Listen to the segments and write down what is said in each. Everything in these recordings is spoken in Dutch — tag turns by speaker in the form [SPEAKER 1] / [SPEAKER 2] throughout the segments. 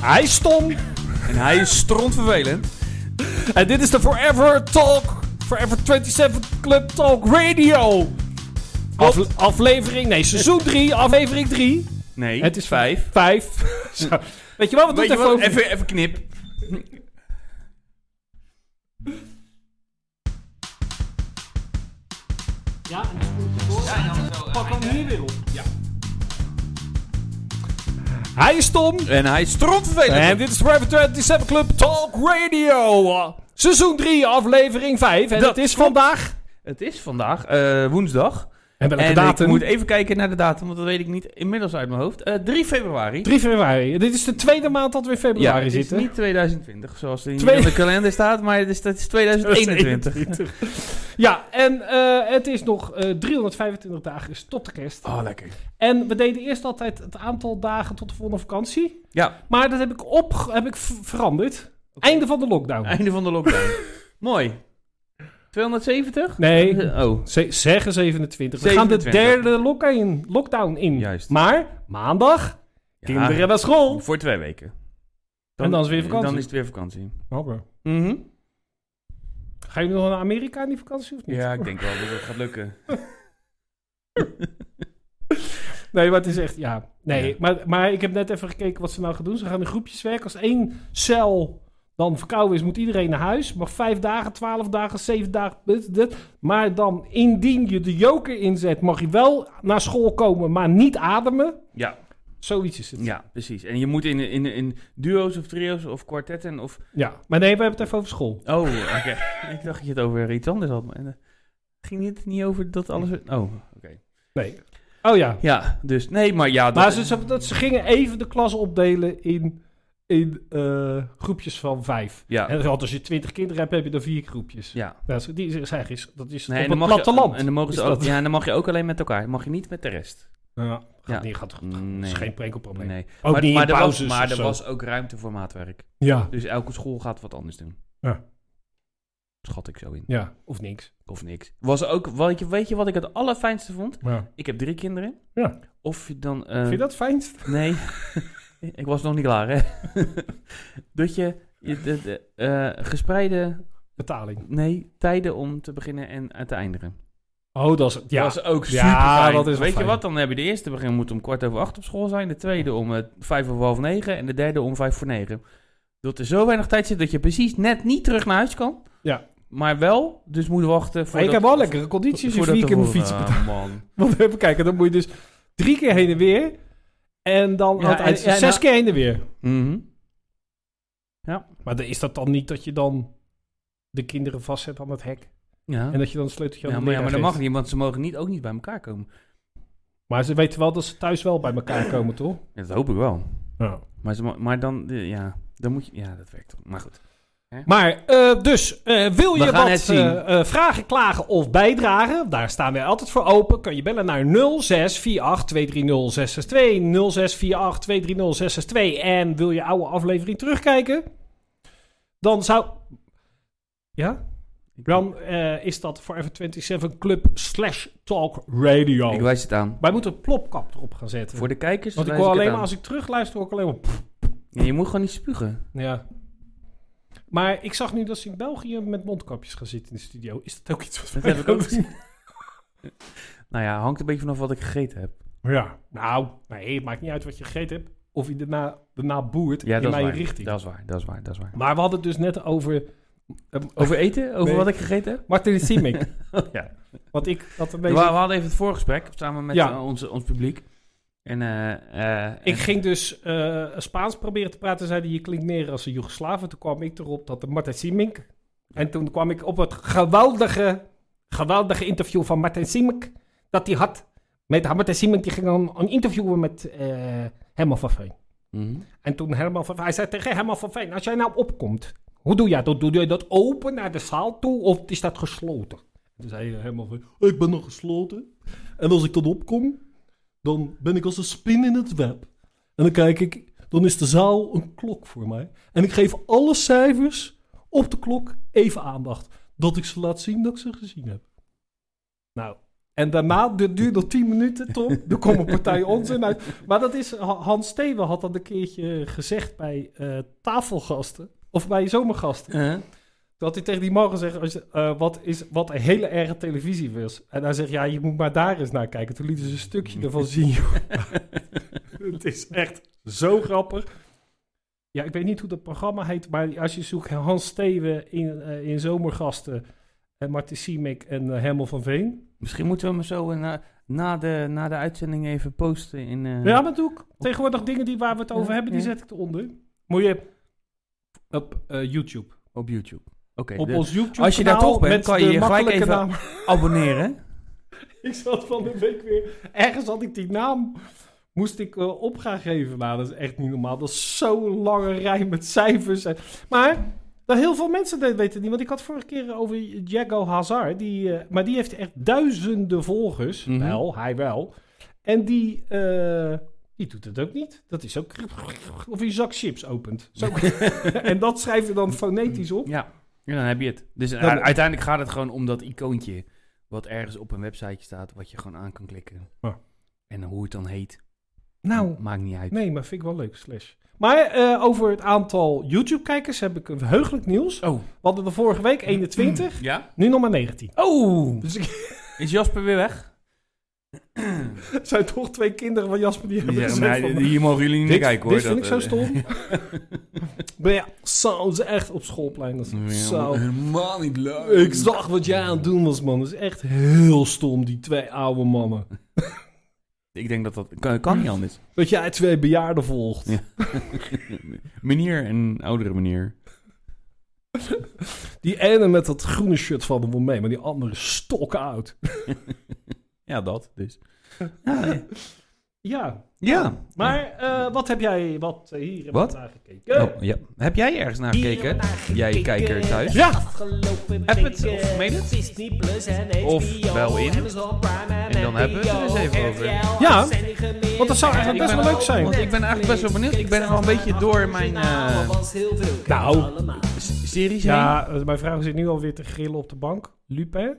[SPEAKER 1] Hij is Tom.
[SPEAKER 2] En hij is strontvervelend.
[SPEAKER 1] En dit is de Forever Talk. Forever 27 Club Talk Radio. Afle- aflevering, nee, seizoen 3, aflevering 3.
[SPEAKER 2] Nee,
[SPEAKER 1] Het is
[SPEAKER 2] vijf.
[SPEAKER 1] 5. Weet je wel, we doen
[SPEAKER 2] Weet
[SPEAKER 1] het even
[SPEAKER 2] je wat?
[SPEAKER 1] over.
[SPEAKER 2] Even, even knip.
[SPEAKER 1] Ja, en dan spoel je door. Pak hem hier weer op. Ja. Hij is Tom.
[SPEAKER 2] En hij is strontvervelend.
[SPEAKER 1] En dit is Forever 27 Club Talk Radio. Seizoen 3, aflevering 5. En
[SPEAKER 2] Dat
[SPEAKER 1] dat is
[SPEAKER 2] klopt.
[SPEAKER 1] vandaag.
[SPEAKER 2] Het is vandaag eh, woensdag.
[SPEAKER 1] En welke
[SPEAKER 2] en
[SPEAKER 1] datum?
[SPEAKER 2] ik moet even kijken naar de datum, want dat weet ik niet inmiddels uit mijn hoofd. Eh 3 februari.
[SPEAKER 1] 3 februari. Dit is de tweede maand dat we in
[SPEAKER 2] ja,
[SPEAKER 1] februari
[SPEAKER 2] het is
[SPEAKER 1] zitten.
[SPEAKER 2] niet 2020, zoals in
[SPEAKER 1] Twee-
[SPEAKER 2] de kalender staat, maar het is, het is 2021.
[SPEAKER 1] Ja, en eh, het is nog eh, 325 dagen is tot de kerst.
[SPEAKER 2] Oh, lekker.
[SPEAKER 1] En we deden eerst altijd het aantal dagen tot de volgende vakantie.
[SPEAKER 2] Ja,
[SPEAKER 1] Maar dat heb ik, op, heb ik v- veranderd. Einde van de lockdown.
[SPEAKER 2] einde van de lockdown. Mooi. 270?
[SPEAKER 1] Nee,
[SPEAKER 2] Oh,
[SPEAKER 1] ze- zeggen 27. We gaan de
[SPEAKER 2] 27.
[SPEAKER 1] derde lockdown, lockdown in.
[SPEAKER 2] Juist.
[SPEAKER 1] Maar maandag,
[SPEAKER 2] ja.
[SPEAKER 1] kinderen naar school.
[SPEAKER 2] Voor twee weken.
[SPEAKER 1] En dan is weer vakantie.
[SPEAKER 2] Dan is het weer vakantie.
[SPEAKER 1] Oké.
[SPEAKER 2] Mhm.
[SPEAKER 1] Gaan jullie nog naar Amerika in die vakantie of niet?
[SPEAKER 2] Ja, ik denk wel dat het gaat lukken.
[SPEAKER 1] Nee, maar het is echt, ja. Nee,
[SPEAKER 2] Ja.
[SPEAKER 1] Maar, maar ik heb net even gekeken wat ze nou gaan doen. Ze gaan in groepjes werken. Als één cel dan verkouden is, moet iedereen naar huis. Mag vijf dagen, twaalf dagen, zeven dagen. dit, dit. Maar dan, indien je de joker inzet, mag je wel naar school komen, maar niet ademen.
[SPEAKER 2] Ja,
[SPEAKER 1] Zoiets is het. Ja,
[SPEAKER 2] ja precies. En je moet in, in, in duo's of trio's of kwartetten of...
[SPEAKER 1] maar nee, we hebben het even over school.
[SPEAKER 2] Oh, oké. ik dacht dat je het over iets anders had. Maar, eh, ging het niet over dat alles... Oh, oké.
[SPEAKER 1] Nee. Oh ja.
[SPEAKER 2] Ja, dus... Nee, maar ja... Dat,
[SPEAKER 1] Maar ze, ze, dat, ze gingen even de klas opdelen in, in eh, groepjes van vijf.
[SPEAKER 2] Ja.
[SPEAKER 1] En als je twintig kinderen hebt, heb je dan vier groepjes.
[SPEAKER 2] Ja.
[SPEAKER 1] Ja, dat is- die is eigenlijk dat is
[SPEAKER 2] Nee, en
[SPEAKER 1] op
[SPEAKER 2] dan
[SPEAKER 1] het
[SPEAKER 2] mag je-
[SPEAKER 1] platteland.
[SPEAKER 2] en dan mogen ze
[SPEAKER 1] is
[SPEAKER 2] ook,
[SPEAKER 1] dat.
[SPEAKER 2] ja, en dan mag je ook alleen met elkaar. Mag je niet met de rest.
[SPEAKER 1] Ja,
[SPEAKER 2] Ja.
[SPEAKER 1] gaat niet, gaat goed. Dat
[SPEAKER 2] Nee.
[SPEAKER 1] is geen prikkelprobleem.
[SPEAKER 2] Nee.
[SPEAKER 1] Ook
[SPEAKER 2] maar
[SPEAKER 1] niet in
[SPEAKER 2] maar, er, was,
[SPEAKER 1] pauzes
[SPEAKER 2] maar
[SPEAKER 1] of
[SPEAKER 2] er
[SPEAKER 1] zo.
[SPEAKER 2] was ook ruimte voor maatwerk.
[SPEAKER 1] Ja,
[SPEAKER 2] Dus elke school gaat wat anders doen.
[SPEAKER 1] Ja.
[SPEAKER 2] Schat ik zo in.
[SPEAKER 1] ja, of niks.
[SPEAKER 2] Of niks. Was ook, weet je, weet je wat ik het allerfijnste vond?
[SPEAKER 1] Ja.
[SPEAKER 2] Ik heb drie kinderen.
[SPEAKER 1] Ja.
[SPEAKER 2] Of je dan... eh,
[SPEAKER 1] Vind je dat fijn?
[SPEAKER 2] Nee, ik was nog niet klaar, hè? dat je, je de, de, eh, gespreide
[SPEAKER 1] Betaling.
[SPEAKER 2] nee, tijden om te beginnen en eh, te eindigen.
[SPEAKER 1] Oh, dat is ja.
[SPEAKER 2] Dat is ook super
[SPEAKER 1] Ja, dat is wel
[SPEAKER 2] Weet
[SPEAKER 1] fijn.
[SPEAKER 2] je wat, dan heb je de eerste begin moet om kwart over acht op school zijn, de tweede om eh, vijf over half negen en de derde om vijf voor negen. Dat er zo weinig tijd zit dat je precies net niet terug naar huis kan.
[SPEAKER 1] Ja.
[SPEAKER 2] Maar wel, dus moet wachten voor
[SPEAKER 1] Maar ik heb wel lekkere condities. Je vier keer mijn
[SPEAKER 2] eh.
[SPEAKER 1] fiets betaalt.
[SPEAKER 2] Oh, man.
[SPEAKER 1] Want even kijken, dan moet je dus drie keer heen en weer. En dan
[SPEAKER 2] Ja,
[SPEAKER 1] aan het eind-
[SPEAKER 2] en- ja, en-
[SPEAKER 1] zes keer heen en weer.
[SPEAKER 2] Mhm.
[SPEAKER 1] Maar dan is dat dan niet dat je dan de kinderen vastzet aan het hek?
[SPEAKER 2] Ja.
[SPEAKER 1] En dat je dan het sleuteltje aan
[SPEAKER 2] ja,
[SPEAKER 1] de
[SPEAKER 2] maar, ja, maar dat
[SPEAKER 1] leraar
[SPEAKER 2] mag
[SPEAKER 1] geeft?
[SPEAKER 2] niet, want ze mogen niet, ook niet bij elkaar komen.
[SPEAKER 1] Maar ze weten wel dat ze thuis wel bij elkaar komen, toch?
[SPEAKER 2] Ja, dat hoop ik wel.
[SPEAKER 1] Ja.
[SPEAKER 2] Maar, ze mo- maar dan, eh, ja, dan moet je, ja, dat werkt toch. Maar goed.
[SPEAKER 1] Maar eh, dus, eh, wil
[SPEAKER 2] We
[SPEAKER 1] je
[SPEAKER 2] gaan
[SPEAKER 1] wat
[SPEAKER 2] het zien.
[SPEAKER 1] eh, eh, vragen, klagen of bijdragen? Daar staan we altijd voor open. Kun je bellen naar 0648-230-662. 0648-230-662. En wil je oude aflevering terugkijken? Dan zou... Ja?
[SPEAKER 2] Ik,
[SPEAKER 1] Dan eh, is dat Forever 27 Club slash Talk Radio.
[SPEAKER 2] ik wijs het aan.
[SPEAKER 1] Wij moeten een plopkap erop gaan zetten.
[SPEAKER 2] Voor de kijkers
[SPEAKER 1] Want ik
[SPEAKER 2] wijs
[SPEAKER 1] hoor
[SPEAKER 2] het
[SPEAKER 1] alleen maar,
[SPEAKER 2] aan.
[SPEAKER 1] als ik terugluister, hoor ik alleen maar...
[SPEAKER 2] Ja, je moet gewoon niet spugen.
[SPEAKER 1] Ja. Maar ik zag nu dat ze in België met mondkapjes gaan zitten in de studio. Is dat ook iets wat
[SPEAKER 2] Dat
[SPEAKER 1] wij
[SPEAKER 2] heb ik
[SPEAKER 1] gaan
[SPEAKER 2] ook
[SPEAKER 1] doen?
[SPEAKER 2] gezien. nou ja, hangt een beetje vanaf wat ik gegeten heb.
[SPEAKER 1] Ja. Nou, nee, het maakt niet uit wat je gegeten hebt. Of je daarna, daarna boert
[SPEAKER 2] Ja,
[SPEAKER 1] in
[SPEAKER 2] dat is,
[SPEAKER 1] mijn
[SPEAKER 2] waar.
[SPEAKER 1] richting.
[SPEAKER 2] dat is waar. Dat is waar, dat is waar.
[SPEAKER 1] Maar we hadden het dus net over... eh, over
[SPEAKER 2] Over eten? Over
[SPEAKER 1] Nee.
[SPEAKER 2] wat ik gegeten heb?
[SPEAKER 1] Martin Simic.
[SPEAKER 2] ja.
[SPEAKER 1] Want ik had een
[SPEAKER 2] We, we
[SPEAKER 1] beetje...
[SPEAKER 2] hadden even het voorgesprek samen met
[SPEAKER 1] Ja.
[SPEAKER 2] eh, ons, ons publiek. En, eh, eh,
[SPEAKER 1] Ik
[SPEAKER 2] en-
[SPEAKER 1] ging dus eh, Spaans proberen te praten. Zeiden, je klinkt meer als een Joegoslaven. Toen kwam ik erop dat de Martin Simic... En toen kwam ik op het geweldige, geweldige interview van Martin Simic. Dat hij had met Martin Simic. Die ging dan een interviewen met eh Herman van Veen.
[SPEAKER 2] Mhm.
[SPEAKER 1] En toen Herman van Veen... Hij zei tegen Herman van Veen, als jij nou opkomt... Hoe doe jij dat? Doe je dat open naar de zaal toe of is dat gesloten?
[SPEAKER 3] Toen zei hij helemaal van, ik ben nog gesloten. En als ik dan opkom, dan ben ik als een spin in het web. En dan kijk ik, dan is de zaal een klok voor mij. En ik geef alle cijfers op de klok even aandacht. Dat ik ze laat zien dat ik ze gezien heb.
[SPEAKER 1] Nou, En daarna, dit duurt nog tien minuten, Tom. Er komt een partij onzin uit. Maar dat is, Ha- Hans Steven had dat een keertje gezegd bij eh, tafelgasten. Of bij zomergasten.
[SPEAKER 2] Eh?
[SPEAKER 1] Toen had hij tegen die man gezegd als je, eh, wat, is, wat een hele erge televisie was. En hij zegt, ja, je moet maar daar eens naar kijken. Toen lieten ze een stukje ervan zien, joh. Het is echt zo grappig. Ja, ik weet niet hoe dat programma heet, maar als je zoekt Hans Steven in, eh, in Zomergasten... en Martin Siemek en eh, Herman van Veen.
[SPEAKER 2] Misschien moeten we hem zo eh, na, na, de, na de uitzending even posten in... eh,
[SPEAKER 1] Ja, maar doe ik. Tegenwoordig dingen die, waar we het over
[SPEAKER 2] Ja,
[SPEAKER 1] hebben, die
[SPEAKER 2] ja.
[SPEAKER 1] zet ik eronder. Moet je op eh, YouTube.
[SPEAKER 2] Op YouTube. Oké, dus
[SPEAKER 1] op
[SPEAKER 2] de-
[SPEAKER 1] ons YouTube
[SPEAKER 2] als je daar toch bent, kan je je gelijk even-
[SPEAKER 1] naam.
[SPEAKER 2] abonneren.
[SPEAKER 1] Ik zat van de week weer... Ergens had ik die naam... Moest ik eh, op gaan geven. Nou, dat is echt niet normaal. Dat is zo'n lange rij met cijfers. En, maar dat heel veel mensen dat weten niet. Want ik had vorige keer over Diego Hazard. Die, eh, maar die heeft echt duizenden volgers.
[SPEAKER 2] Mhm.
[SPEAKER 1] Wel, hij wel. En die, eh, die doet het ook niet. Dat is ook... Of je een zak chips opent. Zo. en dat schrijf je dan fonetisch op.
[SPEAKER 2] Ja. ja, dan heb je het. Dus u-
[SPEAKER 1] Nou, Dan-
[SPEAKER 2] uiteindelijk gaat het gewoon om dat icoontje. Wat ergens op een website staat, wat je gewoon aan kan klikken.
[SPEAKER 1] Ja.
[SPEAKER 2] En hoe het dan heet,
[SPEAKER 1] Nou,
[SPEAKER 2] maakt niet uit.
[SPEAKER 1] Nee, maar vind ik wel leuk, Slash. Maar eh, over het aantal YouTube-kijkers heb ik een heugelijk nieuws.
[SPEAKER 2] Oh,
[SPEAKER 1] We hadden er vorige week 21,
[SPEAKER 2] ja?
[SPEAKER 1] nu nog maar 19.
[SPEAKER 2] Oh!
[SPEAKER 1] Dus ik
[SPEAKER 2] Is Jasper weer weg?
[SPEAKER 1] zijn toch twee kinderen van Jasper die hebben gezegd van...
[SPEAKER 2] hier mogen jullie niet
[SPEAKER 1] dit dit vind
[SPEAKER 2] eh,
[SPEAKER 1] ik zo stom. maar ja, zo, ze echt op schoolplein. Dat is zo.
[SPEAKER 2] Helemaal niet leuk.
[SPEAKER 1] Ik zag wat jij aan het doen was, man. Dat is echt heel stom, die twee oude mannen.
[SPEAKER 2] Ik denk dat dat kan, kan niet anders.
[SPEAKER 1] Dat jij twee bejaarden volgt.
[SPEAKER 2] Ja. Meneer en oudere meneer.
[SPEAKER 1] Die ene met dat groene shirt valt er wel mee, maar die andere stok oud.
[SPEAKER 2] Ja, dat dus.
[SPEAKER 1] Ja,
[SPEAKER 2] Ja.
[SPEAKER 1] Maar eh, wat heb jij wat eh, hier
[SPEAKER 2] Wat?
[SPEAKER 1] naar gekeken?
[SPEAKER 2] Oh, ja. Heb jij ergens naar gekeken? Jij kijker thuis?
[SPEAKER 1] Ja,
[SPEAKER 2] App het of mail het? Of wel in. En dan hebben we het er eens even over.
[SPEAKER 1] ja, want dat zou eigenlijk
[SPEAKER 2] Ik
[SPEAKER 1] best
[SPEAKER 2] ben-
[SPEAKER 1] wel leuk zijn.
[SPEAKER 2] Want ik ben eigenlijk best wel benieuwd. Ik ben er al een beetje door mijn eh,
[SPEAKER 1] Nou,
[SPEAKER 2] s- series heen.
[SPEAKER 1] ja, eh, mijn vrouw zit nu alweer te grillen op de bank. Lupin,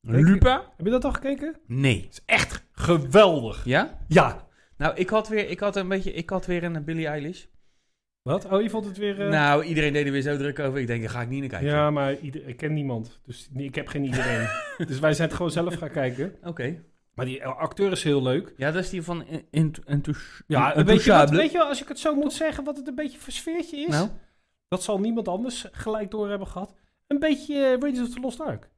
[SPEAKER 2] Lupa?
[SPEAKER 1] heb je dat al gekeken?
[SPEAKER 2] Nee.
[SPEAKER 1] is echt geweldig.
[SPEAKER 2] Ja?
[SPEAKER 1] Ja.
[SPEAKER 2] Nou, ik had weer, ik had een beetje, ik had weer een Billie Eilish.
[SPEAKER 1] Wat? Oh, je vond het weer... eh,
[SPEAKER 2] Nou, iedereen deed er weer zo druk over. Ik denk, daar ga ik niet naar kijken.
[SPEAKER 1] ja, maar ieder, ik ken niemand. Dus nee, ik heb geen iedereen. dus wij zijn het gewoon zelf gaan kijken.
[SPEAKER 2] Oké.
[SPEAKER 1] Maar die eh, acteur is heel leuk.
[SPEAKER 2] Ja, dat is die van en- ent- enthous-
[SPEAKER 1] Ja,
[SPEAKER 2] en-
[SPEAKER 1] weet, je wat,
[SPEAKER 2] enthousiable.
[SPEAKER 1] weet je wel, als ik het zo moet zeggen, wat het een beetje voor sfeertje is?
[SPEAKER 2] Nou,
[SPEAKER 1] Dat zal niemand anders gelijk door hebben gehad. Een beetje eh, Raiders of the Lost Ark.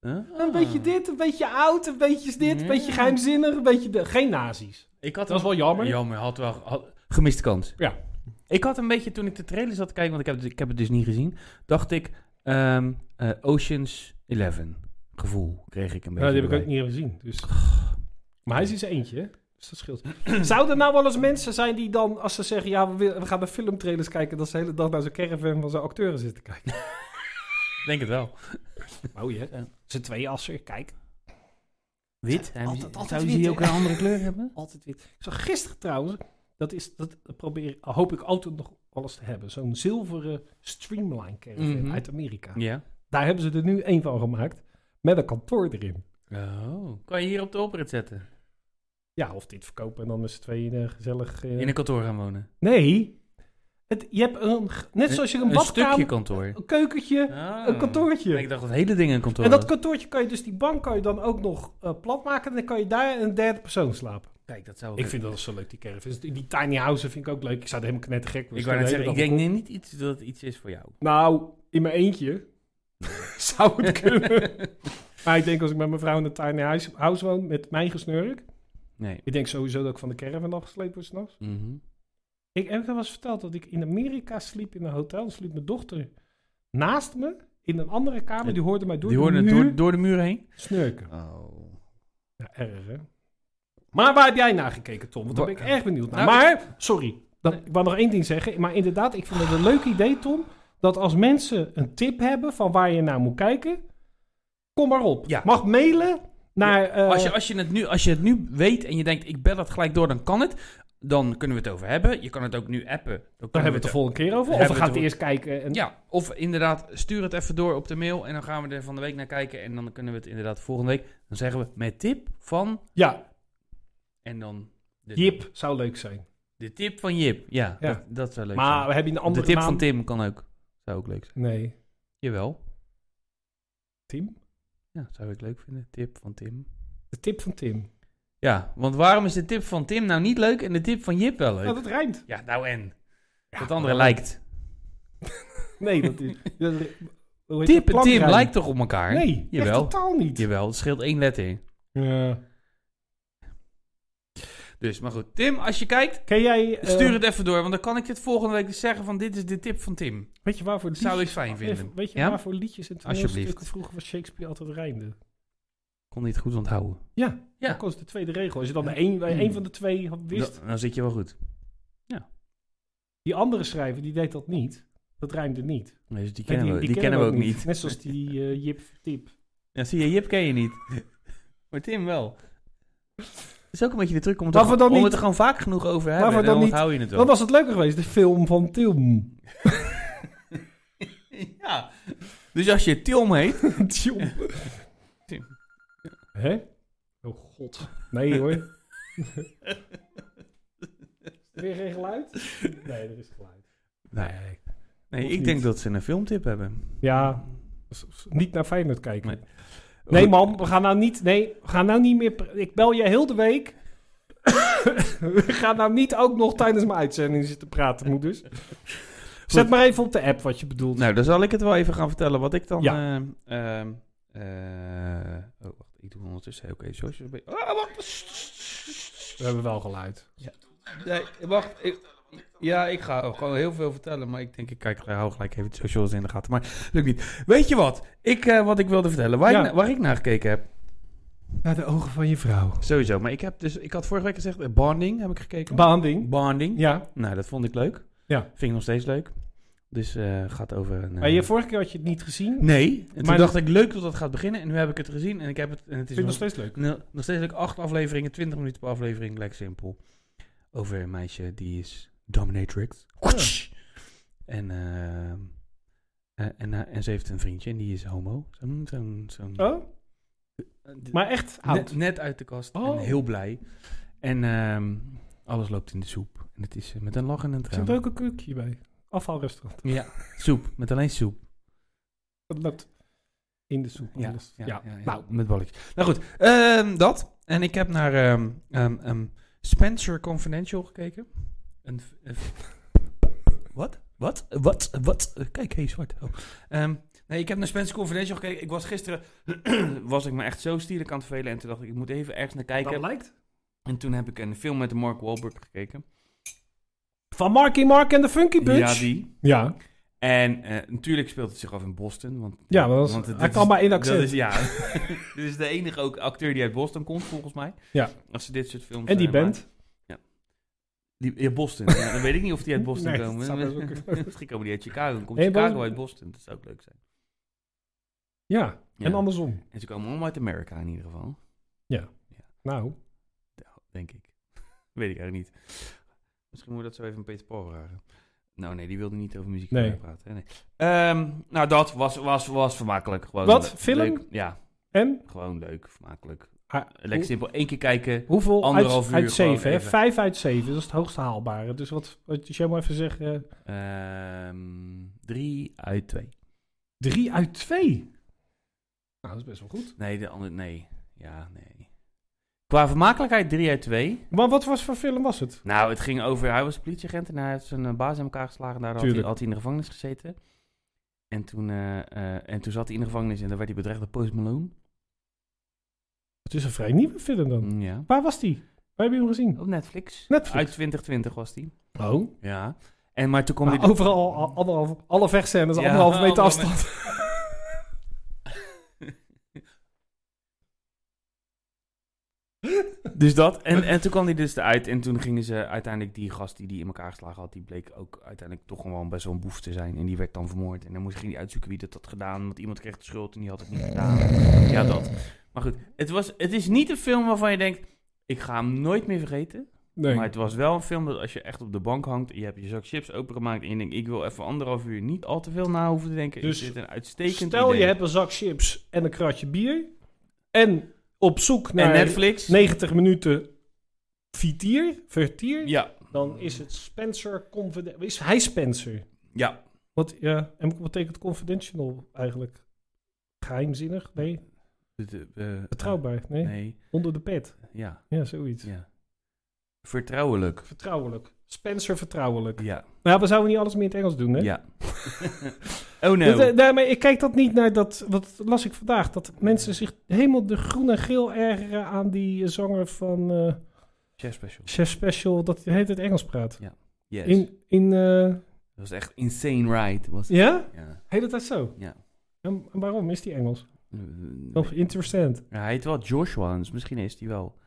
[SPEAKER 2] Nou? huh?
[SPEAKER 1] Een beetje dit, een beetje oud, een beetje dit, een
[SPEAKER 2] Ja.
[SPEAKER 1] beetje geheimzinnig, een beetje... De, geen nazi's.
[SPEAKER 2] Ah. Ik had
[SPEAKER 1] Dat is
[SPEAKER 2] een-
[SPEAKER 1] wel jammer.
[SPEAKER 2] Jammer, had wel had- gemiste kans.
[SPEAKER 1] Ja.
[SPEAKER 2] Ik had een beetje, toen ik de trailer zat te kijken, want ik heb, het- ik heb het dus niet gezien, dacht ik ehm, eh, Ocean's 11 gevoel kreeg ik een beetje.
[SPEAKER 1] Nou, die heb ik ook
[SPEAKER 2] erbij.
[SPEAKER 1] niet gezien. Dus. Maar hij is in zijn eentje, hè? dus dat scheelt. Zouden er nou wel eens mensen zijn die dan, als ze zeggen... ja, we, willen- we gaan naar filmtrailers kijken... dat ze de hele dag naar zo'n caravan van zijn acteurs zitten kijken?
[SPEAKER 2] Denk het wel.
[SPEAKER 1] Mooi, hè? Zijn twee assen, kijk.
[SPEAKER 2] Wit? Hebben ze-
[SPEAKER 1] altijd
[SPEAKER 2] Zouden
[SPEAKER 1] wit,
[SPEAKER 2] ze die
[SPEAKER 1] hè?
[SPEAKER 2] ook een andere kleur hebben?
[SPEAKER 1] Altijd wit. Ik zag gisteren trouwens, dat, is, dat probeer, hoop ik altijd nog alles te hebben. Zo'n zilveren streamline caravan
[SPEAKER 2] Mhm.
[SPEAKER 1] uit Amerika.
[SPEAKER 2] Ja.
[SPEAKER 1] Daar hebben ze er nu één van gemaakt. Met een kantoor erin.
[SPEAKER 2] Oh. Kan je hier op de oprit zetten?
[SPEAKER 1] Ja, of dit verkopen en dan met z'n tweeën eh, gezellig... eh,
[SPEAKER 2] In een kantoor gaan wonen?
[SPEAKER 1] Nee. Het, je hebt een, g- net zoals je een, badkamer,
[SPEAKER 2] stukje kantoor.
[SPEAKER 1] een keukentje,
[SPEAKER 2] Ah.
[SPEAKER 1] een kantoortje.
[SPEAKER 2] Ik dacht eh, dat het hele ding een kantoor
[SPEAKER 1] en dat
[SPEAKER 2] was.
[SPEAKER 1] kantoortje kan je dus, die bank kan je dan ook nog eh, plat maken. En dan kan je daar een derde persoon slapen.
[SPEAKER 2] Kijk, dat zou
[SPEAKER 1] Ik vind dat zo leuk, die caravans. Die, die tiny houses vind ik ook leuk. Ik zou er helemaal knettergek worden.
[SPEAKER 2] Ik wou net
[SPEAKER 1] De
[SPEAKER 2] zeggen,
[SPEAKER 1] hele
[SPEAKER 2] ik
[SPEAKER 1] dag
[SPEAKER 2] denk nee, niet iets dat het iets is voor jou.
[SPEAKER 1] Nou, in mijn eentje zou het kunnen. maar ik denk als ik met mijn vrouw in een tiny house, house woon, met mijn gesnurk.
[SPEAKER 2] Nee.
[SPEAKER 1] Ik denk sowieso dat ik van de caravan afgesleept word s'nachts.
[SPEAKER 2] Mhm.
[SPEAKER 1] Ik heb wel eens verteld dat ik in Amerika sliep in een hotel. Sliep mijn dochter naast me in een andere kamer. Die hoorde mij door
[SPEAKER 2] Die
[SPEAKER 1] de
[SPEAKER 2] hoorden
[SPEAKER 1] muur
[SPEAKER 2] door, door de muur heen?
[SPEAKER 1] snurken.
[SPEAKER 2] Oh.
[SPEAKER 1] Ja, erg hè? Maar waar heb jij naar gekeken, Tom? Want daar ben ik
[SPEAKER 2] Wa-
[SPEAKER 1] erg benieuwd naar.
[SPEAKER 2] Nou,
[SPEAKER 1] maar, sorry, dat, ik wou nog één ding zeggen. Maar inderdaad, ik vind het een leuk idee, Tom. Dat als mensen een tip hebben van waar je naar moet kijken, kom maar op.
[SPEAKER 2] Ja.
[SPEAKER 1] Mag mailen naar. eh,
[SPEAKER 2] Als je, als, je het nu, als je het nu weet en je denkt, ik bel dat gelijk door, dan kan het. dan kunnen we het over hebben. Je kan het ook nu appen. Dan
[SPEAKER 1] Daar
[SPEAKER 2] kunnen
[SPEAKER 1] hebben we het de volgende keer over.
[SPEAKER 2] Daar
[SPEAKER 1] Of we
[SPEAKER 2] hebben we
[SPEAKER 1] gaan het
[SPEAKER 2] het
[SPEAKER 1] eerst kijken. En,
[SPEAKER 2] Ja, of inderdaad, stuur het even door op de mail. En dan gaan we er van de week naar kijken. En dan kunnen we het inderdaad volgende week. Dan zeggen we met tip van.
[SPEAKER 1] ja,
[SPEAKER 2] En dan. De,
[SPEAKER 1] Jip zou leuk zijn.
[SPEAKER 2] De tip van Jip. Ja,
[SPEAKER 1] Ja.
[SPEAKER 2] Dat, dat zou leuk
[SPEAKER 1] Maar
[SPEAKER 2] zijn.
[SPEAKER 1] we hebben een andere
[SPEAKER 2] de tip
[SPEAKER 1] naam.
[SPEAKER 2] van Tim kan ook. Zou ook leuk zijn.
[SPEAKER 1] Nee,
[SPEAKER 2] Jawel.
[SPEAKER 1] Tim.
[SPEAKER 2] Ja, zou ik leuk vinden. Tip van Tim.
[SPEAKER 1] De tip van Tim.
[SPEAKER 2] Ja, want waarom is de tip van Tim nou niet leuk en de tip van Jip wel leuk?
[SPEAKER 1] Nou, dat rijmt.
[SPEAKER 2] Ja, nou en.
[SPEAKER 1] Ja,
[SPEAKER 2] dat andere
[SPEAKER 1] maar-
[SPEAKER 2] lijkt.
[SPEAKER 1] Nee, dat is... dat- hoe heet dat?
[SPEAKER 2] Tip en Tim
[SPEAKER 1] Plankrijm.
[SPEAKER 2] lijkt toch op elkaar?
[SPEAKER 1] Nee,
[SPEAKER 2] Jawel.
[SPEAKER 1] echt totaal niet. Eh,
[SPEAKER 2] Jawel, het scheelt één letter in. Dus, maar goed. Tim, als je kijkt,
[SPEAKER 1] Ken jij... eh,
[SPEAKER 2] stuur het even door. Want dan kan ik dit volgende week dus zeggen van dit is de tip van Tim.
[SPEAKER 1] eh, Weet je waarvoor
[SPEAKER 2] Dat zou ik
[SPEAKER 1] liedjes-
[SPEAKER 2] fijn vinden.
[SPEAKER 1] Weet je
[SPEAKER 2] Ja?
[SPEAKER 1] waarvoor liedjes en
[SPEAKER 2] Alsjeblieft.
[SPEAKER 1] toneelstukken vroeger was Shakespeare altijd rijmde?
[SPEAKER 2] Kon niet goed onthouden.
[SPEAKER 1] Ja,
[SPEAKER 2] Ja. Hmm.
[SPEAKER 1] dat was de tweede regel. Als je dan één bij één van de twee had wist...
[SPEAKER 2] Dan, dan zit je wel goed.
[SPEAKER 1] Die andere schrijver, die deed dat niet. Dat rijmde niet. En
[SPEAKER 2] Nee, dus die kennen, we, die kennen we ook niet.
[SPEAKER 1] Net zoals die eh, Jip Tip.
[SPEAKER 2] Ja, zie je, Jip ken je niet. maar Tim wel. Het is ook een beetje de truc om het,
[SPEAKER 1] Laten
[SPEAKER 2] er,
[SPEAKER 1] we dan
[SPEAKER 2] om
[SPEAKER 1] niet-
[SPEAKER 2] het er gewoon vaak genoeg over te
[SPEAKER 1] Laten
[SPEAKER 2] hebben.
[SPEAKER 1] we
[SPEAKER 2] Dan,
[SPEAKER 1] dan niet-
[SPEAKER 2] onthoud je het wel.
[SPEAKER 1] Dan was het leuker geweest, de film van Tim.
[SPEAKER 2] ja. Dus als je Tim heet...
[SPEAKER 1] Tim.
[SPEAKER 2] Tim.
[SPEAKER 1] Hè? Oh god. Nee hoor. Weer geen geluid? Nee, er is geluid.
[SPEAKER 2] Nee, nee
[SPEAKER 1] Of
[SPEAKER 2] ik
[SPEAKER 1] niet.
[SPEAKER 2] denk dat ze een filmtip hebben.
[SPEAKER 1] Ja, s- s- niet naar Feyenoord kijken.
[SPEAKER 2] Nee.
[SPEAKER 1] Nee, man, we gaan nou niet... Nee, we gaan nou niet meer... pr- Ik bel je heel de week. we gaan nou niet ook nog tijdens mijn uitzending zitten praten, moeders. Zet
[SPEAKER 2] Goed.
[SPEAKER 1] maar even op de app wat je bedoelt.
[SPEAKER 2] Nou, dan zal ik het wel even gaan vertellen wat ik dan...
[SPEAKER 1] Ja.
[SPEAKER 2] eh, ehm, eh, oh, wacht. Ik doe ondertussen... Oké, socials... Oh, wacht.
[SPEAKER 1] We hebben wel geluid.
[SPEAKER 2] Nee, wacht. Ik, ja, ik ga gewoon heel veel vertellen. Maar ik denk, ik kijk, ik hou gelijk even de socials in de gaten. Maar lukt niet. Weet je wat? Ik, eh, wat ik wilde vertellen. Waar, ik,
[SPEAKER 1] Ja.
[SPEAKER 2] na- waar ik naar gekeken heb.
[SPEAKER 1] Naar de ogen van je vrouw.
[SPEAKER 2] Sowieso. Maar ik heb dus... Ik had vorige week gezegd... eh, Bonding heb ik gekeken.
[SPEAKER 1] Behandeling.
[SPEAKER 2] Bonding.
[SPEAKER 1] Ja.
[SPEAKER 2] Nou, dat vond ik leuk.
[SPEAKER 1] Ja.
[SPEAKER 2] Vind ik nog steeds leuk. Dus eh gaat over... Een,
[SPEAKER 1] Maar
[SPEAKER 2] eh,
[SPEAKER 1] je, vorige keer had je het niet gezien.
[SPEAKER 2] Nee. En toen
[SPEAKER 1] Maar-
[SPEAKER 2] dacht ik, leuk dat dat gaat beginnen. En nu heb ik het gezien. En ik heb het... En het is
[SPEAKER 1] Ik vind
[SPEAKER 2] nog-
[SPEAKER 1] het nog steeds leuk.
[SPEAKER 2] Nou, nog steeds heb ik acht afleveringen, 20 minuten per aflevering, lekker simpel. Over een meisje die is dominatrix. En, eh, eh, en, eh, en ze heeft een vriendje en die is homo. Zo'n, zo'n, zo'n-
[SPEAKER 1] Oh, maar echt oud.
[SPEAKER 2] net, net uit de kast
[SPEAKER 1] Oh.
[SPEAKER 2] en heel blij. En ehm, alles loopt in de soep. En het is eh, met een lach en een
[SPEAKER 1] Er zit
[SPEAKER 2] traan.
[SPEAKER 1] ook een keuken bij. Afvalrestaurant.
[SPEAKER 2] Ja, soep. Met alleen soep.
[SPEAKER 1] Dat loopt in de soep. alles. Ja, Nou,
[SPEAKER 2] met balletjes. Nou goed, ehm, dat. En ik heb naar ehm, ehm, ehm, Spencer Confidential gekeken. Een, f- een f- wat? Wat? Wat? Wat? Eh, Kijk, hé, zwart. Oh. Ehm, nee, ik heb naar Spencer Confidential gekeken. Ik was gisteren, was ik me echt zo stierlijk aan het vervelen. En toen dacht ik, ik moet even ergens naar kijken.
[SPEAKER 1] dat lijkt.
[SPEAKER 2] En toen heb ik een film met Mark Wahlberg gekeken.
[SPEAKER 1] Van Marky Mark en de Funky Bunch.
[SPEAKER 2] Ja, die.
[SPEAKER 1] Ja.
[SPEAKER 2] En eh, natuurlijk speelt het zich af in Boston. Want,
[SPEAKER 1] Ja, maar dat is-
[SPEAKER 2] het-
[SPEAKER 1] hij
[SPEAKER 2] dit
[SPEAKER 1] kan
[SPEAKER 2] is-
[SPEAKER 1] maar één
[SPEAKER 2] Dat
[SPEAKER 1] accent.
[SPEAKER 2] is, ja. dit is de enige ook acteur die uit Boston komt, volgens mij.
[SPEAKER 1] Ja.
[SPEAKER 2] Als ze dit soort films
[SPEAKER 1] en die
[SPEAKER 2] eh, maken.
[SPEAKER 1] band.
[SPEAKER 2] Die, ja, Boston. Ja, dan weet ik niet of die uit Boston
[SPEAKER 1] Nee, dat
[SPEAKER 2] komen.
[SPEAKER 1] zou best wel kunnen.
[SPEAKER 2] Misschien komen die uit Chicago. Dan komt
[SPEAKER 1] Nee,
[SPEAKER 2] Chicago
[SPEAKER 1] Boston-
[SPEAKER 2] uit Boston. Dat zou ook leuk zijn.
[SPEAKER 1] Ja.
[SPEAKER 2] Ja.
[SPEAKER 1] En andersom.
[SPEAKER 2] En ze komen allemaal uit Amerika in ieder geval.
[SPEAKER 1] Nou.
[SPEAKER 2] Denk ik. weet ik eigenlijk niet. Misschien moet we dat zo even aan Peter Paul vragen. Nou nee, die wilde niet over muziek
[SPEAKER 1] Nee.
[SPEAKER 2] praten. hè, Nee. Ehm, nou, dat was, was, was vermakelijk. Gewoon
[SPEAKER 1] Wat?
[SPEAKER 2] le-
[SPEAKER 1] Film?
[SPEAKER 2] leuk. Ja,
[SPEAKER 1] En?
[SPEAKER 2] gewoon leuk, vermakelijk.
[SPEAKER 1] Ah,
[SPEAKER 2] Lekker simpel. Eén keer kijken.
[SPEAKER 1] hoe- hoeveel
[SPEAKER 2] Anderhalf
[SPEAKER 1] uit,
[SPEAKER 2] uur
[SPEAKER 1] uit
[SPEAKER 2] gewoon
[SPEAKER 1] zeven? Hè?
[SPEAKER 2] even.
[SPEAKER 1] Vijf uit zeven. Dat is het hoogste haalbare. Dus wat, wat jij maar even zeggen. eh,
[SPEAKER 2] Ehm, drie uit twee.
[SPEAKER 1] drie uit twee. Nou, dat is best wel goed.
[SPEAKER 2] Nee, de andere... Nee. Ja, nee. Qua vermakelijkheid 3 uit 2.
[SPEAKER 1] Maar wat was voor film was het?
[SPEAKER 2] Nou, het ging over... Hij was politieagent en hij heeft zijn eh, baas in elkaar geslagen. Daar had hij,
[SPEAKER 1] Tuurlijk.
[SPEAKER 2] had hij in de gevangenis gezeten. En toen, eh, eh, en toen zat hij in de gevangenis en dan werd hij bedreigd door Post Malone.
[SPEAKER 1] Het is een vrij nieuwe film dan.
[SPEAKER 2] Mm, Ja.
[SPEAKER 1] Waar was die? Waar heb je hem gezien?
[SPEAKER 2] Op Netflix.
[SPEAKER 1] Netflix.
[SPEAKER 2] Uit 2020 was die.
[SPEAKER 1] Oh.
[SPEAKER 2] Ja. En maar toen kwam
[SPEAKER 1] Maar
[SPEAKER 2] hij...
[SPEAKER 1] Nou, overal, al- anderhalf, alle vechtscènes,
[SPEAKER 2] Ja,
[SPEAKER 1] anderhalve meter
[SPEAKER 2] anderhalve
[SPEAKER 1] afstand.
[SPEAKER 2] Dus dat. En, en toen kwam hij dus eruit. En toen gingen ze uiteindelijk die gast die die in elkaar geslagen had. Die bleek ook uiteindelijk toch gewoon best wel een boef te zijn. En die werd dan vermoord. En dan moest, ging hij uitzoeken wie dat had gedaan. Want iemand kreeg de schuld en die had het niet gedaan. Ja, dat. Maar goed. Het, was, het is niet een film waarvan je denkt. Ik ga hem nooit meer vergeten.
[SPEAKER 1] Nee.
[SPEAKER 2] Maar het was wel een film dat als je echt op de bank hangt, je hebt je zak chips opengemaakt en je denkt, ik wil even anderhalf uur niet al te veel na hoeven te denken.
[SPEAKER 1] Dus
[SPEAKER 2] is dit een uitstekend
[SPEAKER 1] Stel
[SPEAKER 2] idee.
[SPEAKER 1] je hebt een zak chips en een kratje bier. En op zoek naar
[SPEAKER 2] en Netflix.
[SPEAKER 1] 90 minuten vertier, vertier
[SPEAKER 2] Ja,
[SPEAKER 1] dan is het Spencer Confidential. Is hij Spencer?
[SPEAKER 2] ja.
[SPEAKER 1] Wat, ja, en wat betekent confidential eigenlijk? Geheimzinnig? Nee.
[SPEAKER 2] Het, eh, eh,
[SPEAKER 1] Betrouwbaar? Nee.
[SPEAKER 2] Nee,
[SPEAKER 1] Onder de pet?
[SPEAKER 2] ja,
[SPEAKER 1] Ja, zoiets.
[SPEAKER 2] ja. Vertrouwelijk.
[SPEAKER 1] Vertrouwelijk. Spencer vertrouwelijk.
[SPEAKER 2] Ja,
[SPEAKER 1] Nou, we zouden niet alles meer in het Engels doen, hè?
[SPEAKER 2] ja. oh
[SPEAKER 1] Dat, eh,
[SPEAKER 2] no.
[SPEAKER 1] nee, maar ik kijk dat niet naar dat, wat las ik vandaag, dat mensen zich helemaal de groen en geel ergeren aan die eh, zanger van eh,
[SPEAKER 2] Chef special.
[SPEAKER 1] Chef Special, dat hij de hele tijd Engels praat.
[SPEAKER 2] Yes.
[SPEAKER 1] In, in eh,
[SPEAKER 2] Dat was echt insane ride. Was het.
[SPEAKER 1] ja?
[SPEAKER 2] Ja.
[SPEAKER 1] De hele tijd zo.
[SPEAKER 2] Ja.
[SPEAKER 1] En waarom is die Engels? Of interessant?
[SPEAKER 2] Ja, hij heet wel Joshua, dus misschien is hij wel...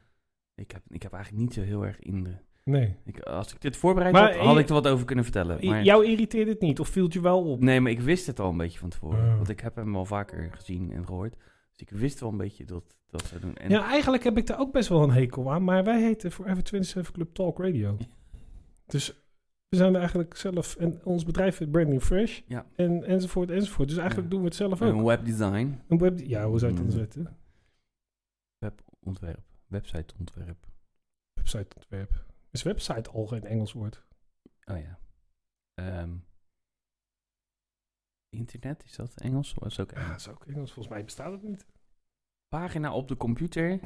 [SPEAKER 2] Ik heb, ik heb eigenlijk niet zo heel erg in de...
[SPEAKER 1] Nee.
[SPEAKER 2] Ik, als ik dit voorbereid
[SPEAKER 1] Maar
[SPEAKER 2] had, had
[SPEAKER 1] je-
[SPEAKER 2] ik er wat over kunnen vertellen. Maar,
[SPEAKER 1] Jou irriteert het niet, of viel het je wel op?
[SPEAKER 2] Nee, maar ik wist het al een beetje van tevoren.
[SPEAKER 1] Ja.
[SPEAKER 2] Want ik heb hem al vaker gezien en gehoord. Dus ik wist wel een beetje dat dat ze doen. En,
[SPEAKER 1] Ja, eigenlijk heb ik daar ook best wel een hekel aan, maar wij heten Forever 27 Club Talk Radio. Dus we zijn er eigenlijk zelf, en ons bedrijf heet Brand New Fresh,
[SPEAKER 2] Ja.
[SPEAKER 1] en, enzovoort, enzovoort. Dus eigenlijk
[SPEAKER 2] Ja.
[SPEAKER 1] doen we het zelf ook.
[SPEAKER 2] en webdesign,
[SPEAKER 1] Een web, ja, hoe zou je het
[SPEAKER 2] Mm.
[SPEAKER 1] anders zetten?
[SPEAKER 2] webontwerp, websiteontwerp.
[SPEAKER 1] Websiteontwerp. Is website al geen Engels woord?
[SPEAKER 2] Oh ja. Ehm, internet, is dat Engels? Dat is ook
[SPEAKER 1] Ja,
[SPEAKER 2] Engels.
[SPEAKER 1] dat is ook Engels. Volgens mij bestaat het niet.
[SPEAKER 2] Pagina op de computer.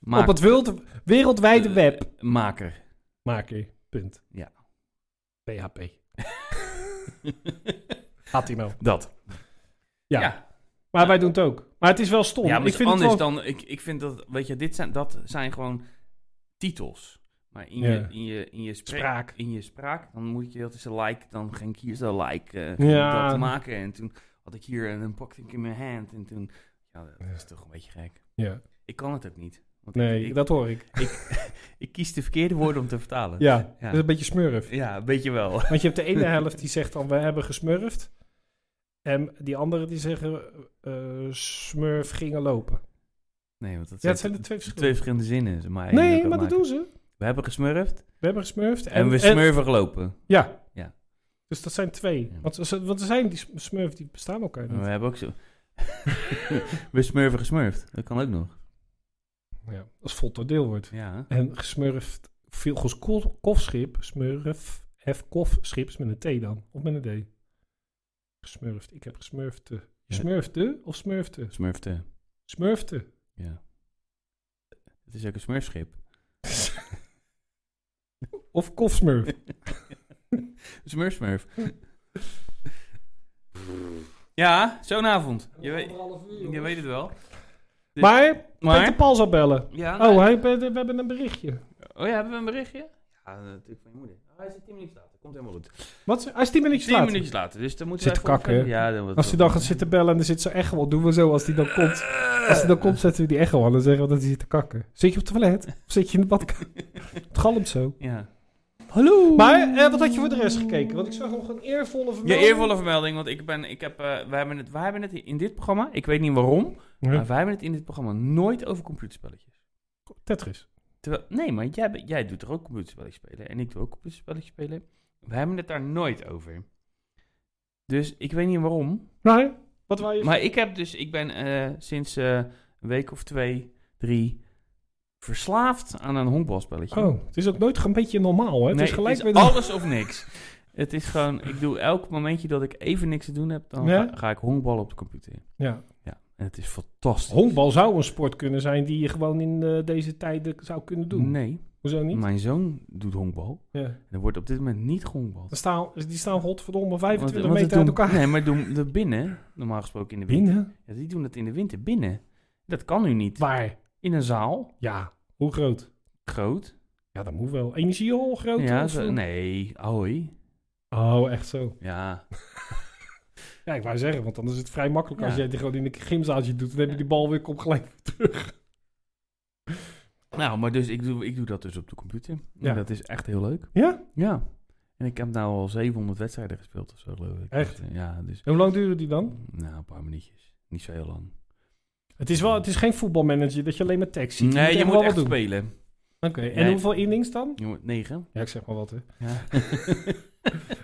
[SPEAKER 2] Maak-
[SPEAKER 1] Op het wereld, wereldwijde
[SPEAKER 2] eh,
[SPEAKER 1] web.
[SPEAKER 2] Maker.
[SPEAKER 1] Maak je. Punt.
[SPEAKER 2] Ja.
[SPEAKER 1] PHP. HTML. Dat. Ja.
[SPEAKER 2] ja,
[SPEAKER 1] Maar wij doen het ook. Maar het is wel stom.
[SPEAKER 2] Ja, maar
[SPEAKER 1] ik
[SPEAKER 2] het is
[SPEAKER 1] vind het
[SPEAKER 2] anders
[SPEAKER 1] wel-
[SPEAKER 2] dan... Ik, ik vind dat... Weet je, dit zijn, dat zijn gewoon titels. Maar in
[SPEAKER 1] Ja.
[SPEAKER 2] je, in je, in je spra-
[SPEAKER 1] Spraak.
[SPEAKER 2] In je spraak, dan moet je heel tussen like... Dan ging ik hier zo like eh,
[SPEAKER 1] Ja.
[SPEAKER 2] dat maken. En toen had ik hier en dan pakte ik in mijn hand. En toen... Ja, dat is toch een beetje gek.
[SPEAKER 1] Ja.
[SPEAKER 2] Ik kan het ook niet. Want
[SPEAKER 1] Nee,
[SPEAKER 2] ik, ik,
[SPEAKER 1] dat hoor ik.
[SPEAKER 2] ik kies de verkeerde woorden om te vertalen.
[SPEAKER 1] Ja,
[SPEAKER 2] Ja.
[SPEAKER 1] dat is een beetje smurf.
[SPEAKER 2] Ja, een beetje wel.
[SPEAKER 1] Want je hebt de ene helft die zegt dan, we hebben gesmurfd. En die andere die zeggen, eh, smurf gingen lopen.
[SPEAKER 2] Nee, want
[SPEAKER 1] Ja,
[SPEAKER 2] dat zijn
[SPEAKER 1] het zijn de twee
[SPEAKER 2] twee
[SPEAKER 1] verschillende.
[SPEAKER 2] verschillende zinnen. Maar je
[SPEAKER 1] Nee,
[SPEAKER 2] kan
[SPEAKER 1] maar dat
[SPEAKER 2] maken.
[SPEAKER 1] doen ze.
[SPEAKER 2] We hebben gesmurfd
[SPEAKER 1] We hebben gesmurfd.
[SPEAKER 2] en, we smurven gelopen.
[SPEAKER 1] Ja.
[SPEAKER 2] Ja.
[SPEAKER 1] Dus dat zijn twee.
[SPEAKER 2] Ja.
[SPEAKER 1] Want, ze- want er zijn die smurf die bestaan elkaar
[SPEAKER 2] We
[SPEAKER 1] niet.
[SPEAKER 2] hebben ook zo... we smurven gesmurfd. Dat kan ook nog.
[SPEAKER 1] Ja, als Volto deel wordt.
[SPEAKER 2] Ja, hè?
[SPEAKER 1] En gesmurfd, veel kof- kofschip, smurf, hef kofschip is met een T dan. Of met een D. Gesmurfd, ik heb gesmurfde. Je
[SPEAKER 2] Ja.
[SPEAKER 1] smurfde of smurfte?
[SPEAKER 2] smurfte.
[SPEAKER 1] Smurfte.
[SPEAKER 2] Ja. Het is ook een smurfschip.
[SPEAKER 1] Of kofsmurf.
[SPEAKER 2] Smurfsmurf. ja, zo'n avond. Je weet, je weet het wel. Dus-
[SPEAKER 1] maar,
[SPEAKER 2] maar-
[SPEAKER 1] Peter Paul zal bellen.
[SPEAKER 2] Ja, nou-
[SPEAKER 1] Oh, hij, we, we hebben een berichtje.
[SPEAKER 2] oh ja, hebben we een berichtje? Ja, natuurlijk van je moeder. Ah, hij zit 10 minuten later. Komt helemaal goed.
[SPEAKER 1] Wat, is- hij is 10 minuutjes
[SPEAKER 2] 10
[SPEAKER 1] later.
[SPEAKER 2] minuutjes later. Dus dan moeten
[SPEAKER 1] Zit
[SPEAKER 2] we
[SPEAKER 1] te
[SPEAKER 2] even
[SPEAKER 1] kakken,
[SPEAKER 2] opverder- Ja, dan
[SPEAKER 1] Als hij dan gaat zitten bellen en er zit zo'n echo op, doen we zo. Als hij dan komt, als hij dan komt zetten we die echo aan en zeggen we dat hij zit te kakken. Zit je op het toilet? Of zit je in de badkamer? Het galmt zo.
[SPEAKER 2] Ja.
[SPEAKER 4] Hallo!
[SPEAKER 1] Maar eh, wat had je voor de rest gekeken? Want ik zag nog een eervolle
[SPEAKER 2] ja,
[SPEAKER 1] vermelding.
[SPEAKER 2] eervolle vermelding, want ik ben, ik heb, eh, wij, hebben het, wij hebben het in dit programma, ik weet niet waarom, maar
[SPEAKER 1] Ja,
[SPEAKER 2] wij hebben het in dit programma nooit over computerspelletjes.
[SPEAKER 1] Tetris.
[SPEAKER 2] Terwijl, nee, maar jij, be- jij doet toch ook computerspelletjes spelen? En ik doe ook computerspelletjes spelen. We hebben het daar nooit over. Dus ik weet niet waarom.
[SPEAKER 1] Nee? Wat wou je?
[SPEAKER 2] Maar ik heb dus, ik ben eh, sinds eh, een week of twee, drie, verslaafd aan een honkbalspelletje.
[SPEAKER 1] Oh, het is ook nooit een beetje normaal, hè? Het
[SPEAKER 2] Nee,
[SPEAKER 1] is gelijk weer...
[SPEAKER 2] alles of niks. Het is gewoon, ik doe elk momentje dat ik even niks te doen heb, dan
[SPEAKER 1] Ja?
[SPEAKER 2] ga, ga ik honkballen op de computer.
[SPEAKER 1] Ja.
[SPEAKER 2] Ja, en het is fantastisch.
[SPEAKER 1] Honkbal zou een sport kunnen zijn die je gewoon in eh, deze tijden zou kunnen doen.
[SPEAKER 2] Nee,
[SPEAKER 1] Hoezo niet?
[SPEAKER 2] mijn zoon doet honkbal.
[SPEAKER 1] Ja.
[SPEAKER 2] Er wordt op dit moment niet gehonkbald.
[SPEAKER 1] Dan staan, die staan godverdomme
[SPEAKER 2] Want-
[SPEAKER 1] 25
[SPEAKER 2] want
[SPEAKER 1] meter
[SPEAKER 2] het
[SPEAKER 1] uit
[SPEAKER 2] doen-
[SPEAKER 1] elkaar.
[SPEAKER 2] Nee, maar doen de binnen, normaal gesproken in de winter.
[SPEAKER 1] Binnen?
[SPEAKER 2] Ja, die doen het in de winter binnen. Dat kan nu niet.
[SPEAKER 1] Waar?
[SPEAKER 2] In een zaal,
[SPEAKER 1] Ja. Hoe groot?
[SPEAKER 2] groot.
[SPEAKER 1] Ja, dat moet wel. Energiehol groot?
[SPEAKER 2] ja,
[SPEAKER 1] of
[SPEAKER 2] zo-
[SPEAKER 1] zo?
[SPEAKER 2] nee, hoi.
[SPEAKER 1] Oh, echt zo.
[SPEAKER 2] Ja,
[SPEAKER 1] Ja, ik wou zeggen, want dan is het vrij makkelijk als
[SPEAKER 2] Ja.
[SPEAKER 1] jij die gewoon in een gymzaaltje doet. Dan heb je die bal weer kom gelijk terug.
[SPEAKER 2] nou, maar dus ik doe, ik doe dat dus op de computer.
[SPEAKER 1] Ja.
[SPEAKER 2] En dat is echt heel leuk.
[SPEAKER 1] Ja?
[SPEAKER 2] Ja. En ik heb nou al 700 wedstrijden gespeeld of zo, geloof ik.
[SPEAKER 1] Echt?
[SPEAKER 2] Dus, eh, Ja, dus
[SPEAKER 1] En hoe lang duren die dan?
[SPEAKER 2] nou, een paar minuutjes. Niet zo heel lang.
[SPEAKER 1] Het is, wel, het is geen voetbalmanager dat je alleen maar tekst ziet.
[SPEAKER 2] nee, je
[SPEAKER 1] echt
[SPEAKER 2] moet
[SPEAKER 1] wel
[SPEAKER 2] echt
[SPEAKER 1] wat doen.
[SPEAKER 2] spelen.
[SPEAKER 1] Oké, en
[SPEAKER 2] Nee.
[SPEAKER 1] hoeveel innings dan?
[SPEAKER 2] Jongen, Negen.
[SPEAKER 1] Ja, ik zeg maar wat. Hè.
[SPEAKER 2] Ja.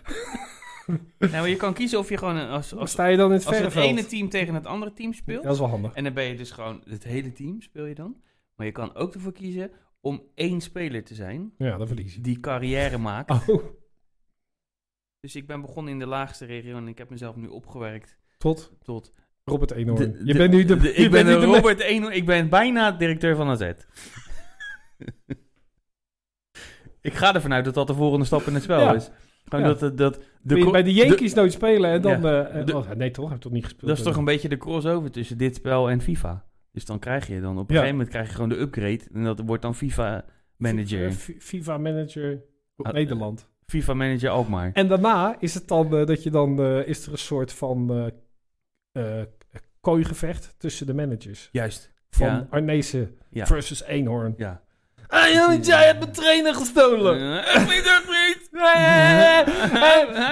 [SPEAKER 2] nou, maar je kan kiezen of je gewoon een- als, als,
[SPEAKER 1] Sta je dan in het
[SPEAKER 2] als het
[SPEAKER 1] verre
[SPEAKER 2] ene
[SPEAKER 1] veld?
[SPEAKER 2] team tegen het andere team
[SPEAKER 1] Ja,
[SPEAKER 2] speelt.
[SPEAKER 1] dat is wel handig.
[SPEAKER 2] En dan ben je dus gewoon het hele team speel je dan. Maar je kan ook ervoor kiezen om één speler te zijn
[SPEAKER 1] Ja, dan verlies je.
[SPEAKER 2] die carrière maakt.
[SPEAKER 1] Oh,
[SPEAKER 2] Dus ik ben begonnen in de laagste regio en ik heb mezelf nu opgewerkt
[SPEAKER 1] tot
[SPEAKER 2] tot...
[SPEAKER 1] Robert Eenhoorn.
[SPEAKER 2] De-
[SPEAKER 1] Je
[SPEAKER 2] de-
[SPEAKER 1] bent nu de...
[SPEAKER 2] de-
[SPEAKER 1] je
[SPEAKER 2] ik ben
[SPEAKER 1] bent nu
[SPEAKER 2] de
[SPEAKER 1] de
[SPEAKER 2] Robert Eno, ik ben bijna directeur van AZ. ik ga ervan uit dat dat de volgende stap in het spel
[SPEAKER 1] Ja.
[SPEAKER 2] is. Gewoon
[SPEAKER 1] Ja.
[SPEAKER 2] dat, dat, dat,
[SPEAKER 1] Wil je
[SPEAKER 2] co-
[SPEAKER 1] bij de Yankees nooit spelen en dan... eh,
[SPEAKER 2] De-
[SPEAKER 1] oh, nee toch, heb ik toch niet gespeeld. eh.
[SPEAKER 2] Dat is toch een beetje de crossover tussen dit spel en FIFA. Dus dan krijg je dan op een
[SPEAKER 1] Ja.
[SPEAKER 2] gegeven moment krijg je gewoon de upgrade. En dat wordt dan FIFA
[SPEAKER 1] Eh,
[SPEAKER 2] manager.
[SPEAKER 1] F- FIFA manager
[SPEAKER 2] Ah,
[SPEAKER 1] Nederland.
[SPEAKER 2] FIFA manager Alkmaar.
[SPEAKER 1] En daarna is het dan eh, dat je dan eh, is er een soort van eh, eh, kooigevecht tussen de managers.
[SPEAKER 2] Juist.
[SPEAKER 1] Van
[SPEAKER 2] Ja.
[SPEAKER 1] Arnezen
[SPEAKER 2] Ja.
[SPEAKER 1] versus Eenhoorn.
[SPEAKER 2] Ja.
[SPEAKER 1] Ah, Jan, jij hebt mijn trainer gestolen. Eh,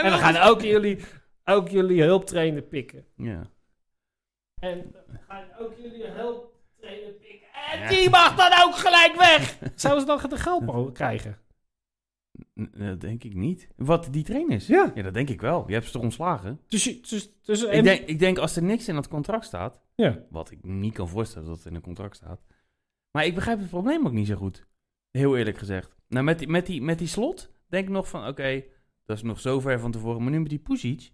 [SPEAKER 1] En we gaan ook jullie, ook jullie hulptrainer pikken.
[SPEAKER 2] Ja.
[SPEAKER 1] En we gaan ook jullie hulptrainer pikken.
[SPEAKER 2] Ja.
[SPEAKER 1] En die mag dan ook gelijk weg. Zouden ze dan de geld mogen krijgen?
[SPEAKER 2] N- Dat denk ik niet. Wat, die trainers?
[SPEAKER 1] Ja.
[SPEAKER 2] Ja, dat denk ik wel. Je hebt ze toch ontslagen?
[SPEAKER 1] Dus, je- dus, dus en-
[SPEAKER 2] Ik denk, ik denk als er niks in dat contract staat,
[SPEAKER 1] Ja.
[SPEAKER 2] wat ik niet kan voorstellen dat het in een contract staat. Maar ik begrijp het probleem ook niet zo goed. Heel eerlijk gezegd. Nou, met die, met die, met die slot denk ik nog van, oké, dat is nog zo ver van tevoren. Maar nu met die Pusic,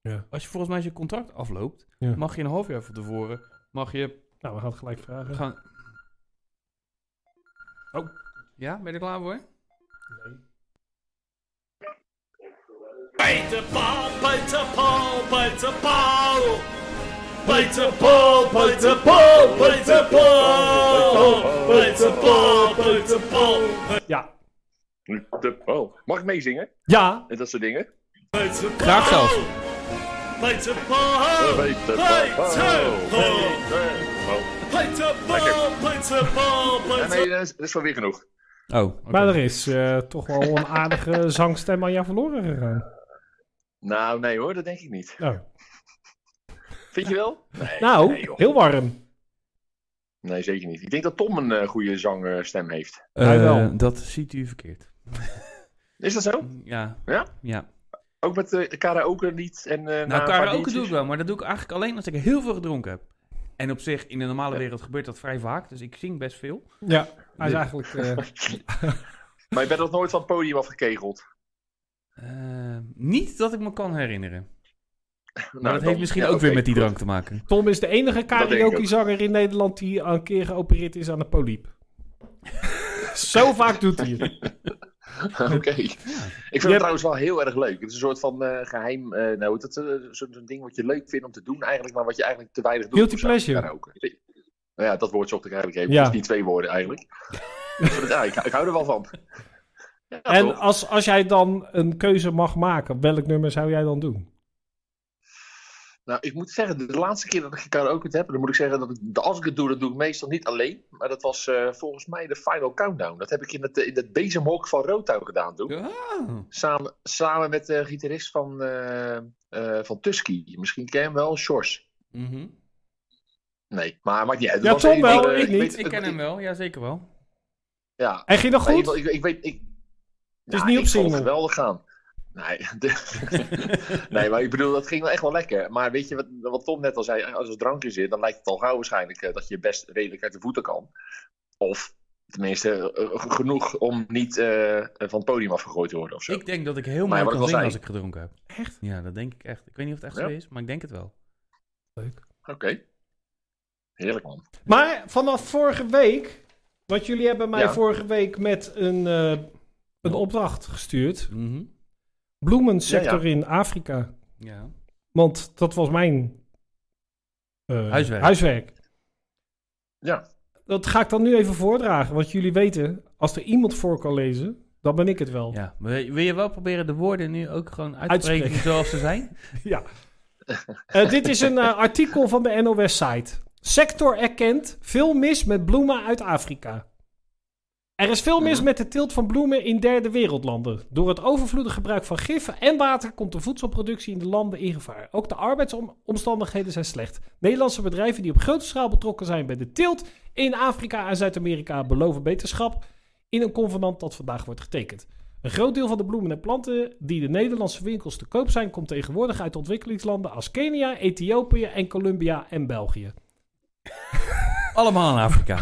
[SPEAKER 1] Ja.
[SPEAKER 2] als je volgens mij zijn contract afloopt,
[SPEAKER 1] Ja.
[SPEAKER 2] mag je een half jaar van tevoren, mag je
[SPEAKER 1] Nou, we gaan het gelijk vragen.
[SPEAKER 2] gaan... Oh, ja, ben je er klaar voor?
[SPEAKER 5] Peter Paul, Peter Paul, Peter Paul. Peter Paul, Peter Paul, Peter Paul. Peter Paul, Peter Paul.
[SPEAKER 1] Ja.
[SPEAKER 6] De- oh, mag ik meezingen?
[SPEAKER 1] Ja.
[SPEAKER 6] En dat soort dingen?
[SPEAKER 5] Peter Paul.
[SPEAKER 2] Graag zelfs.
[SPEAKER 5] Peter Paul.
[SPEAKER 6] Peter
[SPEAKER 5] Paul.
[SPEAKER 6] Oh. Paul.
[SPEAKER 5] Peter Paul, Peter Paul,
[SPEAKER 6] Ja,
[SPEAKER 5] Peter
[SPEAKER 6] Nee, dat is, dat is wel weer genoeg.
[SPEAKER 2] Oh, oké.
[SPEAKER 1] Maar er is eh, toch wel een aardige zangstem aan jou verloren gegaan.
[SPEAKER 6] Nou, nee hoor, dat denk ik niet.
[SPEAKER 1] Nou,
[SPEAKER 6] Vind je wel? Nee,
[SPEAKER 1] nou
[SPEAKER 6] nee, joh.
[SPEAKER 1] heel warm.
[SPEAKER 6] nee zeker niet. Ik denk dat Tom een eh, goede zangstem heeft.
[SPEAKER 1] Hij wel.
[SPEAKER 2] Eh, dat ziet u verkeerd.
[SPEAKER 6] Is dat zo?
[SPEAKER 2] Ja.
[SPEAKER 6] Ja?
[SPEAKER 2] Ja.
[SPEAKER 6] Ook met eh, de karaoke niet en... eh, na
[SPEAKER 2] Nou,
[SPEAKER 6] een paar
[SPEAKER 2] karaoke
[SPEAKER 6] biertjes?
[SPEAKER 2] doe ik wel, maar dat doe ik eigenlijk alleen als ik heel veel gedronken heb. En op zich, in de normale wereld gebeurt dat vrij vaak, dus ik zing best veel.
[SPEAKER 1] Ja, hij is eigenlijk... eh,
[SPEAKER 6] Maar je bent nog nooit van het podium afgekegeld.
[SPEAKER 2] Eh, niet dat ik me kan herinneren. Maar
[SPEAKER 6] Nou,
[SPEAKER 2] dat
[SPEAKER 6] dan-
[SPEAKER 2] heeft misschien
[SPEAKER 6] ja,
[SPEAKER 2] ook
[SPEAKER 6] oké,
[SPEAKER 2] weer met die
[SPEAKER 6] goed.
[SPEAKER 2] drank te maken.
[SPEAKER 1] Tom is de enige
[SPEAKER 6] denk ik ook.
[SPEAKER 1] karaokezanger in Nederland die een keer geopereerd is aan een poliep. Zo vaak doet hij het.
[SPEAKER 6] Oké. Ik vind het trouwens wel heel erg leuk. Het is een soort van eh, geheim. eh, nou, hoe heet dat eh, zo'n zo'n ding wat je leuk vindt om te doen, eigenlijk, maar wat je eigenlijk te weinig doet.
[SPEAKER 1] Guilty
[SPEAKER 6] of zo.
[SPEAKER 1] pleasure.
[SPEAKER 6] Ja, nou, ook. Nou ja, dat woord zocht ik eigenlijk even.
[SPEAKER 1] Ja.
[SPEAKER 6] Dus die twee woorden eigenlijk. Ik vind het- ja, ik, ik hou er wel van. Ja,
[SPEAKER 1] En
[SPEAKER 6] toch?
[SPEAKER 1] als, als jij dan een keuze mag maken, welk nummer zou jij dan doen?
[SPEAKER 6] Nou, ik moet zeggen, de laatste keer dat ik gekaraoke heb, dan moet ik zeggen dat ik, als ik het doe, dat doe ik meestal niet alleen. Maar dat was eh, volgens mij de Final Countdown. Dat heb ik in het, eh, in het bezemhok van Roto gedaan toen.
[SPEAKER 2] Oh,
[SPEAKER 6] Samen, samen met de gitarist van, eh eh, van Tusky. Misschien ken je hem wel, Shores.
[SPEAKER 2] Mhm.
[SPEAKER 6] Nee, maar maakt niet uit.
[SPEAKER 1] Ja,
[SPEAKER 6] Het was
[SPEAKER 1] Tom
[SPEAKER 6] een-
[SPEAKER 1] wel,
[SPEAKER 6] eh,
[SPEAKER 1] ik niet.
[SPEAKER 6] weet-
[SPEAKER 2] Ik ken hem wel, ja zeker wel.
[SPEAKER 6] Ja,
[SPEAKER 1] En ging dat
[SPEAKER 6] maar in ieder
[SPEAKER 1] goed?
[SPEAKER 6] geval, ik, ik weet... Ik,
[SPEAKER 1] is niet op
[SPEAKER 6] ik vond
[SPEAKER 1] single.
[SPEAKER 6] het geweldig gaan. Nee, de- nee, maar ik bedoel, dat ging wel echt wel lekker. Maar weet je wat, wat Tom net al zei? Als er drank in zit, dan lijkt het al gauw waarschijnlijk eh, dat je best redelijk uit de voeten kan. Of tenminste eh, g- genoeg om niet eh, van het podium afgegooid te worden of zo.
[SPEAKER 2] Ik denk dat ik heel
[SPEAKER 6] Maar
[SPEAKER 2] mooi
[SPEAKER 6] ja, wat
[SPEAKER 2] kan
[SPEAKER 6] ik al
[SPEAKER 2] zingen
[SPEAKER 6] zei.
[SPEAKER 2] als ik gedronken heb.
[SPEAKER 1] Echt?
[SPEAKER 2] Ja, dat denk ik echt. Ik weet niet of het echt
[SPEAKER 6] Ja.
[SPEAKER 2] zo is, maar ik denk het wel.
[SPEAKER 6] Oké. Heerlijk man.
[SPEAKER 1] Maar vanaf vorige week, want jullie hebben mij
[SPEAKER 6] Ja.
[SPEAKER 1] vorige week met een, eh, een opdracht gestuurd.
[SPEAKER 2] Mhm.
[SPEAKER 1] Bloemensector
[SPEAKER 6] Ja,
[SPEAKER 1] in Afrika.
[SPEAKER 2] Ja.
[SPEAKER 1] Want dat was mijn eh,
[SPEAKER 2] Huiswerk.
[SPEAKER 6] Ja.
[SPEAKER 1] Dat ga ik dan nu even voordragen. Want jullie weten, als er iemand voor kan lezen, dan ben ik het wel.
[SPEAKER 2] ja. Maar wil wil je wel proberen de woorden nu ook gewoon uit te
[SPEAKER 1] Uitspreken.
[SPEAKER 2] spreken zoals ze zijn?
[SPEAKER 1] Eh, dit is een eh, artikel van de NOS-site. Sector erkent veel mis met bloemen uit Afrika. Er is veel mis met de teelt van bloemen in derde wereldlanden. Door het overvloedig gebruik van giffen en water komt de voedselproductie in de landen in gevaar. Ook de arbeidsomstandigheden zijn slecht. Nederlandse bedrijven die op grote schaal betrokken zijn bij de teelt in Afrika en Zuid-Amerika beloven beterschap. in een convenant dat vandaag wordt getekend. Een groot deel van de bloemen en planten die de Nederlandse winkels te koop zijn, komt tegenwoordig uit ontwikkelingslanden als Kenia, Ethiopië en Colombia en België.
[SPEAKER 2] Allemaal in Afrika.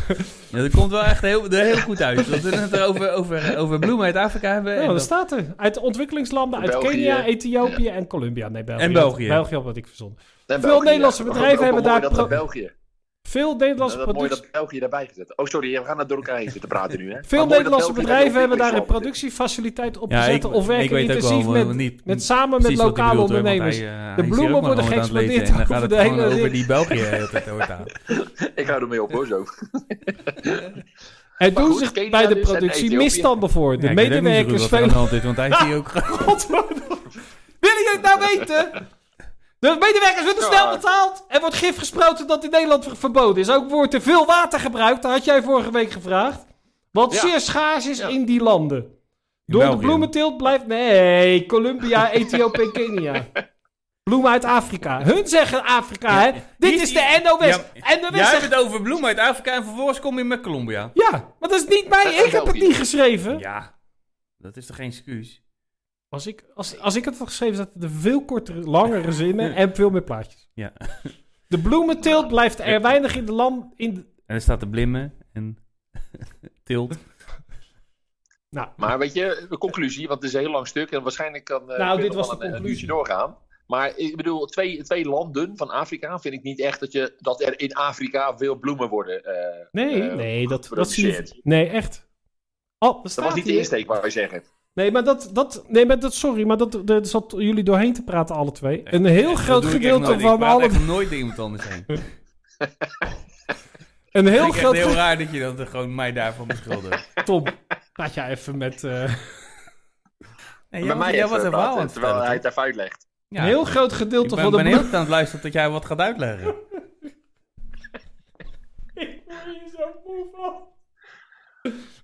[SPEAKER 2] Ja, dat komt wel echt heel, er heel goed uit. Dat we het over, over, over bloemen uit Afrika hebben.
[SPEAKER 1] Nou,
[SPEAKER 2] en,
[SPEAKER 1] dat
[SPEAKER 2] dat-
[SPEAKER 1] staat er. Uit ontwikkelingslanden, uit
[SPEAKER 6] België.
[SPEAKER 1] Kenia, Ethiopië en Colombia. Nee, België.
[SPEAKER 2] En België.
[SPEAKER 1] België had wat ik verzonnen.
[SPEAKER 6] En
[SPEAKER 1] Veel
[SPEAKER 6] België,
[SPEAKER 1] Nederlandse
[SPEAKER 6] ja. Maar
[SPEAKER 1] bedrijven
[SPEAKER 6] ook wel
[SPEAKER 1] hebben
[SPEAKER 6] mooi
[SPEAKER 1] daar
[SPEAKER 6] Dat
[SPEAKER 1] pro-
[SPEAKER 6] dat België.
[SPEAKER 1] Veel Nederlandse
[SPEAKER 6] Dat is mooi
[SPEAKER 1] producten.
[SPEAKER 6] dat België daarbij gezet. Oh, sorry, we gaan naar door elkaar heen zitten praten nu. Hè. Maar
[SPEAKER 1] Veel
[SPEAKER 6] mooi dat
[SPEAKER 1] Nederlandse
[SPEAKER 6] België
[SPEAKER 1] bedrijven
[SPEAKER 6] dat
[SPEAKER 1] hebben daar een
[SPEAKER 6] ontwikkelingsland is.
[SPEAKER 1] productiefaciliteit op
[SPEAKER 2] ja,
[SPEAKER 1] gezet
[SPEAKER 2] ik,
[SPEAKER 1] of
[SPEAKER 2] ik
[SPEAKER 1] werken
[SPEAKER 2] weet ook
[SPEAKER 1] intensief
[SPEAKER 2] wel, eh,
[SPEAKER 1] met,
[SPEAKER 2] niet,
[SPEAKER 1] met, samen met
[SPEAKER 2] precies wat hij
[SPEAKER 1] lokale
[SPEAKER 2] bedoelt, hoor, want
[SPEAKER 1] ondernemers.
[SPEAKER 2] hij, eh, hij
[SPEAKER 1] De
[SPEAKER 2] is hier
[SPEAKER 1] bloemen
[SPEAKER 2] ook maar
[SPEAKER 1] worden
[SPEAKER 2] gewoon aan het
[SPEAKER 1] geëxploiteerd
[SPEAKER 2] lezen En
[SPEAKER 1] over
[SPEAKER 2] dan gaat het
[SPEAKER 1] de
[SPEAKER 2] gewoon
[SPEAKER 1] hele
[SPEAKER 2] over
[SPEAKER 1] wereld.
[SPEAKER 2] die België eh, heel de tijd doorgaan.
[SPEAKER 6] Ik hou ermee op hoor, zo.
[SPEAKER 1] Er
[SPEAKER 6] Maar
[SPEAKER 1] doen
[SPEAKER 6] goed,
[SPEAKER 1] zich
[SPEAKER 6] Kenia
[SPEAKER 1] bij de
[SPEAKER 6] dus en
[SPEAKER 1] productie
[SPEAKER 6] Ethiopië.
[SPEAKER 1] misstanden voor. De
[SPEAKER 2] Ja, ik weet ook niet zo
[SPEAKER 1] medewerkers
[SPEAKER 2] goed wat er
[SPEAKER 1] spelen
[SPEAKER 2] aan de hand is, want hij is hier ook gewoon-
[SPEAKER 1] Godverdomme. Willen jullie het nou weten? De medewerkers worden
[SPEAKER 6] Ja.
[SPEAKER 1] snel betaald. Er wordt gif gesproken dat in Nederland ver- verboden is. Ook wordt er veel water gebruikt. Dat had jij vorige week gevraagd. Wat
[SPEAKER 6] Ja.
[SPEAKER 1] zeer schaars is
[SPEAKER 6] Ja.
[SPEAKER 1] in die landen. Door
[SPEAKER 2] België.
[SPEAKER 1] de bloementeelt blijft... Nee, Colombia, Ethiopië en Kenia. Bloemen uit Afrika. Hun zeggen Afrika, hè? Dit
[SPEAKER 2] Hier-
[SPEAKER 1] is
[SPEAKER 2] hier-
[SPEAKER 1] de NOS.
[SPEAKER 2] Ja,
[SPEAKER 1] NOS
[SPEAKER 2] Jij hebt
[SPEAKER 1] zegt...
[SPEAKER 2] het over bloemen uit Afrika en vervolgens kom je met Colombia.
[SPEAKER 1] Ja, maar dat is niet mij.
[SPEAKER 6] En
[SPEAKER 1] Ik heb het
[SPEAKER 6] België.
[SPEAKER 1] niet geschreven.
[SPEAKER 2] Ja, dat is toch geen excuus?
[SPEAKER 1] Als, ik, als, als ik het had geschreven, zaten er veel kortere, langere zinnen en veel meer plaatjes.
[SPEAKER 2] Ja.
[SPEAKER 1] De bloementeelt blijft er weinig in de land. In de-
[SPEAKER 2] En er staat de blimmen en tilt.
[SPEAKER 1] Nou,
[SPEAKER 6] Maar weet je, de conclusie, want het is een heel lang stuk en waarschijnlijk kan eh
[SPEAKER 1] Nou,
[SPEAKER 6] kun je
[SPEAKER 1] dit was
[SPEAKER 6] nog wel
[SPEAKER 1] de
[SPEAKER 6] een, een
[SPEAKER 1] conclusie.
[SPEAKER 6] uurtje doorgaan. Maar ik bedoel, twee, twee landen van Afrika vind ik niet echt dat, je, dat er in Afrika veel bloemen worden. eh,
[SPEAKER 1] nee,
[SPEAKER 6] eh,
[SPEAKER 1] nee, dat, dat zie
[SPEAKER 6] geproduceerd.
[SPEAKER 1] je. Nee, echt. Oh, dat
[SPEAKER 6] dat was niet de insteek, wou je zeggen.
[SPEAKER 1] Nee, maar dat, dat, nee, maar dat sorry, maar dat, dat zat jullie doorheen te praten, alle twee. Een heel groot gedeelte van alle.
[SPEAKER 2] Ik praat echt nooit door iemand anders heen.
[SPEAKER 1] Een heel
[SPEAKER 2] Heel,
[SPEAKER 1] groot
[SPEAKER 2] heel
[SPEAKER 1] gedeelte.
[SPEAKER 2] raar dat je dat gewoon mij daarvan beschuldigt.
[SPEAKER 1] Tom, praat jij even met. eh,
[SPEAKER 2] Nee,
[SPEAKER 6] Bij mij
[SPEAKER 2] jij
[SPEAKER 6] even
[SPEAKER 2] was er
[SPEAKER 6] praten,
[SPEAKER 2] wel aan het
[SPEAKER 6] terwijl
[SPEAKER 2] vertellen,
[SPEAKER 6] hij
[SPEAKER 2] toch?
[SPEAKER 6] het even uitlegt.
[SPEAKER 2] Ja.
[SPEAKER 1] een heel groot gedeelte
[SPEAKER 2] Ik
[SPEAKER 1] van
[SPEAKER 2] ben,
[SPEAKER 1] de.
[SPEAKER 2] ben heel goed aan het luisteren tot jij wat gaat uitleggen.
[SPEAKER 1] Ik word hier zo moe van.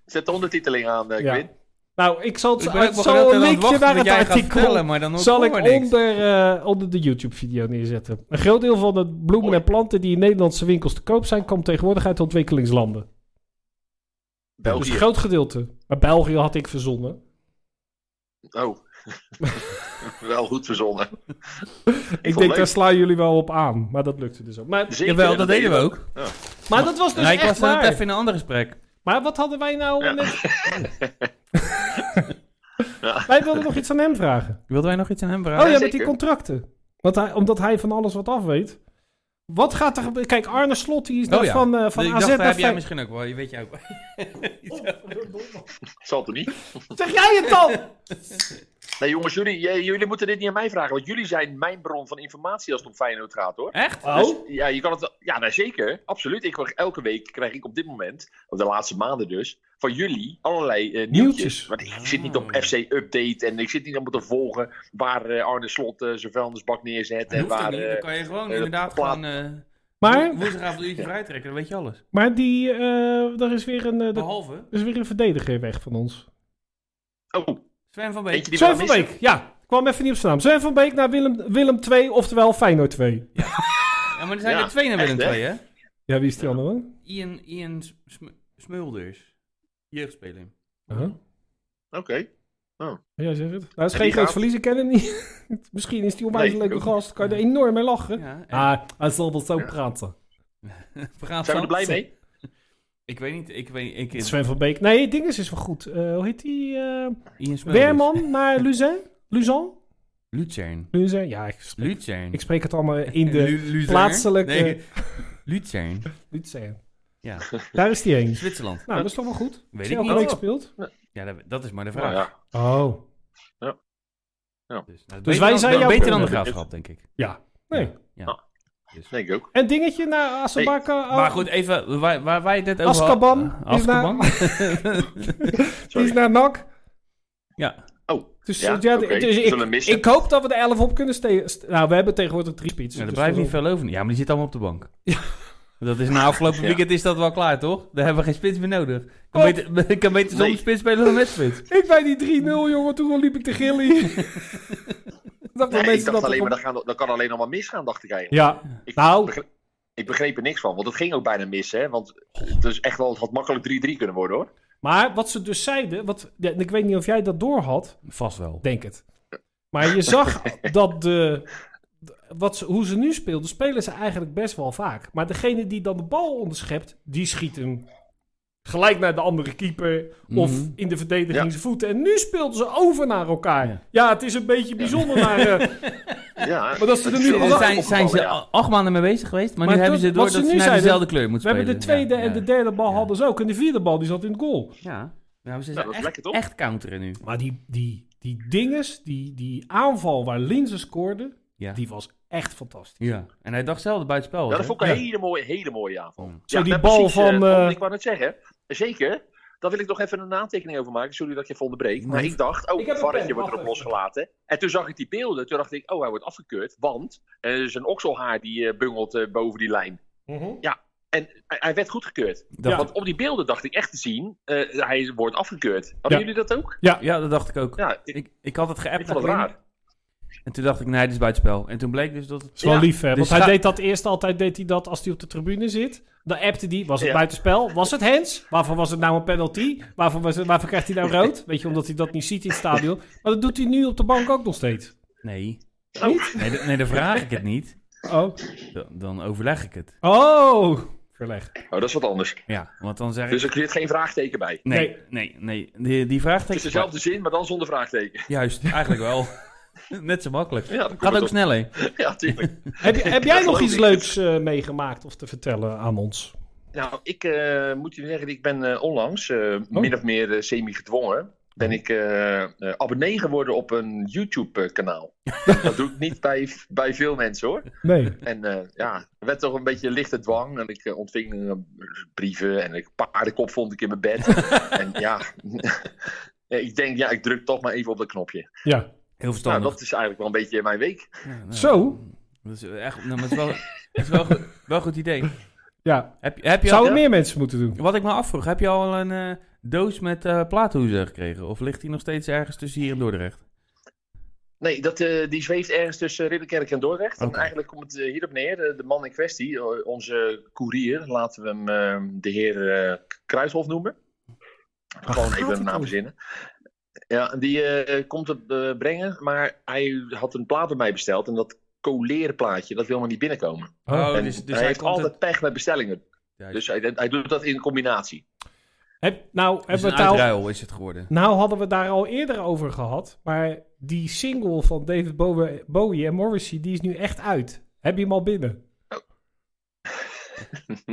[SPEAKER 6] Zet de ondertiteling aan, eh,
[SPEAKER 1] Ja.
[SPEAKER 6] Quinn.
[SPEAKER 1] Nou, ik zal het,
[SPEAKER 2] Ik ben ook
[SPEAKER 1] ik
[SPEAKER 2] wel
[SPEAKER 1] zal
[SPEAKER 2] gedeeld
[SPEAKER 1] een
[SPEAKER 2] aan het
[SPEAKER 1] linkje
[SPEAKER 2] wachten
[SPEAKER 1] naar
[SPEAKER 2] dat
[SPEAKER 1] het
[SPEAKER 2] jij gaat
[SPEAKER 1] artikel
[SPEAKER 2] vertellen, maar dan
[SPEAKER 1] zal
[SPEAKER 2] hoor
[SPEAKER 1] ik
[SPEAKER 2] ik niks.
[SPEAKER 1] onder, eh, onder de YouTube-video neerzetten. Een groot deel van de bloemen en planten die in Nederlandse winkels te koop zijn, komt tegenwoordig uit ontwikkelingslanden. Dus een
[SPEAKER 6] België.
[SPEAKER 1] groot gedeelte. Maar België had ik verzonnen.
[SPEAKER 6] Oh. wel goed verzonnen.
[SPEAKER 1] Ik
[SPEAKER 6] vond
[SPEAKER 1] denk,
[SPEAKER 6] het
[SPEAKER 1] daar
[SPEAKER 6] leuk.
[SPEAKER 1] slaan jullie wel op aan. Maar dat lukte dus ook. Maar,
[SPEAKER 6] Zeker,
[SPEAKER 2] Jawel, dat deden we
[SPEAKER 6] we
[SPEAKER 2] ook.
[SPEAKER 1] maar dat was dus
[SPEAKER 2] Nee, ik
[SPEAKER 1] echt
[SPEAKER 2] was net
[SPEAKER 1] waar.
[SPEAKER 2] even in een ander gesprek.
[SPEAKER 1] Maar wat hadden wij nou
[SPEAKER 6] Ja.
[SPEAKER 1] net... Wij wilden nog iets aan hem vragen.
[SPEAKER 2] Wilden wij nog iets aan hem vragen?
[SPEAKER 1] Oh ja, met die
[SPEAKER 6] zeker.
[SPEAKER 1] contracten. Want hij, omdat hij van alles wat af weet. Wat gaat er... gebe- Kijk, Arne Slot, die is
[SPEAKER 2] Oh
[SPEAKER 1] daar
[SPEAKER 2] ja.
[SPEAKER 1] van, eh, van
[SPEAKER 2] ik
[SPEAKER 1] AZ
[SPEAKER 2] dacht, daar
[SPEAKER 1] naar
[SPEAKER 2] heb jij
[SPEAKER 1] Fey-
[SPEAKER 2] misschien ook wel. Je weet jij ook wel.
[SPEAKER 6] Zal toch niet?
[SPEAKER 1] Zeg jij het dan?
[SPEAKER 6] Nee jongens, jullie, j- jullie moeten dit niet aan mij vragen. Want jullie zijn mijn bron van informatie als het om Feyenoord gaat hoor.
[SPEAKER 2] Echt?
[SPEAKER 6] Dus,
[SPEAKER 1] Oh?
[SPEAKER 6] ja, je kan het wel- ja nou, zeker. Absoluut. Ik, word- elke week krijg ik op dit moment, of de laatste maanden dus, van jullie allerlei eh, nieuwtjes.
[SPEAKER 1] Nieuwtjes.
[SPEAKER 6] Want ik zit niet
[SPEAKER 2] Ah.
[SPEAKER 6] op FC Update en ik zit niet allemaal te volgen waar eh, Arne Slot eh, zijn vuilnisbak neerzet.
[SPEAKER 2] Dat
[SPEAKER 6] En
[SPEAKER 2] hoeft ook
[SPEAKER 6] waar,
[SPEAKER 2] niet.
[SPEAKER 6] eh,
[SPEAKER 2] Dan kan je gewoon
[SPEAKER 6] eh,
[SPEAKER 2] inderdaad
[SPEAKER 6] plaat-
[SPEAKER 2] gewoon... eh,
[SPEAKER 1] Maar,
[SPEAKER 2] Woensdagavond een uurtje vrij trekken, dan weet je alles.
[SPEAKER 1] maar die, eh er is weer een, eh, er
[SPEAKER 2] Behalve
[SPEAKER 1] is weer een verdediger weg van ons.
[SPEAKER 6] oh,
[SPEAKER 2] Sven van
[SPEAKER 6] eentje
[SPEAKER 2] Beek.
[SPEAKER 6] die we
[SPEAKER 1] Sven
[SPEAKER 6] gaan
[SPEAKER 1] van
[SPEAKER 6] missen.
[SPEAKER 1] Beek, ja. Kwam even niet op zijn naam. Sven van Beek naar Willem, Willem 2, oftewel Feyenoord 2.
[SPEAKER 2] Ja, maar er zijn
[SPEAKER 6] Ja,
[SPEAKER 2] er twee naar Willem
[SPEAKER 6] echt, hè?
[SPEAKER 2] II, hè?
[SPEAKER 1] Ja, wie is die andere?
[SPEAKER 2] Ian, Ian Sm- Smulders. Jeugdspeler.
[SPEAKER 1] Huh?
[SPEAKER 6] Oké.
[SPEAKER 1] Jij zegt het. Nou, dat is
[SPEAKER 6] En
[SPEAKER 1] geen
[SPEAKER 6] die
[SPEAKER 1] groot
[SPEAKER 6] gaat-
[SPEAKER 1] verlies, ik ken hem niet. Misschien is die onwijs
[SPEAKER 6] Nee,
[SPEAKER 1] leuke
[SPEAKER 6] ook
[SPEAKER 1] gast. Kan je er enorm mee lachen.
[SPEAKER 2] Ja, en-
[SPEAKER 1] Ah, hij zal wel zo praten.
[SPEAKER 2] we gaan
[SPEAKER 6] Zijn we
[SPEAKER 2] van-
[SPEAKER 6] er blij mee?
[SPEAKER 2] Ik weet niet, ik weet ik,
[SPEAKER 1] Sven van Beek. Nee, Dinges is wel goed. Eh, hoe heet die? eh
[SPEAKER 2] Ian Smulders.
[SPEAKER 1] Weerman naar Luzin? Luzon?
[SPEAKER 2] Luzern.
[SPEAKER 1] Luzin? Ja, ik,
[SPEAKER 2] Luzern.
[SPEAKER 1] ik spreek het allemaal in de
[SPEAKER 2] Lu- Luzern?
[SPEAKER 1] plaatselijke...
[SPEAKER 2] Nee, Luzern.
[SPEAKER 1] Luzern.
[SPEAKER 2] Ja.
[SPEAKER 1] Daar is die heen.
[SPEAKER 2] Zwitserland.
[SPEAKER 1] Nou, dat is toch wel goed.
[SPEAKER 2] Weet
[SPEAKER 1] Als
[SPEAKER 2] ik
[SPEAKER 1] je elke
[SPEAKER 2] niet.
[SPEAKER 1] week speelt.
[SPEAKER 2] Ja, dat, dat is maar de
[SPEAKER 6] Nou
[SPEAKER 2] vraag.
[SPEAKER 6] ja.
[SPEAKER 1] Oh.
[SPEAKER 2] Dus, nou,
[SPEAKER 1] Dus
[SPEAKER 2] beter
[SPEAKER 1] wij
[SPEAKER 2] dan-
[SPEAKER 1] zijn jouw
[SPEAKER 2] Beter dan de
[SPEAKER 1] broer.
[SPEAKER 2] graafschap, denk ik.
[SPEAKER 1] Ja. Nee.
[SPEAKER 6] Denk ik ook.
[SPEAKER 1] En dingetje naar Asabaka.
[SPEAKER 2] Maar goed, even waar, waar wij dit over...
[SPEAKER 1] Oh. Azkaban
[SPEAKER 2] Eh,
[SPEAKER 1] is
[SPEAKER 2] Azkaban?
[SPEAKER 1] die is naar NAC.
[SPEAKER 2] ja. nou,
[SPEAKER 1] Dus,
[SPEAKER 6] Ja,
[SPEAKER 1] eh, ja,
[SPEAKER 6] oké.
[SPEAKER 1] dus
[SPEAKER 6] We
[SPEAKER 1] ik,
[SPEAKER 6] zullen missen.
[SPEAKER 1] ik hoop dat we de 11 op kunnen steken. Nou, we hebben tegenwoordig drie spits.
[SPEAKER 2] Ja, daar
[SPEAKER 1] dus
[SPEAKER 2] blijft
[SPEAKER 1] dat-
[SPEAKER 2] niet veel over. Ja, maar die zit allemaal op de bank. Dat is na afgelopen weekend is dat wel klaar, toch? Daar hebben we geen spits meer nodig. Ik kan
[SPEAKER 1] Oh.
[SPEAKER 2] beter, ik kan beter zonder
[SPEAKER 6] Nee.
[SPEAKER 2] spits spelen dan met spits.
[SPEAKER 1] Ik bij die 3-0, jongen, toen liep ik te gillen. Ik dacht
[SPEAKER 6] Nee,
[SPEAKER 1] dat mensen
[SPEAKER 6] ik dacht
[SPEAKER 1] dat
[SPEAKER 6] alleen maar, dat, gaan, dat kan alleen nog maar misgaan, dacht ik eigenlijk.
[SPEAKER 1] Ja,
[SPEAKER 6] Ik,
[SPEAKER 1] nou,
[SPEAKER 6] begreep, ik begreep er niks van, want het ging ook bijna mis, hè. Want het, is echt wel, het had makkelijk 3-3 kunnen worden, hoor.
[SPEAKER 1] Maar wat ze dus zeiden, wat, ja, en ik weet niet of jij dat doorhad,
[SPEAKER 2] Vast wel.
[SPEAKER 1] denk het. Maar je zag dat de, wat ze, hoe ze nu speelden, spelen ze eigenlijk best wel vaak. Maar degene die dan de bal onderschept, die schiet hem gelijk naar de andere keeper. Of
[SPEAKER 2] Mhm.
[SPEAKER 1] in de verdediging
[SPEAKER 6] Ja.
[SPEAKER 1] zijn voeten. En nu speelden ze over naar elkaar. Ja,
[SPEAKER 2] Ja.
[SPEAKER 1] het is een beetje bijzonder. Maar, eh,
[SPEAKER 6] Ja,
[SPEAKER 1] Maar dat ze er nu-
[SPEAKER 6] is
[SPEAKER 1] Daar
[SPEAKER 2] Daar
[SPEAKER 6] wel
[SPEAKER 2] zijn,
[SPEAKER 6] opgevallen,
[SPEAKER 2] zijn ze
[SPEAKER 6] ja.
[SPEAKER 2] a- acht maanden mee bezig geweest, maar,
[SPEAKER 1] Maar
[SPEAKER 2] nu hebben
[SPEAKER 1] dat-
[SPEAKER 2] ze door
[SPEAKER 1] wat
[SPEAKER 2] dat
[SPEAKER 1] ze
[SPEAKER 2] ze
[SPEAKER 1] nu
[SPEAKER 2] naar
[SPEAKER 1] zeiden,
[SPEAKER 2] dezelfde kleur moeten
[SPEAKER 1] we hebben de
[SPEAKER 2] spelen.
[SPEAKER 1] tweede
[SPEAKER 2] Ja,
[SPEAKER 1] en
[SPEAKER 2] ja.
[SPEAKER 1] de derde bal
[SPEAKER 2] Ja.
[SPEAKER 1] hadden ze ook. En de vierde bal die zat in het goal.
[SPEAKER 2] Ja, ja maar ze
[SPEAKER 6] Nou,
[SPEAKER 2] zijn
[SPEAKER 6] dat is
[SPEAKER 2] echt,
[SPEAKER 6] lekker, toch?
[SPEAKER 2] echt counteren nu.
[SPEAKER 1] Maar die, die, die dinges, die, die aanval waar Linzen scoorde,
[SPEAKER 2] Ja.
[SPEAKER 1] die was echt fantastisch.
[SPEAKER 2] ja. En hij dacht zelf buiten spel.
[SPEAKER 6] Ja, dat vond ik een hele mooie, hele mooie aanval.
[SPEAKER 2] Mm.
[SPEAKER 1] Zo die
[SPEAKER 6] maar
[SPEAKER 1] bal
[SPEAKER 6] eh,
[SPEAKER 1] van, eh,
[SPEAKER 6] Ik wou net zeggen, zeker. Daar wil ik nog even een aantekening over maken. Sorry dat ik je even onderbreek. Maar
[SPEAKER 2] Nee.
[SPEAKER 6] ik dacht, oh,
[SPEAKER 1] Ik heb een
[SPEAKER 6] varretje
[SPEAKER 1] pen,
[SPEAKER 6] wordt
[SPEAKER 1] wacht
[SPEAKER 6] erop losgelaten. En toen zag ik die beelden. Toen dacht ik, oh, hij wordt afgekeurd. Want eh, er is een okselhaar die eh, bungelt eh, boven die lijn. En hij, hij werd goedgekeurd.
[SPEAKER 1] Ja.
[SPEAKER 6] Want op die beelden dacht ik echt te zien, eh, hij wordt afgekeurd. Hadden
[SPEAKER 1] Ja.
[SPEAKER 6] jullie dat ook?
[SPEAKER 2] Ja, dat dacht ik ook.
[SPEAKER 6] Ja, ik,
[SPEAKER 2] Ik, ik had het geappt.
[SPEAKER 6] ik vond het
[SPEAKER 2] naar Quinn.
[SPEAKER 6] raar.
[SPEAKER 2] En toen dacht ik, nee, dit is buitenspel. En toen bleek dus dat het...
[SPEAKER 1] is wel
[SPEAKER 6] Ja.
[SPEAKER 1] lief, hè? Want
[SPEAKER 2] Dus
[SPEAKER 1] hij
[SPEAKER 2] ga-
[SPEAKER 1] deed dat eerst altijd, deed hij dat als hij op de tribune zit. Dan appte hij, was het
[SPEAKER 6] Ja.
[SPEAKER 1] buitenspel? Was het hands? Waarvoor was het nou een penalty? Waarvoor, was het, waarvoor krijgt hij nou rood? Weet je, omdat hij dat niet ziet in het stadion. Maar dat doet hij nu op de bank ook nog steeds.
[SPEAKER 2] Nee.
[SPEAKER 6] Oh.
[SPEAKER 2] Nee, dan- nee, dan vraag ik het niet.
[SPEAKER 1] Oh.
[SPEAKER 2] Dan, dan overleg ik het.
[SPEAKER 1] Oh. Verleg.
[SPEAKER 6] Oh, dat is wat anders.
[SPEAKER 2] Ja, want dan zeg
[SPEAKER 6] Dus
[SPEAKER 2] ik...
[SPEAKER 6] er zit geen vraagteken bij.
[SPEAKER 2] Nee, nee, nee. Die, die
[SPEAKER 6] Het is
[SPEAKER 2] vraagteken...
[SPEAKER 6] dezelfde zin, maar dan zonder vraagteken.
[SPEAKER 2] Juist, eigenlijk wel. Net zo makkelijk.
[SPEAKER 6] Ja, dat
[SPEAKER 2] Gaat ook snel, hè?
[SPEAKER 6] Ja, tuurlijk.
[SPEAKER 1] Heb, je- heb jij
[SPEAKER 6] Dat
[SPEAKER 1] nog
[SPEAKER 6] geloof
[SPEAKER 1] iets
[SPEAKER 6] ik.
[SPEAKER 1] leuks eh, meegemaakt of te vertellen aan ons?
[SPEAKER 6] Nou, ik eh, moet je zeggen, ik ben eh, onlangs, eh, min of meer eh, semi-gedwongen, ben ik eh, eh, abonnee geworden op een YouTube-kanaal. dat doe ik niet bij, bij veel mensen hoor.
[SPEAKER 1] Nee.
[SPEAKER 6] En eh, ja, er werd toch een beetje lichte dwang. En ik eh, ontving eh, brieven en ik paardenkop vond ik in mijn bed. en ja, ik denk, ja, ik druk toch maar even op dat knopje.
[SPEAKER 1] Ja.
[SPEAKER 2] Heel
[SPEAKER 6] Nou,
[SPEAKER 2] verstandig.
[SPEAKER 6] dat is eigenlijk wel een beetje mijn week.
[SPEAKER 2] Ja, nou,
[SPEAKER 1] Zo.
[SPEAKER 2] Dat is echt... Nou, maar het is wel, het is wel, goed- wel een goed idee.
[SPEAKER 1] Ja.
[SPEAKER 2] Heb, je- heb je al-
[SPEAKER 1] Zouden meer mensen moeten doen?
[SPEAKER 2] Wat ik me afvroeg, heb je al een eh, doos met eh plaathoezen gekregen? Of ligt die nog steeds ergens tussen hier en Dordrecht?
[SPEAKER 6] Nee, dat, eh, die zweeft ergens tussen Ridderkerk en Dordrecht. En
[SPEAKER 2] Oké.
[SPEAKER 6] eigenlijk komt het eh, hierop neer. De, de man in kwestie, eh, onze koerier, laten we hem eh, de heer eh Kruishof noemen. Gewoon
[SPEAKER 1] gaat
[SPEAKER 6] even
[SPEAKER 1] het
[SPEAKER 6] een naam
[SPEAKER 1] over?
[SPEAKER 6] verzinnen. Ja, die eh, komt het eh, brengen, maar hij had een plaat bij mij besteld. En dat coleerplaatje, dat wil maar niet binnenkomen.
[SPEAKER 1] Oh,
[SPEAKER 6] en hij, heeft
[SPEAKER 2] dus- komt
[SPEAKER 6] altijd pech met bestellingen.
[SPEAKER 2] het-
[SPEAKER 6] Dus hij, hij doet dat in combinatie.
[SPEAKER 1] Heb, nou,
[SPEAKER 2] Het
[SPEAKER 1] hebben
[SPEAKER 2] is Dus een
[SPEAKER 1] we het al-
[SPEAKER 2] uitruil is het geworden.
[SPEAKER 1] Nou hadden we het daar al eerder over gehad. Maar die single van David Bowie, Bowie en Morrissey, die is nu echt uit. Heb je hem al binnen?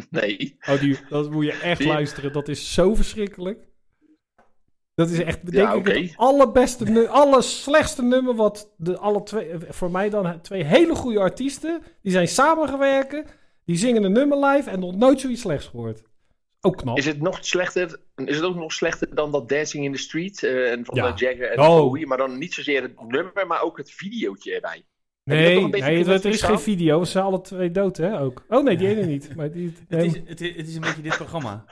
[SPEAKER 6] nee.
[SPEAKER 1] Oh, die, dat moet je echt
[SPEAKER 6] Die-
[SPEAKER 1] luisteren. Dat is zo verschrikkelijk. Dat is echt, denk
[SPEAKER 6] Ja,
[SPEAKER 1] ik,
[SPEAKER 6] oké.
[SPEAKER 1] het allerbeste, nu- allerslechtste nummer wat de, alle twee, eh, voor mij dan, twee hele goede artiesten, die zijn samengewerken, die zingen een nummer live en nog nooit zoiets slechts gehoord. Ook knap.
[SPEAKER 6] Is het nog slechter? Is het ook nog slechter dan dat Dancing in the Street eh, en van
[SPEAKER 1] Ja.
[SPEAKER 6] de Jagger en
[SPEAKER 1] Oh.
[SPEAKER 6] Bowie, maar dan niet zozeer het nummer, maar ook het videootje erbij. Heb je dat nog
[SPEAKER 1] Nee,
[SPEAKER 6] een beetje
[SPEAKER 1] nee
[SPEAKER 6] kunnen
[SPEAKER 1] het- er is geen
[SPEAKER 6] verstaan?
[SPEAKER 1] video. Ze zijn alle twee dood, hè, ook. Oh nee, die ene niet. Maar die,
[SPEAKER 2] Het is, het, is, het is een beetje dit programma.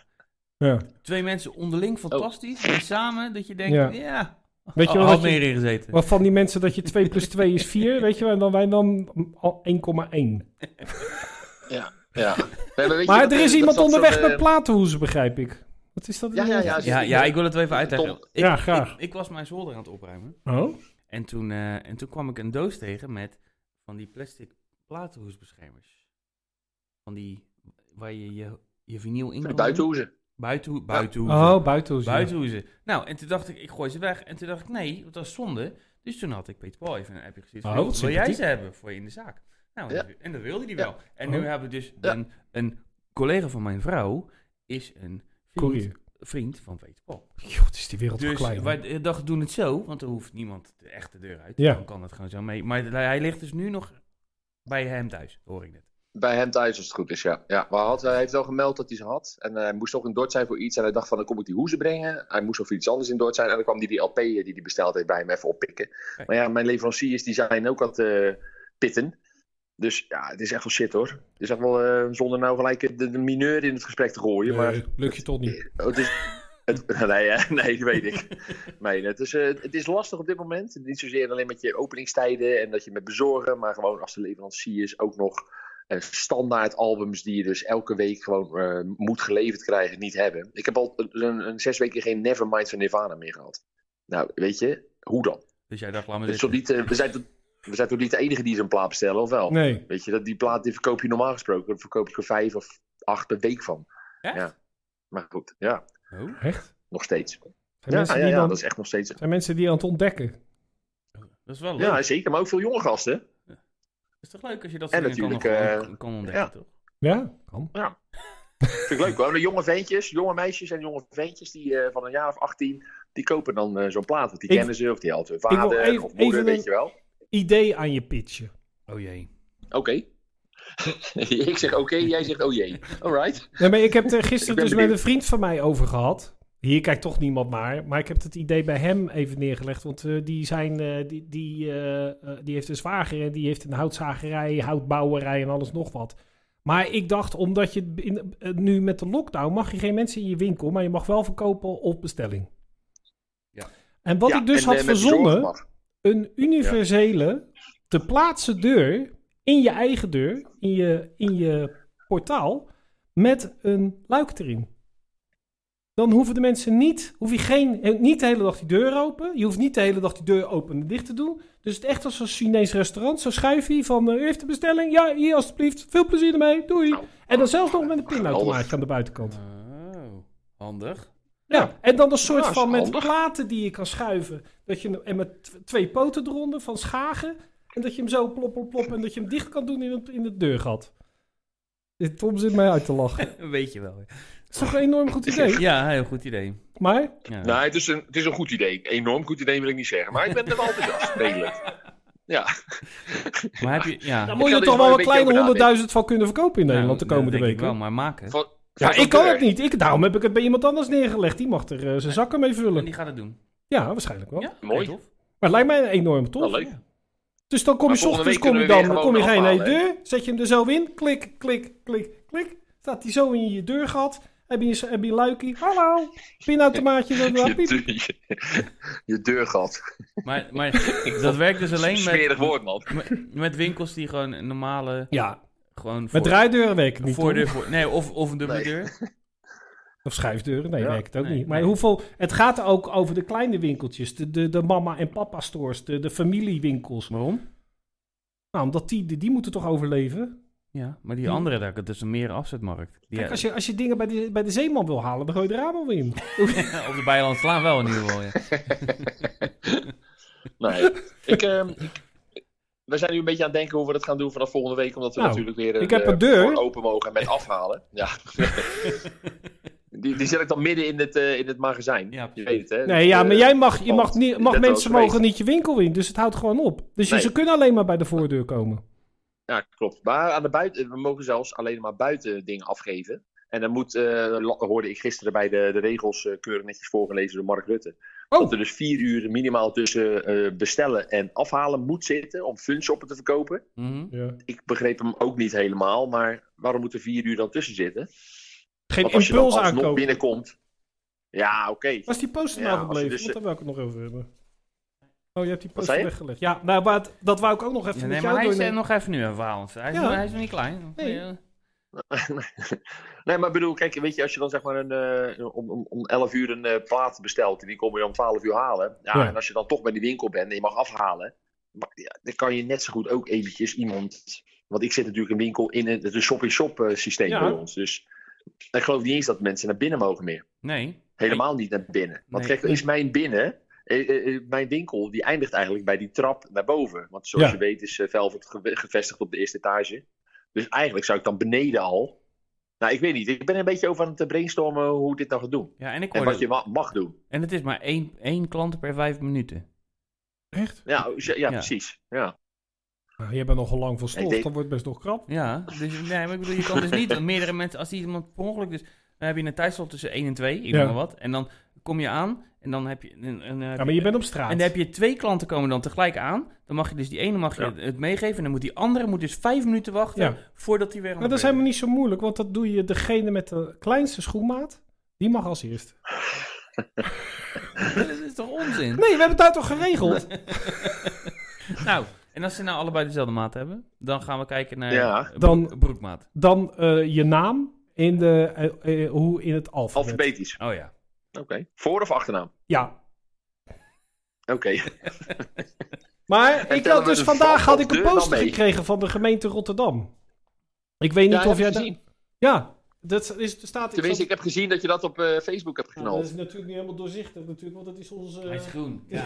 [SPEAKER 1] ja.
[SPEAKER 2] Twee mensen onderling
[SPEAKER 6] Oh.
[SPEAKER 2] fantastisch. En samen dat je denkt,
[SPEAKER 1] Ja.
[SPEAKER 2] ja,
[SPEAKER 1] Weet je
[SPEAKER 2] al,
[SPEAKER 1] wel
[SPEAKER 2] had
[SPEAKER 1] dat je,
[SPEAKER 2] meer ingezeten.
[SPEAKER 1] maar van die mensen dat je 2 plus 2 is 4, weet je wel, en dan wij dan al 1,1.
[SPEAKER 6] Ja. Nee, maar weet je
[SPEAKER 1] Maar
[SPEAKER 6] wat,
[SPEAKER 1] er
[SPEAKER 6] eh,
[SPEAKER 1] is
[SPEAKER 6] dat-
[SPEAKER 1] iemand
[SPEAKER 6] dat soort,
[SPEAKER 1] onderweg met
[SPEAKER 6] eh,
[SPEAKER 1] platenhoezen, begrijp ik. Wat is dat?
[SPEAKER 6] Ja, ja, ja.
[SPEAKER 2] Ja, ja, ik wil het wel even uitleggen.
[SPEAKER 6] Tom.
[SPEAKER 2] Ik,
[SPEAKER 1] Ja, graag.
[SPEAKER 2] Ik, ik was mijn zolder aan het opruimen.
[SPEAKER 1] Oh?
[SPEAKER 2] En toen, eh, en toen kwam ik een doos tegen met van die plastic platenhoesbeschermers. Van die, waar je je, je vinyl in kan doen.
[SPEAKER 6] Buitenhoezen.
[SPEAKER 2] Buitenhoe- buitenhoezen.
[SPEAKER 1] Oh, buitenhoezen.
[SPEAKER 2] Buitenhoezen. Nou, en toen dacht ik, ik gooi ze weg. En toen dacht ik, nee, dat is zonde. Dus toen had ik Peter Paul even een appje gezien.
[SPEAKER 1] Oh,
[SPEAKER 2] Oh,
[SPEAKER 1] wat
[SPEAKER 2] wil jij
[SPEAKER 1] sympathiek.
[SPEAKER 2] ze hebben voor je in de zaak? Nou,
[SPEAKER 6] Ja.
[SPEAKER 2] en dat wilde hij
[SPEAKER 6] Ja.
[SPEAKER 2] wel. En
[SPEAKER 1] Oh.
[SPEAKER 2] nu hebben we dus
[SPEAKER 6] Ja.
[SPEAKER 2] een, een collega van mijn vrouw is een vriend,
[SPEAKER 1] Courier.
[SPEAKER 2] vriend van Peter Paul.
[SPEAKER 1] Joh, het is die wereld
[SPEAKER 2] Dus
[SPEAKER 1] dus, klein.
[SPEAKER 2] wij eh, dachten, doen het zo, want er hoeft niemand de echte deur uit.
[SPEAKER 1] Ja.
[SPEAKER 2] Dan kan het gewoon zo mee. Maar hij ligt dus nu nog bij hem thuis, hoor ik net.
[SPEAKER 6] Bij hem thuis, als het goed is, ja. ja maar hij had, hij heeft wel gemeld dat hij ze had. En eh, hij moest nog in Dordt zijn voor iets. En hij dacht van, dan kom ik die hoezen brengen. Hij moest nog voor iets anders in Dordt zijn. En dan kwam hij die LP die hij besteld heeft bij hem even oppikken.
[SPEAKER 2] Kijk.
[SPEAKER 6] Maar ja, mijn leveranciers die zijn ook aan het eh, pitten. Dus ja, het is echt wel shit hoor. Het is echt wel, eh, zonder nou gelijk de, de mineur in het gesprek te gooien. maar
[SPEAKER 1] lukt je toch niet.
[SPEAKER 6] Oh, het is, het, nee, eh, nee, dat weet ik. Nee, het, is, eh, het is lastig op dit moment. Niet zozeer alleen met je openingstijden en dat je met bezorgen, maar gewoon als de leveranciers ook nog eh, standaard albums die je dus elke week gewoon eh, moet geleverd krijgen, niet hebben. Ik heb al een, een zes weken geen Nevermind van Nirvana meer gehad. Nou, weet je, hoe dan?
[SPEAKER 2] Dus jij dacht, laat me
[SPEAKER 6] Het is toch
[SPEAKER 2] zitten.
[SPEAKER 6] niet, eh, we, zijn toch, we zijn toch niet de enige die zo'n plaat bestellen, of wel?
[SPEAKER 1] Nee.
[SPEAKER 6] Weet je, dat, die plaat die verkoop je normaal gesproken. Daar verkoop ik er vijf of acht per week van.
[SPEAKER 2] Echt?
[SPEAKER 6] Ja. Maar goed, ja,
[SPEAKER 2] Oh.
[SPEAKER 1] Echt?
[SPEAKER 6] nog steeds.
[SPEAKER 1] Zijn,
[SPEAKER 6] ja,
[SPEAKER 1] mensen,
[SPEAKER 6] ja, ja,
[SPEAKER 1] die dan,
[SPEAKER 6] dat is echt nog steeds.
[SPEAKER 1] zijn mensen die aan het ontdekken.
[SPEAKER 2] Dat is wel leuk.
[SPEAKER 6] Ja, zeker, maar ook veel jonge gasten.
[SPEAKER 2] Het is toch leuk als je dat
[SPEAKER 6] En
[SPEAKER 2] soort dingen kan,
[SPEAKER 6] natuurlijk,
[SPEAKER 2] nog-
[SPEAKER 6] eh,
[SPEAKER 2] kan ontdekken,
[SPEAKER 6] ja.
[SPEAKER 2] toch?
[SPEAKER 1] Ja, kan.
[SPEAKER 6] Vind ik leuk hoor. De jonge ventjes, jonge meisjes en jonge ventjes die eh, van een jaar of 18, die kopen dan eh, zo'n plaat. Want die
[SPEAKER 1] Ik-
[SPEAKER 6] kennen ze of die helpt hun
[SPEAKER 1] wil
[SPEAKER 6] vader
[SPEAKER 1] even-
[SPEAKER 6] of moeder,
[SPEAKER 1] even
[SPEAKER 6] weet
[SPEAKER 1] een-
[SPEAKER 6] je wel.
[SPEAKER 1] Idee aan je pitchen.
[SPEAKER 2] Oh jee.
[SPEAKER 6] Oké. ik zeg oké, jij zegt oh jee. Alright.
[SPEAKER 1] Nee, maar ik heb het er
[SPEAKER 6] Ik
[SPEAKER 1] gisteren
[SPEAKER 6] ben
[SPEAKER 1] dus met
[SPEAKER 6] benieuwd.
[SPEAKER 1] een vriend van mij over gehad. Hier kijkt toch niemand naar. Maar ik heb het idee bij hem even neergelegd. Want eh, die, zijn, eh, die, die, eh, eh, die heeft een zwager en die heeft een houtzagerij, houtbouwerij en alles nog wat. Maar ik dacht, omdat je in- eh, nu met de lockdown mag je geen mensen in je winkel, maar je mag wel verkopen op bestelling.
[SPEAKER 2] Ja.
[SPEAKER 1] En wat
[SPEAKER 6] Ja,
[SPEAKER 1] ik dus
[SPEAKER 6] en,
[SPEAKER 1] had
[SPEAKER 6] eh, met
[SPEAKER 1] verzonnen,
[SPEAKER 6] bezorgd mag.
[SPEAKER 1] een universele te plaatsen deur in je eigen deur, in je, in je portaal, met een luik erin. Dan hoeven de mensen niet, hoef je geen, eh, niet de hele dag die deur open. Je hoeft niet de hele dag die deur open en dicht te doen. Dus het echt als een Chinees restaurant. Zo schuif je van, eh, u heeft de bestelling? Ja, hier alstublieft. Veel plezier ermee. Doei.
[SPEAKER 6] Nou,
[SPEAKER 1] En dan zelfs nog met een pinautomaat
[SPEAKER 6] geweldig.
[SPEAKER 1] aan de buitenkant.
[SPEAKER 2] Oh, handig.
[SPEAKER 1] Ja, en dan een soort
[SPEAKER 6] Ja, is
[SPEAKER 1] van met
[SPEAKER 6] handig.
[SPEAKER 1] platen die je kan schuiven. Dat je, hem- en met tw- twee poten eronder van schagen. En dat je hem zo plop, plop, plop. En dat je hem dicht kan doen in het, in het deurgat. Dit- Tom zit mij uit te lachen.
[SPEAKER 2] Weet je wel.
[SPEAKER 1] Het is toch een enorm goed idee?
[SPEAKER 2] Ja, heel goed idee.
[SPEAKER 1] Maar,
[SPEAKER 2] Ja.
[SPEAKER 6] Nou, het is, een, het is een goed idee. Enorm goed idee wil ik niet zeggen, maar ik ben er wel enthousiast, redelijk. Ja.
[SPEAKER 2] Maar heb je... Ja,
[SPEAKER 1] daar
[SPEAKER 6] ik
[SPEAKER 1] moet
[SPEAKER 6] ga
[SPEAKER 1] je
[SPEAKER 6] er
[SPEAKER 1] toch wel
[SPEAKER 6] eens dus
[SPEAKER 1] een
[SPEAKER 6] maar
[SPEAKER 1] kleine
[SPEAKER 6] een beetje over
[SPEAKER 1] honderdduizend van kunnen verkopen in
[SPEAKER 2] Nou,
[SPEAKER 1] Nederland de
[SPEAKER 2] dat
[SPEAKER 1] komende
[SPEAKER 2] denk ik
[SPEAKER 1] weken.
[SPEAKER 2] wel, maar maken.
[SPEAKER 6] Van-
[SPEAKER 1] ja,
[SPEAKER 6] van zo'n
[SPEAKER 1] ik kan
[SPEAKER 6] deur.
[SPEAKER 1] het niet. Ik, daarom heb ik het bij iemand anders neergelegd. Die mag er eh, zijn zakken mee
[SPEAKER 2] En
[SPEAKER 1] vullen.
[SPEAKER 2] die gaat het doen.
[SPEAKER 1] Ja, waarschijnlijk wel.
[SPEAKER 2] Ja,
[SPEAKER 6] Mooi.
[SPEAKER 2] tof.
[SPEAKER 1] Maar het lijkt mij enorm tof.
[SPEAKER 6] Wel leuk.
[SPEAKER 1] Dus dan kom
[SPEAKER 6] Maar
[SPEAKER 1] je 's ochtends
[SPEAKER 6] volgende
[SPEAKER 1] kom je
[SPEAKER 6] week kunnen
[SPEAKER 1] dan,
[SPEAKER 6] we
[SPEAKER 1] dan
[SPEAKER 6] weer
[SPEAKER 1] kom je
[SPEAKER 6] gewoon
[SPEAKER 1] geen hele
[SPEAKER 6] afhalen,
[SPEAKER 1] deur, zet je hem er zo in, klik, klik, klik, klik, staat hij zo in je deurgat, heb je, een s- heb je een luikie, hallo, pinautomaatje, zo,
[SPEAKER 6] Je,
[SPEAKER 1] zo, piep.
[SPEAKER 6] deur- je, je deurgat.
[SPEAKER 2] Maar, maar dat werkt dus alleen
[SPEAKER 6] Smerig
[SPEAKER 2] met,
[SPEAKER 6] woord, man.
[SPEAKER 2] met, met winkels die gewoon een normale...
[SPEAKER 1] Ja,
[SPEAKER 2] Gewoon voor,
[SPEAKER 1] met draaideuren werkt het niet,
[SPEAKER 2] voordeur
[SPEAKER 1] hoor.
[SPEAKER 2] voor- nee, of, of een dubbele
[SPEAKER 6] Nee.
[SPEAKER 2] deur.
[SPEAKER 1] of schuifdeuren, nee,
[SPEAKER 6] Ja,
[SPEAKER 1] werkt het ook
[SPEAKER 2] nee,
[SPEAKER 1] niet. Maar
[SPEAKER 2] nee.
[SPEAKER 1] hoeveel, het gaat er ook over de kleine winkeltjes, de, de, de mama- en papa-stores, de, de familiewinkels.
[SPEAKER 2] Waarom?
[SPEAKER 1] Nou, omdat die, die, die moeten toch overleven?
[SPEAKER 2] Ja, maar die
[SPEAKER 1] Die-
[SPEAKER 2] andere, daar- dat is een meer afzetmarkt. Die,
[SPEAKER 1] Kijk, als je, als je dingen bij de, bij de zeeman wil halen, dan gooi je de raam al in.
[SPEAKER 2] op de Bijland slaan wel in ieder geval, ja.
[SPEAKER 6] Nee. Ik, ehm, ik- we zijn nu een beetje aan het denken hoe we dat gaan doen vanaf volgende week. Omdat we
[SPEAKER 1] Nou,
[SPEAKER 6] natuurlijk weer
[SPEAKER 1] ik heb
[SPEAKER 6] eh,
[SPEAKER 1] een deur.
[SPEAKER 6] voor open mogen met afhalen. Ja. die, die zet ik dan midden in het, eh, in het magazijn.
[SPEAKER 2] Ja,
[SPEAKER 6] je
[SPEAKER 2] precies.
[SPEAKER 6] weet het, hè? Dus,
[SPEAKER 1] Nee, ja, maar jij mag, je mag, niet, mag
[SPEAKER 6] Eh, net
[SPEAKER 1] mensen
[SPEAKER 6] wel
[SPEAKER 1] mogen
[SPEAKER 6] geweest.
[SPEAKER 1] niet je winkel in, dus het houdt gewoon op. Dus je-
[SPEAKER 6] Nee.
[SPEAKER 1] ze kunnen alleen maar bij de voordeur komen.
[SPEAKER 6] Ja, klopt. Maar aan de buiten, we mogen zelfs alleen maar buiten dingen afgeven. En dan moet, eh, la- hoorde ik gisteren bij de, de regels eh, keurig netjes voorgelezen door Mark Rutte.
[SPEAKER 1] Oh.
[SPEAKER 6] Dat er dus vier uur minimaal tussen eh, bestellen en afhalen moet zitten om funshoppen te verkopen.
[SPEAKER 2] Mhm.
[SPEAKER 6] ik begreep hem ook niet helemaal, maar waarom moet er vier uur dan tussen zitten?
[SPEAKER 1] Geen
[SPEAKER 6] Want als je dan
[SPEAKER 1] impuls
[SPEAKER 6] alsnog
[SPEAKER 1] aankopen.
[SPEAKER 6] binnenkomt. Ja, oké.
[SPEAKER 1] Was die poster
[SPEAKER 6] Ja,
[SPEAKER 1] nou
[SPEAKER 6] als
[SPEAKER 1] gebleven?
[SPEAKER 6] je dus-
[SPEAKER 1] Want daar wil ik het nog over hebben. Oh, je hebt die
[SPEAKER 6] zei
[SPEAKER 1] poster
[SPEAKER 6] je?
[SPEAKER 1] weggelegd. Ja, nou, maar het- dat wou ik ook nog even
[SPEAKER 2] Ja,
[SPEAKER 1] met
[SPEAKER 2] nee,
[SPEAKER 1] jou
[SPEAKER 2] maar hij is
[SPEAKER 1] doornemen.
[SPEAKER 2] eh, nog even nu een verhaal. want Hij is,
[SPEAKER 1] Ja.
[SPEAKER 2] nog, hij is nog niet klein.
[SPEAKER 1] Nee.
[SPEAKER 2] Ja.
[SPEAKER 6] nee, maar ik bedoel, kijk, weet je, als je dan zeg maar een, eh, om, om, om 11 uur een eh, plaat bestelt, en die kom je om 12 uur halen. Ja,
[SPEAKER 1] Ja.
[SPEAKER 6] En als je dan toch bij die winkel bent en je mag afhalen, maar, ja, dan kan je net zo goed ook eventjes iemand. Want ik zit natuurlijk een winkel in het het is shop-in-shop eh, systeem
[SPEAKER 1] Ja.
[SPEAKER 6] bij ons. Dus ik geloof niet eens dat mensen naar binnen mogen meer.
[SPEAKER 2] Nee.
[SPEAKER 6] Helemaal niet naar binnen. Want
[SPEAKER 2] Nee.
[SPEAKER 6] kijk, is mijn binnen, eh, eh, eh, mijn winkel, die eindigt eigenlijk bij die trap naar boven. Want zoals
[SPEAKER 1] Ja.
[SPEAKER 6] je weet is eh, Velvet ge- gevestigd op de eerste etage. Dus eigenlijk zou ik dan beneden al. Nou, ik weet niet. Ik ben een beetje over aan het brainstormen hoe ik dit nou gaat
[SPEAKER 1] Oh,
[SPEAKER 6] doen.
[SPEAKER 2] Ja, en ik
[SPEAKER 6] En
[SPEAKER 2] hoorde...
[SPEAKER 6] wat je wa- mag doen.
[SPEAKER 2] En het is maar één, één klant per vijf minuten.
[SPEAKER 1] Echt?
[SPEAKER 6] Ja, oh, ja,
[SPEAKER 2] Ja.
[SPEAKER 6] ja, precies. Ja.
[SPEAKER 1] Nou, jij bent nogal lang van stof,
[SPEAKER 6] Ik denk-
[SPEAKER 1] dat wordt best nog krap.
[SPEAKER 2] Ja, dus, nee, maar ik bedoel, je kan dus niet meerdere mensen... Als die iemand per ongeluk... Dus, dan heb je een tijdslot tussen 1 en 2, ik noem
[SPEAKER 1] Ja.
[SPEAKER 2] maar wat. En dan kom je aan en dan heb je... En, en, eh, heb
[SPEAKER 1] Ja, maar je bent op straat.
[SPEAKER 2] en dan heb je twee klanten komen dan tegelijk aan. Dan mag je dus die ene mag je
[SPEAKER 6] Ja.
[SPEAKER 2] het meegeven. En dan moet die andere moet dus vijf minuten wachten
[SPEAKER 1] Ja.
[SPEAKER 2] voordat die weer aan
[SPEAKER 1] Maar
[SPEAKER 2] de
[SPEAKER 1] dat is
[SPEAKER 2] beurt
[SPEAKER 1] helemaal niet zo moeilijk, want dat doe je degene met de kleinste schoenmaat. Die mag als eerst.
[SPEAKER 2] is. Dat is toch onzin?
[SPEAKER 1] Nee, we hebben het daar toch geregeld?
[SPEAKER 2] Nou, En als ze nou allebei dezelfde maat hebben, dan gaan we kijken naar
[SPEAKER 6] Ja.
[SPEAKER 2] broek-
[SPEAKER 1] Dan-
[SPEAKER 2] broekmaat.
[SPEAKER 1] Dan eh, je naam in, de, eh, eh, hoe in het alfabet.
[SPEAKER 6] Alfabetisch.
[SPEAKER 2] Oh ja.
[SPEAKER 6] Oké. Voor- of achternaam?
[SPEAKER 1] Ja.
[SPEAKER 6] Oké.
[SPEAKER 1] Maar ik
[SPEAKER 6] tellen
[SPEAKER 1] had
[SPEAKER 6] we
[SPEAKER 1] dus
[SPEAKER 6] de
[SPEAKER 1] vandaag
[SPEAKER 6] val
[SPEAKER 1] had
[SPEAKER 6] of
[SPEAKER 1] ik een
[SPEAKER 6] deur dan
[SPEAKER 1] poster
[SPEAKER 6] mee?
[SPEAKER 1] gekregen van de gemeente Rotterdam. Ik weet niet
[SPEAKER 6] Ja,
[SPEAKER 1] of
[SPEAKER 6] heb
[SPEAKER 1] jij...
[SPEAKER 6] ik
[SPEAKER 1] dat-
[SPEAKER 6] gezien.
[SPEAKER 1] Ja, dat is, er staat...
[SPEAKER 6] Tenminste,
[SPEAKER 1] zat-
[SPEAKER 6] ik heb gezien dat je dat op eh, Facebook hebt
[SPEAKER 1] Ja, dat is
[SPEAKER 6] geknald.
[SPEAKER 1] natuurlijk niet helemaal doorzichtig natuurlijk, want dat is onze...
[SPEAKER 2] Hij is groen. Ja.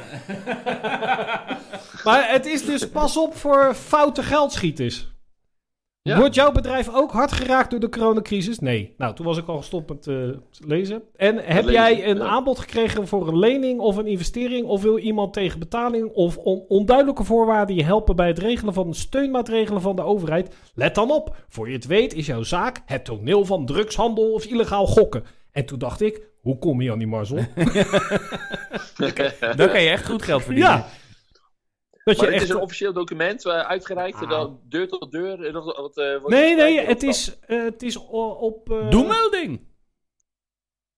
[SPEAKER 1] Maar het is dus pas op voor foute geldschieters.
[SPEAKER 6] Ja.
[SPEAKER 1] Wordt jouw bedrijf ook hard geraakt door de coronacrisis? Nee. Nou, toen was ik al gestopt met eh, lezen. En heb
[SPEAKER 6] lezen,
[SPEAKER 1] jij een
[SPEAKER 6] ja.
[SPEAKER 1] aanbod gekregen voor een lening of een investering? Of wil iemand tegen betaling of on- onduidelijke voorwaarden je helpen bij het regelen van steunmaatregelen van de overheid? Let dan op. Voor je het weet is jouw zaak het toneel van drugshandel of illegaal gokken. En toen dacht ik, hoe kom je aan die marzel?
[SPEAKER 2] Dan kan je echt goed geld verdienen.
[SPEAKER 1] ja. Dat
[SPEAKER 6] Maar
[SPEAKER 1] je
[SPEAKER 6] het
[SPEAKER 1] echt
[SPEAKER 6] is een officieel document eh, uitgereikt,
[SPEAKER 1] Ah.
[SPEAKER 6] dan deur tot deur. eh, dat- dat, eh, wordt
[SPEAKER 1] Nee, nee,
[SPEAKER 6] uitgereikt
[SPEAKER 1] het
[SPEAKER 6] door-
[SPEAKER 1] is, eh, het is o- op... eh,
[SPEAKER 2] Doemelding.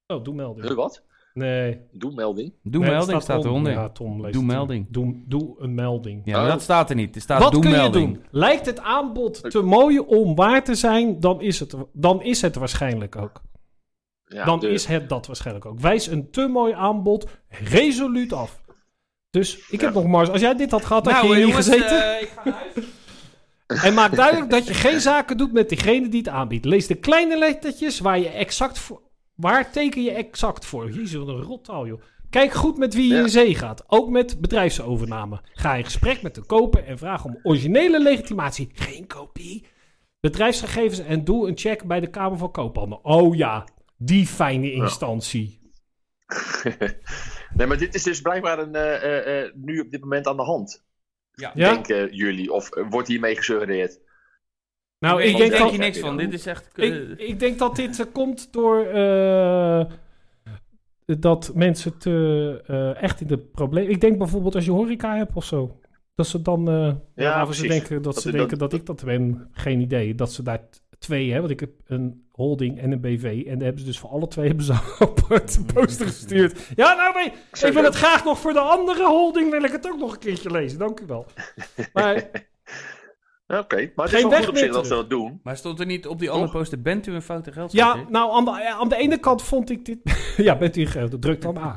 [SPEAKER 1] Oh, doe melding.
[SPEAKER 6] Huh, wat?
[SPEAKER 1] Nee.
[SPEAKER 6] Doe melding.
[SPEAKER 2] Doemelding
[SPEAKER 1] Nee, het
[SPEAKER 2] staat
[SPEAKER 1] eronder.
[SPEAKER 2] eronder.
[SPEAKER 1] Ja, Tom leest
[SPEAKER 2] Doe
[SPEAKER 1] het.
[SPEAKER 2] melding.
[SPEAKER 1] Doe, doe een melding.
[SPEAKER 2] Ja, maar
[SPEAKER 6] Oh.
[SPEAKER 2] dat staat er niet. Er staat
[SPEAKER 1] Wat
[SPEAKER 2] doemelding.
[SPEAKER 1] kun je doen? Lijkt het aanbod te mooi om waar te zijn, dan is het, dan is het waarschijnlijk ook.
[SPEAKER 6] Ja,
[SPEAKER 1] dan
[SPEAKER 6] deur.
[SPEAKER 1] is het dat waarschijnlijk ook. Wijs een te mooi aanbod resoluut af. Dus ik heb nog Mars. Als jij dit had gehad, had
[SPEAKER 2] Nou,
[SPEAKER 1] je
[SPEAKER 2] eh,
[SPEAKER 1] hier niet gezeten. En maak duidelijk dat je geen zaken doet met degene die het aanbiedt. Lees de kleine lettertjes waar je exact voor. Waar teken je exact voor? Jezus, wat een rottaal, joh. Kijk goed met wie je
[SPEAKER 6] Ja.
[SPEAKER 1] in zee gaat. Ook met bedrijfsovername. Ga in gesprek met de koper en vraag om originele legitimatie. Geen kopie. Bedrijfsgegevens en doe een check bij de Kamer van Koophandel. Oh ja, die fijne instantie.
[SPEAKER 6] nee, maar dit is dus blijkbaar een, eh, eh, eh, nu op dit moment aan de hand.
[SPEAKER 1] Ja?
[SPEAKER 6] Denken jullie, of eh, wordt hiermee gesuggereerd?
[SPEAKER 1] Nou,
[SPEAKER 2] ik
[SPEAKER 1] ik
[SPEAKER 2] denk,
[SPEAKER 1] denk dat
[SPEAKER 2] hier niks van. Dit is echt...
[SPEAKER 1] Ik, ik denk dat dit eh, komt door eh, dat mensen te, eh, echt in de problemen. Ik denk bijvoorbeeld als je horeca hebt of zo. Dat ze dan. eh ja, ze
[SPEAKER 6] precies.
[SPEAKER 1] denken dat,
[SPEAKER 6] Dat
[SPEAKER 1] ze
[SPEAKER 6] is
[SPEAKER 1] denken dat,
[SPEAKER 6] dat-
[SPEAKER 1] ik dat ben. Geen idee. Dat ze daar t- twee hebben. Want ik heb een holding en een BV. En daar hebben ze dus voor alle twee hebben ze apart een poster gestuurd. Ja, nou nee. Ik wil het graag nog voor de andere holding. Wil ik het ook nog een keertje lezen. Dank u wel. Maar
[SPEAKER 6] Oké, maar het
[SPEAKER 1] Geen
[SPEAKER 6] is wel
[SPEAKER 1] weg
[SPEAKER 6] goed op
[SPEAKER 1] meer
[SPEAKER 6] zich dat ze
[SPEAKER 1] terug.
[SPEAKER 6] dat doen.
[SPEAKER 2] Maar stond er niet op die andere
[SPEAKER 6] Toch?
[SPEAKER 2] poster... Bent u een foute geldschieter?
[SPEAKER 1] Oh. ja, nou aan de, aan de ene kant vond ik dit. ja, bent u ge- druk dan aan.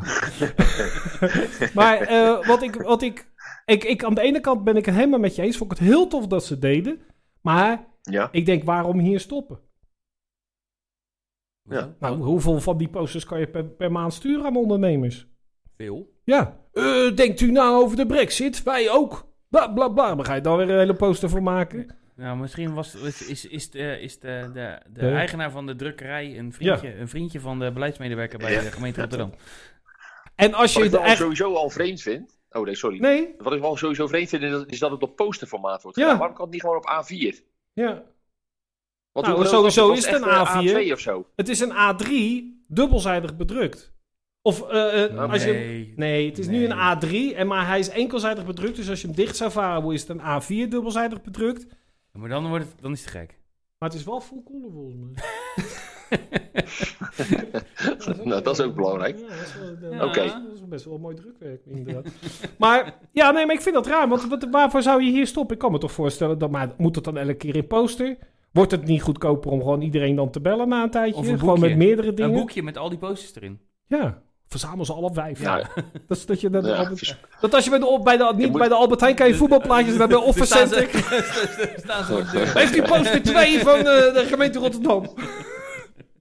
[SPEAKER 1] maar eh, wat, ik, wat ik, ik, ik. Aan de ene kant ben ik het helemaal met je eens. Vond ik het heel tof dat ze het deden. Maar
[SPEAKER 6] Ja,
[SPEAKER 1] ik denk, waarom hier stoppen?
[SPEAKER 6] Ja.
[SPEAKER 1] Nou, hoeveel van die posters kan je per, per maand sturen aan ondernemers?
[SPEAKER 2] Veel.
[SPEAKER 1] Ja. Eh, denkt u nou over de brexit? Wij ook. Bla bla bla. Maar ga je daar weer een hele poster voor maken?
[SPEAKER 2] Nou, misschien was, is, is, is, de, is de, de, de
[SPEAKER 1] Ja.
[SPEAKER 2] eigenaar van de drukkerij een vriendje, een vriendje van de beleidsmedewerker bij de gemeente Rotterdam.
[SPEAKER 1] En als
[SPEAKER 6] wat
[SPEAKER 1] je
[SPEAKER 6] ik wel
[SPEAKER 1] echt.
[SPEAKER 6] sowieso al vreemd vind... Oh nee, sorry.
[SPEAKER 1] Nee?
[SPEAKER 6] Wat ik wel sowieso vreemd vind, is dat- is dat het op posterformaat wordt
[SPEAKER 1] Ja.
[SPEAKER 6] gedaan. Waarom kan het niet gewoon op A4?
[SPEAKER 1] Ja.
[SPEAKER 6] Want
[SPEAKER 1] Nou,
[SPEAKER 6] hoe groot
[SPEAKER 1] sowieso
[SPEAKER 6] was
[SPEAKER 1] is het
[SPEAKER 6] echt,
[SPEAKER 1] een
[SPEAKER 6] eh,
[SPEAKER 1] A4.
[SPEAKER 6] A2 of zo.
[SPEAKER 1] Het is een A3 dubbelzijdig bedrukt. Of eh, eh, als je.
[SPEAKER 2] Oh, Nee.
[SPEAKER 1] Nee, het is nu
[SPEAKER 2] Nee.
[SPEAKER 1] een A3, en maar hij is enkelzijdig bedrukt. Dus als je hem dicht zou varen, is het een A4 dubbelzijdig bedrukt.
[SPEAKER 2] Maar dan, wordt het, dan is het gek.
[SPEAKER 1] Maar het is wel full color volgens mij.
[SPEAKER 6] Nou, dat is ook belangrijk.
[SPEAKER 1] Ja, dat is wel-
[SPEAKER 2] Ja.
[SPEAKER 6] Oké.
[SPEAKER 1] Dat is best wel mooi drukwerk, inderdaad. maar ja, nee, maar ik vind dat raar. Want wat- waarvoor zou je hier stoppen? Ik kan me toch voorstellen, dat, maar moet het dan elke keer in poster? Wordt het niet goedkoper om gewoon iedereen dan te bellen na een tijdje?
[SPEAKER 2] Of een
[SPEAKER 1] gewoon met
[SPEAKER 2] boekje.
[SPEAKER 1] meerdere
[SPEAKER 2] Een
[SPEAKER 1] dingen?
[SPEAKER 2] boekje met al die posters erin.
[SPEAKER 1] Ja, verzamel ze alle vijf.
[SPEAKER 6] Ja,
[SPEAKER 1] Dat, is dat, je dat,
[SPEAKER 6] Ja,
[SPEAKER 1] Albert-
[SPEAKER 6] vers-
[SPEAKER 1] dat als je bij de, op- bij de, niet
[SPEAKER 6] moet-
[SPEAKER 1] bij de Albert Heijn kan je voetbalplaatjes naar de
[SPEAKER 2] Er
[SPEAKER 1] Office
[SPEAKER 2] staan ze-
[SPEAKER 1] Center.
[SPEAKER 2] er staan ze voor de deur.
[SPEAKER 1] Heeft u poster 2 van eh, de gemeente Rotterdam?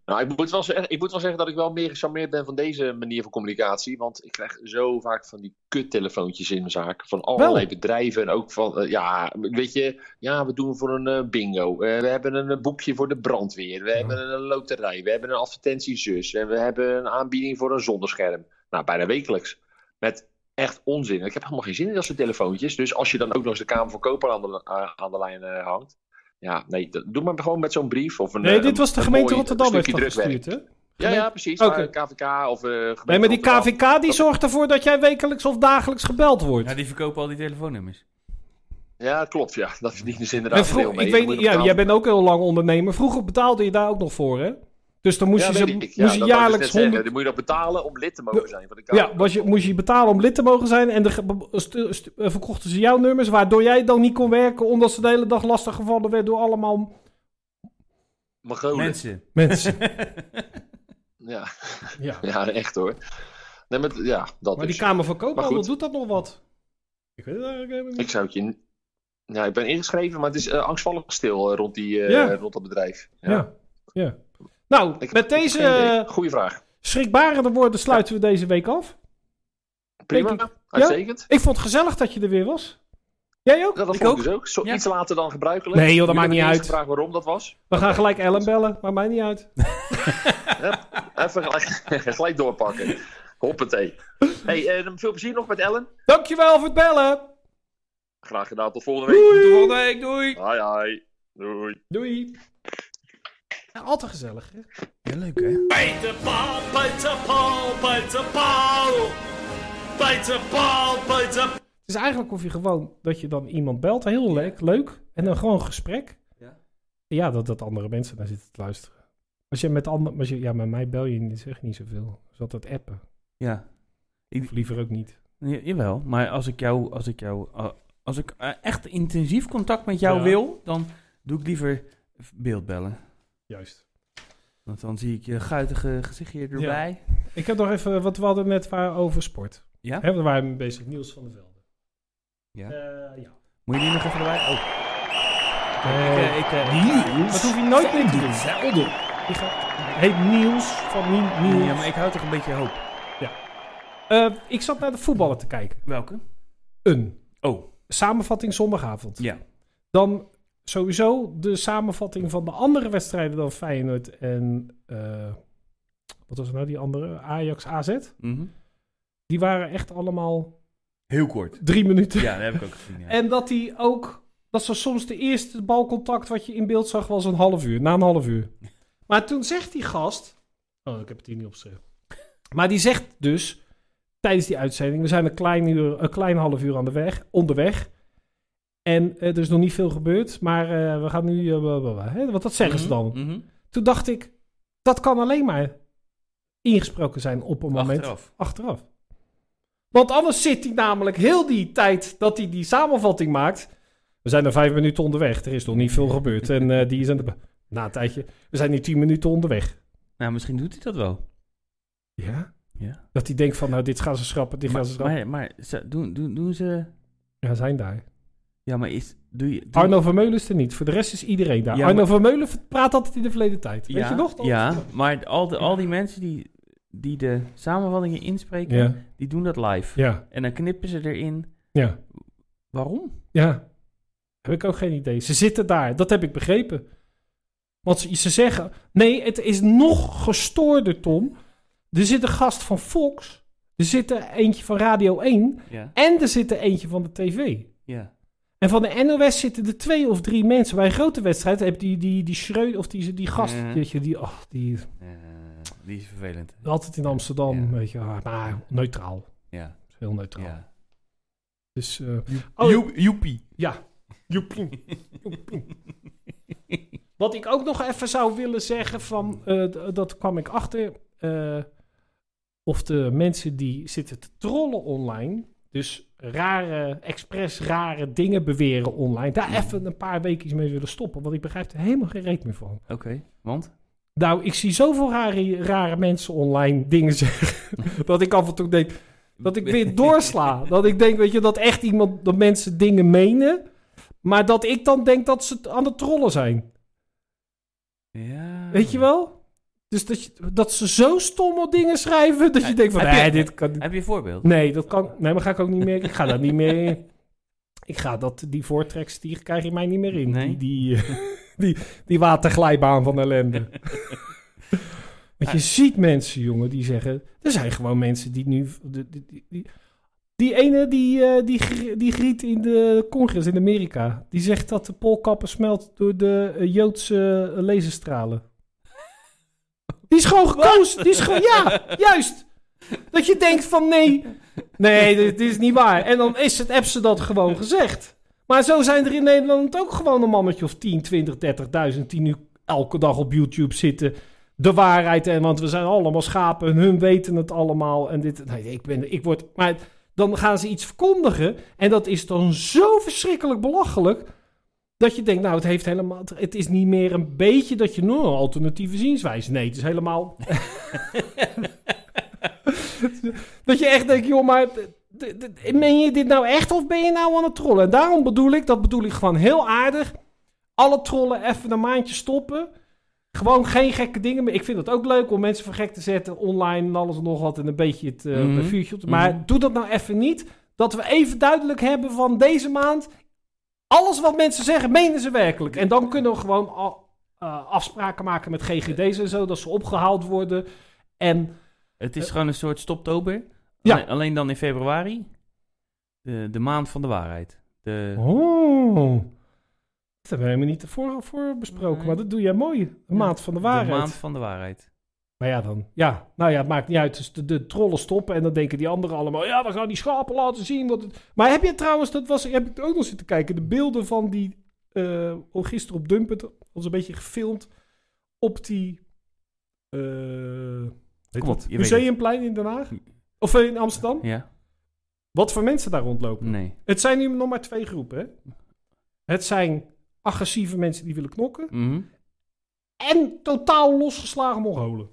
[SPEAKER 6] Nou, ik moet, wel zeggen, ik moet wel zeggen dat ik wel meer gecharmeerd ben van deze manier van communicatie. Want ik krijg zo vaak van die kuttelefoontjes in mijn zaak. Van allerlei
[SPEAKER 1] Wel?
[SPEAKER 6] bedrijven. En ook van, eh, ja, weet je, ja, we doen voor een eh, bingo. Eh, we hebben een eh, boekje voor de brandweer. We hebben een eh, loterij. We hebben een advertentiezus. En we hebben een aanbieding voor een zonnescherm. Nou, bijna wekelijks. Met echt onzin. Ik heb helemaal geen zin in dat soort telefoontjes. Dus als je dan ook nog eens de Kamer van Koper aan de, eh, aan de lijn eh, hangt. Ja, nee, dat- doe maar gewoon met zo'n brief. Of een,
[SPEAKER 1] Nee,
[SPEAKER 6] eh,
[SPEAKER 1] dit
[SPEAKER 6] een-
[SPEAKER 1] was de
[SPEAKER 6] een
[SPEAKER 1] gemeente
[SPEAKER 6] mooi
[SPEAKER 1] Rotterdam heeft
[SPEAKER 6] stukje
[SPEAKER 1] dat
[SPEAKER 6] drukwerk.
[SPEAKER 1] gestuurd, hè?
[SPEAKER 6] Ja, ja, precies.
[SPEAKER 1] Oké.
[SPEAKER 6] Maar KVK of... eh, gemeente
[SPEAKER 1] Nee, maar die
[SPEAKER 6] Rotterdam.
[SPEAKER 1] KVK die zorgt ervoor dat jij wekelijks of dagelijks gebeld wordt.
[SPEAKER 2] Ja, die verkopen al die telefoonnummers.
[SPEAKER 6] Ja, klopt, ja. Dat verdienen ze
[SPEAKER 1] En
[SPEAKER 6] inderdaad
[SPEAKER 1] vroeg-
[SPEAKER 6] veel mee.
[SPEAKER 1] ik
[SPEAKER 6] Dan
[SPEAKER 1] weet
[SPEAKER 6] moet
[SPEAKER 1] niet,
[SPEAKER 6] je nog
[SPEAKER 1] ja, jij
[SPEAKER 6] betaald-
[SPEAKER 1] bent ook heel lang ondernemer. Vroeger betaalde je daar ook nog voor, hè? Dus dan moest
[SPEAKER 6] Ja,
[SPEAKER 1] je, ze,
[SPEAKER 6] weet ik. Ja,
[SPEAKER 1] moest je
[SPEAKER 6] dat wou ik dus net
[SPEAKER 1] jaarlijks
[SPEAKER 6] zeggen.
[SPEAKER 1] 100...
[SPEAKER 6] Dan moet je dat betalen om lid te mogen zijn van de Kamer.
[SPEAKER 1] Ja, was je, moest je betalen om lid te mogen zijn en de, ge- be- stu- stu- eh, verkochten ze jouw nummers, waardoor jij dan niet kon werken, omdat ze de hele dag lastig gevallen werd door allemaal
[SPEAKER 6] Mongolen.
[SPEAKER 2] Mensen.
[SPEAKER 1] mensen.
[SPEAKER 6] Ja.
[SPEAKER 1] ja.
[SPEAKER 6] ja, echt hoor. Nee, maar, ja, dat
[SPEAKER 1] Maar
[SPEAKER 6] dus.
[SPEAKER 1] die Kamer van
[SPEAKER 6] Maar
[SPEAKER 1] Koophandel
[SPEAKER 6] goed.
[SPEAKER 1] doet dat nog wat? Ik weet het eigenlijk helemaal niet.
[SPEAKER 6] Ik zou het je... Nou, ik ben ingeschreven, maar het is eh, angstvallig stil eh, rond, die, eh,
[SPEAKER 1] Ja.
[SPEAKER 6] rond dat bedrijf.
[SPEAKER 1] Ja. ja. Nou,
[SPEAKER 6] Ik-
[SPEAKER 1] met deze
[SPEAKER 6] Geen idee.
[SPEAKER 1] eh,
[SPEAKER 6] Goeie vraag.
[SPEAKER 1] schrikbarende woorden sluiten we deze week af.
[SPEAKER 6] Prima,
[SPEAKER 1] denk
[SPEAKER 6] uitstekend.
[SPEAKER 1] Ik vond het gezellig dat je er weer was. Jij ook?
[SPEAKER 6] Ja, dat
[SPEAKER 2] Ik
[SPEAKER 6] vond ik
[SPEAKER 2] ook.
[SPEAKER 6] dus ook. Zo,
[SPEAKER 2] Ja.
[SPEAKER 6] Iets later dan gebruikelijk.
[SPEAKER 1] Nee joh, dat
[SPEAKER 6] Nu
[SPEAKER 1] maakt
[SPEAKER 6] heb
[SPEAKER 1] niet
[SPEAKER 6] ik
[SPEAKER 1] uit.
[SPEAKER 6] gevraagd waarom dat was.
[SPEAKER 1] We gaan gelijk Ellen bellen, maakt mij niet uit.
[SPEAKER 6] Even gelijk, gelijk doorpakken. Hoppatee. Hey, eh, veel plezier nog met Ellen.
[SPEAKER 1] Dankjewel voor het bellen.
[SPEAKER 6] Graag gedaan, tot volgende week.
[SPEAKER 2] Tot volgende week, doei!
[SPEAKER 6] Hoi, hoi. Doei.
[SPEAKER 1] Doei. Ja, altijd gezellig. hè?
[SPEAKER 4] Ja, leuk hè?
[SPEAKER 5] Buiten Paul, buiten Paul, buiten Paul. Buiten Paul, buiten
[SPEAKER 1] Dus eigenlijk hoef je gewoon dat je dan iemand belt, heel leuk, leuk en dan gewoon een gesprek.
[SPEAKER 2] Ja.
[SPEAKER 1] Ja, dat, dat andere mensen naar zitten te luisteren. Als je met ander, als je, ja, met mij bel je niet, zeg je niet zoveel. Dus altijd appen.
[SPEAKER 2] Ja,
[SPEAKER 1] Of liever ook niet.
[SPEAKER 2] Ja, jawel, maar als ik jou, als ik jou, a- als ik eh, echt intensief contact met jou
[SPEAKER 1] Ja.
[SPEAKER 2] wil, dan doe ik liever beeldbellen.
[SPEAKER 1] Juist.
[SPEAKER 2] Want dan zie ik je guitige gezichtje erbij.
[SPEAKER 1] Ik heb nog even wat we hadden net waar over sport.
[SPEAKER 2] Ja?
[SPEAKER 1] Hè, we waren bezig Niels van der Velde.
[SPEAKER 2] Ja.
[SPEAKER 1] Eh, ja.
[SPEAKER 2] Moet je die nog even erbij? Oh,
[SPEAKER 1] Eh,
[SPEAKER 2] ik, eh,
[SPEAKER 1] dat hoef je nooit meer te doen. Velden. Heet Niels van Nie- Niels.
[SPEAKER 2] ja, maar ik hou toch een beetje hoop.
[SPEAKER 1] Eh, ik zat naar de voetballen te kijken.
[SPEAKER 2] Welke?
[SPEAKER 1] Een.
[SPEAKER 2] Oh,
[SPEAKER 1] Samenvatting zondagavond.
[SPEAKER 2] ja.
[SPEAKER 1] Dan sowieso de samenvatting van de andere wedstrijden dan Feyenoord en... eh, wat was nou die andere? Ajax, AZ.
[SPEAKER 2] Mhm.
[SPEAKER 1] Die waren echt allemaal
[SPEAKER 2] Heel kort.
[SPEAKER 1] drie minuten.
[SPEAKER 2] Ja, dat heb ik ook gezien. Ja.
[SPEAKER 1] En dat die ook... Dat ze soms de eerste balcontact wat je in beeld zag was een half uur. Na een half uur. Maar toen zegt die gast... Oh, ik heb het hier niet opgeschreven. Maar die zegt dus tijdens die uitzending... We zijn een klein, uur, een klein half uur aan de weg, onderweg. En eh, er is nog niet veel gebeurd. Maar eh, we gaan nu... eh, bla, bla, bla, hè? Want dat zeggen ze dan.
[SPEAKER 2] Mhm, mhm.
[SPEAKER 1] Toen dacht ik... Dat kan alleen maar ingesproken zijn op een moment
[SPEAKER 2] Achteraf.
[SPEAKER 1] achteraf. Want anders zit hij namelijk heel die tijd dat hij die samenvatting maakt. We zijn er vijf minuten onderweg. Er is nog niet veel gebeurd. En eh, die is aan de. be- Na een tijdje. We zijn nu tien minuten onderweg.
[SPEAKER 2] Nou, misschien doet hij dat wel.
[SPEAKER 1] Ja?
[SPEAKER 2] Ja.
[SPEAKER 1] Dat hij denkt van, nou, dit gaan ze schrappen, dit gaan ze
[SPEAKER 2] Maar,
[SPEAKER 1] schrappen.
[SPEAKER 2] maar, maar ze- doen, doen, doen ze...
[SPEAKER 1] Ja, zijn daar.
[SPEAKER 2] Ja, maar is... Doe je, doe-
[SPEAKER 1] Arno Vermeulen is er niet. Voor de rest is iedereen daar.
[SPEAKER 2] Ja,
[SPEAKER 1] Arno
[SPEAKER 2] maar-
[SPEAKER 1] Vermeulen praat altijd in de verleden tijd. Weet
[SPEAKER 2] ja,
[SPEAKER 1] je nog? dat?
[SPEAKER 2] Ja, maar al, de, al die mensen die, die de samenvattingen inspreken,
[SPEAKER 1] Ja.
[SPEAKER 2] die doen dat live.
[SPEAKER 1] Ja.
[SPEAKER 2] En dan knippen ze erin.
[SPEAKER 1] Ja.
[SPEAKER 2] Waarom?
[SPEAKER 1] Ja. Heb ik ook geen idee. Ze zitten daar. Dat heb ik begrepen. Want ze, ze zeggen... Nee, het is nog gestoorder, Tom. Er zit een gast van Fox. Er zit er eentje van Radio 1.
[SPEAKER 2] Ja.
[SPEAKER 1] En er zit er eentje van de tv.
[SPEAKER 2] Ja.
[SPEAKER 1] En van de NOS zitten er twee of drie mensen. Bij een grote wedstrijd heb je die, die, die Schreuder... Of die, die gast,
[SPEAKER 2] Ja.
[SPEAKER 1] weet je, die, ach, die...
[SPEAKER 2] Eh, die is vervelend.
[SPEAKER 1] Altijd in Amsterdam,
[SPEAKER 2] Ja.
[SPEAKER 1] weet je. ah, Maar neutraal.
[SPEAKER 2] Ja.
[SPEAKER 1] Heel neutraal.
[SPEAKER 2] ja.
[SPEAKER 1] Dus... eh, oh,
[SPEAKER 4] Joepie.
[SPEAKER 1] Ja. Joepie. Joepie. Wat ik ook nog even zou willen zeggen, van, eh, d- dat kwam ik achter. eh, of de mensen die zitten te trollen online, dus rare, expres rare dingen beweren online, daar even een paar weken mee willen stoppen, want ik begrijp er helemaal geen reet meer van.
[SPEAKER 2] Oké, want?
[SPEAKER 1] Nou, ik zie zoveel rare, rare mensen online dingen zeggen, dat ik af en toe denk, dat ik weer doorsla. dat ik denk, weet je, dat echt iemand, dat mensen dingen menen. Maar dat ik dan denk dat ze t- aan het trollen zijn.
[SPEAKER 2] Ja.
[SPEAKER 1] Weet je wel? Dus dat, je, dat ze zo stomme dingen schrijven dat je
[SPEAKER 2] Eh,
[SPEAKER 1] denkt van,
[SPEAKER 2] heb je-
[SPEAKER 1] nee, dit kan niet.
[SPEAKER 2] Heb je een voorbeeld?
[SPEAKER 1] Nee, dat kan, nee, maar ga ik ook niet meer. Ik ga dat niet meer. Ik ga dat, die voortreks, die krijg je mij niet meer in. Die,
[SPEAKER 2] Nee.
[SPEAKER 1] die, eh, die, die waterglijbaan van ellende. Want je ziet mensen, jongen, die zeggen... Er zijn gewoon mensen die nu... Die, die, die- die, die ene die, eh, die, gr- die griet in de congres in Amerika... die zegt dat de poolkappen smelt door de eh, Joodse eh, laserstralen. Die is gewoon gekozen. Die is gewoon, ja, juist. Dat je denkt van nee, nee, dit is niet waar. En dan is het, hebben ze dat gewoon gezegd. Maar zo zijn er in Nederland ook gewoon een mannetje of 10, 20, 30.000 die nu elke dag op YouTube zitten de waarheid. En, want we zijn allemaal schapen en hun weten het allemaal. En dit, nee, ik, ben, ik word... Maar dan gaan ze iets verkondigen en dat is dan zo verschrikkelijk belachelijk... Dat je denkt, nou, het heeft helemaal. Het is niet meer een beetje dat je nou, een alternatieve zienswijze. Nee, het is helemaal. dat je echt denkt, joh, maar. d- d- d- Meen je dit nou echt of ben je nou aan het trollen? En daarom bedoel ik, dat bedoel ik gewoon heel aardig. Alle trollen even een maandje stoppen. Gewoon geen gekke dingen meer. Ik vind het ook leuk om mensen voor gek te zetten online en alles en nog wat. En een beetje het eh,
[SPEAKER 2] Mhm.
[SPEAKER 1] vuurtje op te... Maar
[SPEAKER 2] Mhm.
[SPEAKER 1] doe dat nou even niet. Dat we even duidelijk hebben van deze maand. Alles wat mensen zeggen, menen ze werkelijk. En dan kunnen we gewoon al- eh, afspraken maken met GGD's en zo. Dat ze opgehaald worden. En
[SPEAKER 2] Het is gewoon een soort stoptober.
[SPEAKER 1] Ja.
[SPEAKER 2] Alleen, alleen dan in februari. De, de maand van de waarheid. De,
[SPEAKER 1] Oh. Dat hebben we helemaal niet voor, voor besproken,
[SPEAKER 2] Nee.
[SPEAKER 1] maar dat doe jij mooi. De maand van de waarheid.
[SPEAKER 2] De maand van de waarheid.
[SPEAKER 1] Maar ja, dan. Ja, nou ja, het maakt niet uit. Dus de, de trollen stoppen en dan denken die anderen allemaal... Ja, we gaan die schapen laten zien. Wat het... Maar heb je trouwens, dat was, heb ik ook nog zitten kijken... de beelden van die... eh oh, gisteren op Dumpet, dat was een beetje gefilmd... op die... eh, weet
[SPEAKER 2] Kom op,
[SPEAKER 1] het,
[SPEAKER 2] je weet het.
[SPEAKER 1] Museumplein in Den Haag? Of eh, in Amsterdam?
[SPEAKER 2] Ja?
[SPEAKER 1] Wat voor mensen daar rondlopen?
[SPEAKER 2] Nee.
[SPEAKER 1] Het zijn nu nog maar twee groepen. Hè? Het zijn agressieve mensen die willen knokken.
[SPEAKER 2] Mhm.
[SPEAKER 1] En totaal losgeslagen mongolen.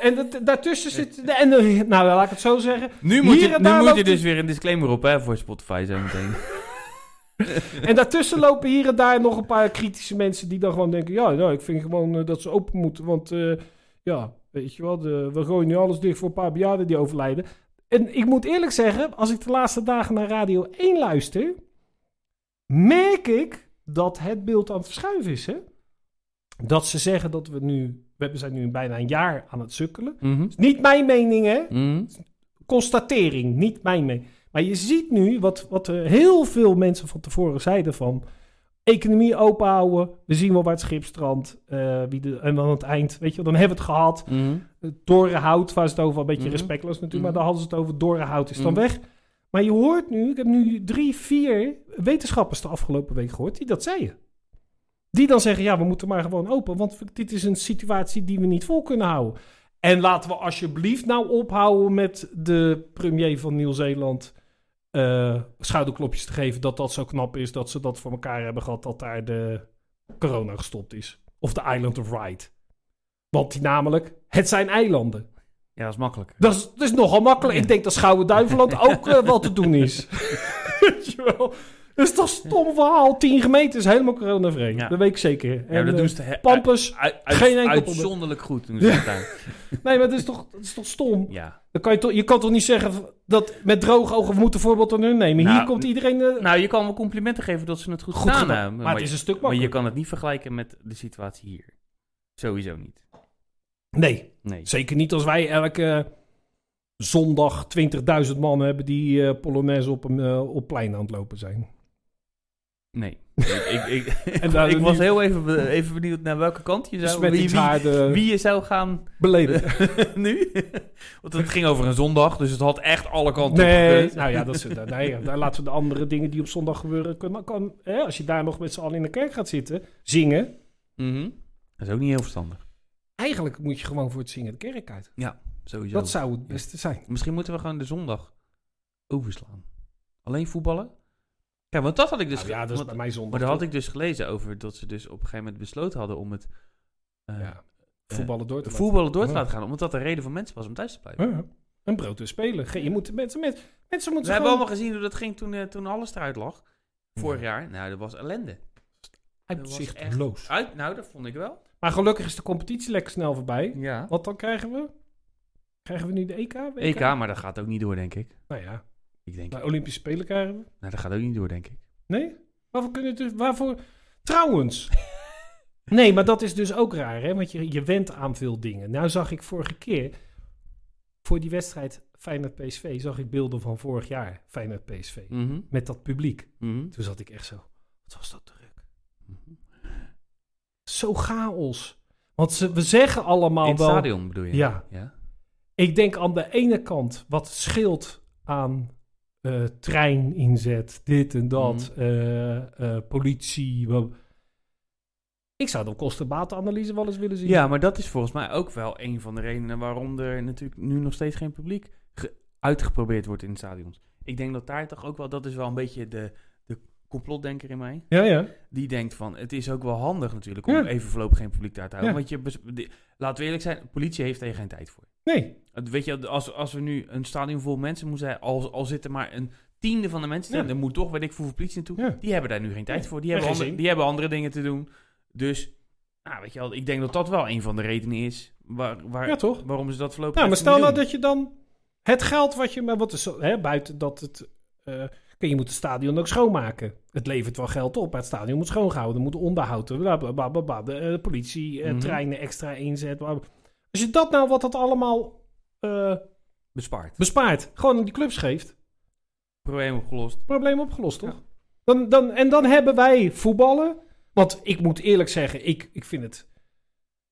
[SPEAKER 1] en dat, daartussen zit. En, eh, nou, laat ik het zo zeggen.
[SPEAKER 2] Nu moet,
[SPEAKER 1] Hier
[SPEAKER 2] je,
[SPEAKER 1] en
[SPEAKER 2] nu
[SPEAKER 1] daar
[SPEAKER 2] moet je
[SPEAKER 1] loopt
[SPEAKER 2] dus
[SPEAKER 1] die-
[SPEAKER 2] weer een disclaimer op hè, voor Spotify zo meteen.
[SPEAKER 1] En daartussen lopen hier en daar nog een paar kritische mensen. die dan gewoon denken: ja, nou, ik vind gewoon eh, dat ze open moeten. Want eh, ja, weet je wel, de- we gooien nu alles dicht voor een paar bejaarden die overlijden. En ik moet eerlijk zeggen, als ik de laatste dagen naar Radio 1 luister. merk ik dat het beeld aan het verschuiven is. Hè? Dat ze zeggen dat we nu. We zijn nu bijna een jaar aan het sukkelen.
[SPEAKER 2] Mhm.
[SPEAKER 1] Niet mijn mening, hè?
[SPEAKER 2] Mhm.
[SPEAKER 1] constatering, niet mijn mening. Maar je ziet nu wat, wat er heel veel mensen van tevoren zeiden van... economie openhouden, we zien wel waar het schip strandt... eh, wie de, en dan aan het eind, weet je, wel, dan hebben we het gehad.
[SPEAKER 2] Mhm.
[SPEAKER 1] Dorenhout waar ze het over, een beetje
[SPEAKER 2] Mhm.
[SPEAKER 1] respectloos natuurlijk...
[SPEAKER 2] Mhm.
[SPEAKER 1] maar daar hadden ze het over, Dorenhout is dan
[SPEAKER 2] Mhm.
[SPEAKER 1] weg. Maar je hoort nu, ik heb nu drie, vier wetenschappers de afgelopen week gehoord... die dat zeiden. Die dan zeggen, ja, we moeten maar gewoon open... want dit is een situatie die we niet vol kunnen houden. En laten we alsjeblieft nou ophouden met de premier van Nieuw-Zeeland eh, schouderklopjes te geven. Dat dat zo knap is dat ze dat voor elkaar hebben gehad. Dat daar de corona gestopt is. Of de Island of Right. Want die namelijk, het zijn eilanden.
[SPEAKER 2] Ja, dat is makkelijk.
[SPEAKER 1] Dat is, dat is nogal makkelijk. Ik denk dat Schouwen-Duiveland ook eh, wat te doen is. Weet je wel? Dat is toch een stom verhaal. 10 gemeentes, helemaal coronavrij.
[SPEAKER 2] Ja.
[SPEAKER 1] Dat weet ik zeker.
[SPEAKER 2] Ja, dat
[SPEAKER 1] eh,
[SPEAKER 2] doen ze he-
[SPEAKER 1] Pampus.
[SPEAKER 2] uit- uit-
[SPEAKER 1] Geen enkel probleem.
[SPEAKER 2] uitzonderlijk goed. Doen ze dat daar.
[SPEAKER 1] Nee, maar dat is toch, dat is toch stom?
[SPEAKER 2] ja.
[SPEAKER 1] Dan kan je, toch, je kan toch niet zeggen dat met droge ogen we moeten voorbeeld aan hun nemen.
[SPEAKER 2] Nou,
[SPEAKER 1] Hier komt iedereen eh,
[SPEAKER 2] Nou, je kan wel complimenten geven dat ze het goed,
[SPEAKER 1] goed
[SPEAKER 2] gedaan
[SPEAKER 1] gedaan.
[SPEAKER 2] hebben.
[SPEAKER 1] maar, het is een stuk
[SPEAKER 2] maar je
[SPEAKER 1] makkelijker.
[SPEAKER 2] kan het niet vergelijken met de situatie hier. Sowieso niet.
[SPEAKER 1] Nee,
[SPEAKER 2] Nee.
[SPEAKER 1] zeker niet als wij elke zondag 20.000 man hebben die eh Polonaise op een eh, op plein aan het lopen zijn.
[SPEAKER 2] Nee. ik ik, ik,
[SPEAKER 1] En daar Nou,
[SPEAKER 2] ik
[SPEAKER 1] doen
[SPEAKER 2] was
[SPEAKER 1] die-
[SPEAKER 2] heel even, be- even benieuwd naar welke kant je
[SPEAKER 1] Dus
[SPEAKER 2] zou...
[SPEAKER 1] met
[SPEAKER 2] Wie,
[SPEAKER 1] die
[SPEAKER 2] wie,
[SPEAKER 1] aarde
[SPEAKER 2] wie je zou gaan
[SPEAKER 1] beleden.
[SPEAKER 2] nu. Want het ging over een zondag, dus het had echt alle kanten op
[SPEAKER 1] Nee,
[SPEAKER 2] gekund.
[SPEAKER 1] nou ja, dat is, nee, ja, daar laten we de andere dingen die op zondag gebeuren. Kunnen, kan, hè, als je daar nog met z'n allen in de kerk gaat zitten, zingen.
[SPEAKER 2] Mhm. Dat is ook niet heel verstandig.
[SPEAKER 1] Eigenlijk moet je gewoon voor het zingen de kerk uit.
[SPEAKER 2] Sowieso.
[SPEAKER 1] Dat zou het beste zijn.
[SPEAKER 2] Misschien moeten we gewoon de zondag overslaan. Alleen voetballen? Kijk, want dat had ik dus...
[SPEAKER 1] Nou ja, dat is
[SPEAKER 2] want-
[SPEAKER 1] bij mij zondag.
[SPEAKER 2] maar daar had
[SPEAKER 1] toch?
[SPEAKER 2] ik dus gelezen over dat ze dus op een gegeven moment besloten hadden om het eh,
[SPEAKER 1] Ja. voetballen door te laten.
[SPEAKER 2] voetballen door te
[SPEAKER 1] Ja.
[SPEAKER 2] laten gaan. Omdat dat de reden van mensen was om thuis te blijven.
[SPEAKER 1] Ja. Een brood te spelen. Ge- Je moet de mensen, mensen, mensen
[SPEAKER 2] We
[SPEAKER 1] moeten
[SPEAKER 2] hebben
[SPEAKER 1] gewoon...
[SPEAKER 2] allemaal gezien hoe dat ging toen, eh, toen alles eruit lag. Vorig jaar. Nou, dat was ellende.
[SPEAKER 1] Uitzichtloos.
[SPEAKER 2] Uit, nou, dat vond ik wel.
[SPEAKER 1] Maar gelukkig is de competitie lekker snel voorbij.
[SPEAKER 2] Ja.
[SPEAKER 1] Want dan krijgen we... Krijgen we nu de EK?
[SPEAKER 2] EK, maar dat gaat ook niet door, denk ik.
[SPEAKER 1] Nou ja,
[SPEAKER 2] Ik denk,
[SPEAKER 1] de Olympische Spelen krijgen we.
[SPEAKER 2] nou, dat gaat ook niet door, denk ik.
[SPEAKER 1] Nee? Waarvoor kunnen we... dus- Waarvoor... Trouwens... Nee, maar dat is dus ook raar, hè? Want je, je went aan veel dingen. Nou zag ik vorige keer... Voor die wedstrijd Feyenoord-PSV zag ik beelden van vorig jaar Feyenoord-PSV.
[SPEAKER 2] Mhm.
[SPEAKER 1] Met dat publiek.
[SPEAKER 2] Mhm.
[SPEAKER 1] Toen zat ik echt zo... Wat was dat druk?
[SPEAKER 2] Hm.
[SPEAKER 1] zo chaos. Want ze, we zeggen allemaal
[SPEAKER 2] In het
[SPEAKER 1] wel...
[SPEAKER 2] stadion bedoel je?
[SPEAKER 1] Ja.
[SPEAKER 2] ja.
[SPEAKER 1] Ik denk aan de ene kant wat het scheelt aan eh,
[SPEAKER 2] Mhm.
[SPEAKER 1] treininzet, dit en dat, eh, eh, politie. wel- Ik zou de kostenbatenanalyse wel eens willen zien.
[SPEAKER 2] Ja, maar dat is volgens mij ook wel een van de redenen waarom er natuurlijk nu nog steeds geen publiek ge- uitgeprobeerd wordt in de stadions. Ik denk dat daar toch ook wel, dat is wel een beetje de, de complotdenker in mij.
[SPEAKER 1] ja, ja.
[SPEAKER 2] Die denkt van, het is ook wel handig natuurlijk om
[SPEAKER 1] Ja.
[SPEAKER 2] even voorlopig geen publiek daar te houden.
[SPEAKER 1] Ja.
[SPEAKER 2] Want je, bes- de- laten we eerlijk zijn, de politie heeft er geen tijd voor.
[SPEAKER 1] Nee,
[SPEAKER 2] Het- Weet je, als, als we nu een stadion vol mensen moeten zijn, al, al zit er maar een tiende van de mensen,
[SPEAKER 1] Ja.
[SPEAKER 2] dan moet toch, weet ik veel, voor politie naartoe.
[SPEAKER 1] Ja.
[SPEAKER 2] Die hebben daar nu geen tijd voor. Die
[SPEAKER 1] en
[SPEAKER 2] hebben,
[SPEAKER 1] geen
[SPEAKER 2] andere,
[SPEAKER 1] zin.
[SPEAKER 2] die hebben andere dingen te doen. Dus, nou, weet je wel, ik denk dat dat wel een van de redenen is waar, waar,
[SPEAKER 1] ja toch?
[SPEAKER 2] waarom ze dat voorlopig
[SPEAKER 1] Nou, maar
[SPEAKER 2] even
[SPEAKER 1] stel
[SPEAKER 2] niet
[SPEAKER 1] nou
[SPEAKER 2] doen.
[SPEAKER 1] dat je dan het geld wat je... Maar wat is, zo- hè, buiten dat het... eh, kijk, je moet het stadion ook schoonmaken. Het levert wel geld op, maar het stadion moet schoongehouden. Moet onderhoud, bla bla bla bla. bla. De, eh, politie, eh,
[SPEAKER 2] Mhm.
[SPEAKER 1] treinen extra inzet. bla, bla. Als je dat nou, wat dat allemaal eh,
[SPEAKER 2] Bespaard.
[SPEAKER 1] bespaart, gewoon aan die clubs geeft...
[SPEAKER 2] Probleem opgelost.
[SPEAKER 1] probleem opgelost, toch? Dan, dan, en dan hebben wij voetballen. Want ik moet eerlijk zeggen, ik, ik vind het.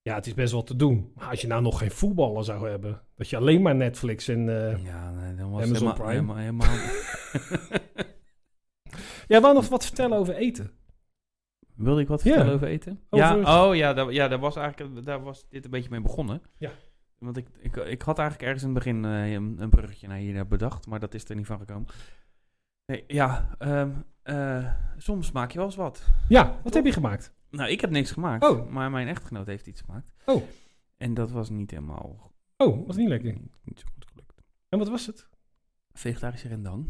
[SPEAKER 1] Ja, het is best wel te doen. Maar als je nou nog geen voetballen zou hebben. Dat je alleen maar Netflix en. eh,
[SPEAKER 2] Ja, nee, dan was
[SPEAKER 1] Amazon
[SPEAKER 2] het helemaal... helemaal, helemaal-
[SPEAKER 1] Jij wou nog wat vertellen over eten.
[SPEAKER 2] Wilde ik wat
[SPEAKER 1] Ja.
[SPEAKER 2] vertellen over eten?
[SPEAKER 1] Over-
[SPEAKER 2] Ja, oh ja, daar, ja, daar was eigenlijk daar was dit een beetje mee begonnen.
[SPEAKER 1] Ja.
[SPEAKER 2] Want ik, ik, ik had eigenlijk ergens in het begin eh, een, een bruggetje naar hier eh, bedacht, maar dat is er niet van gekomen. Nee, ja, ehm, eh, soms maak je wel eens wat.
[SPEAKER 1] Ja, wat heb je gemaakt?
[SPEAKER 2] Nou, ik heb niks gemaakt,
[SPEAKER 1] Oh.
[SPEAKER 2] maar mijn echtgenoot heeft iets gemaakt.
[SPEAKER 1] Oh.
[SPEAKER 2] En dat was niet helemaal...
[SPEAKER 1] Oh, was niet lekker.
[SPEAKER 2] Niet, niet zo goed gelukt.
[SPEAKER 1] En wat was het?
[SPEAKER 2] Vegetarische rendang.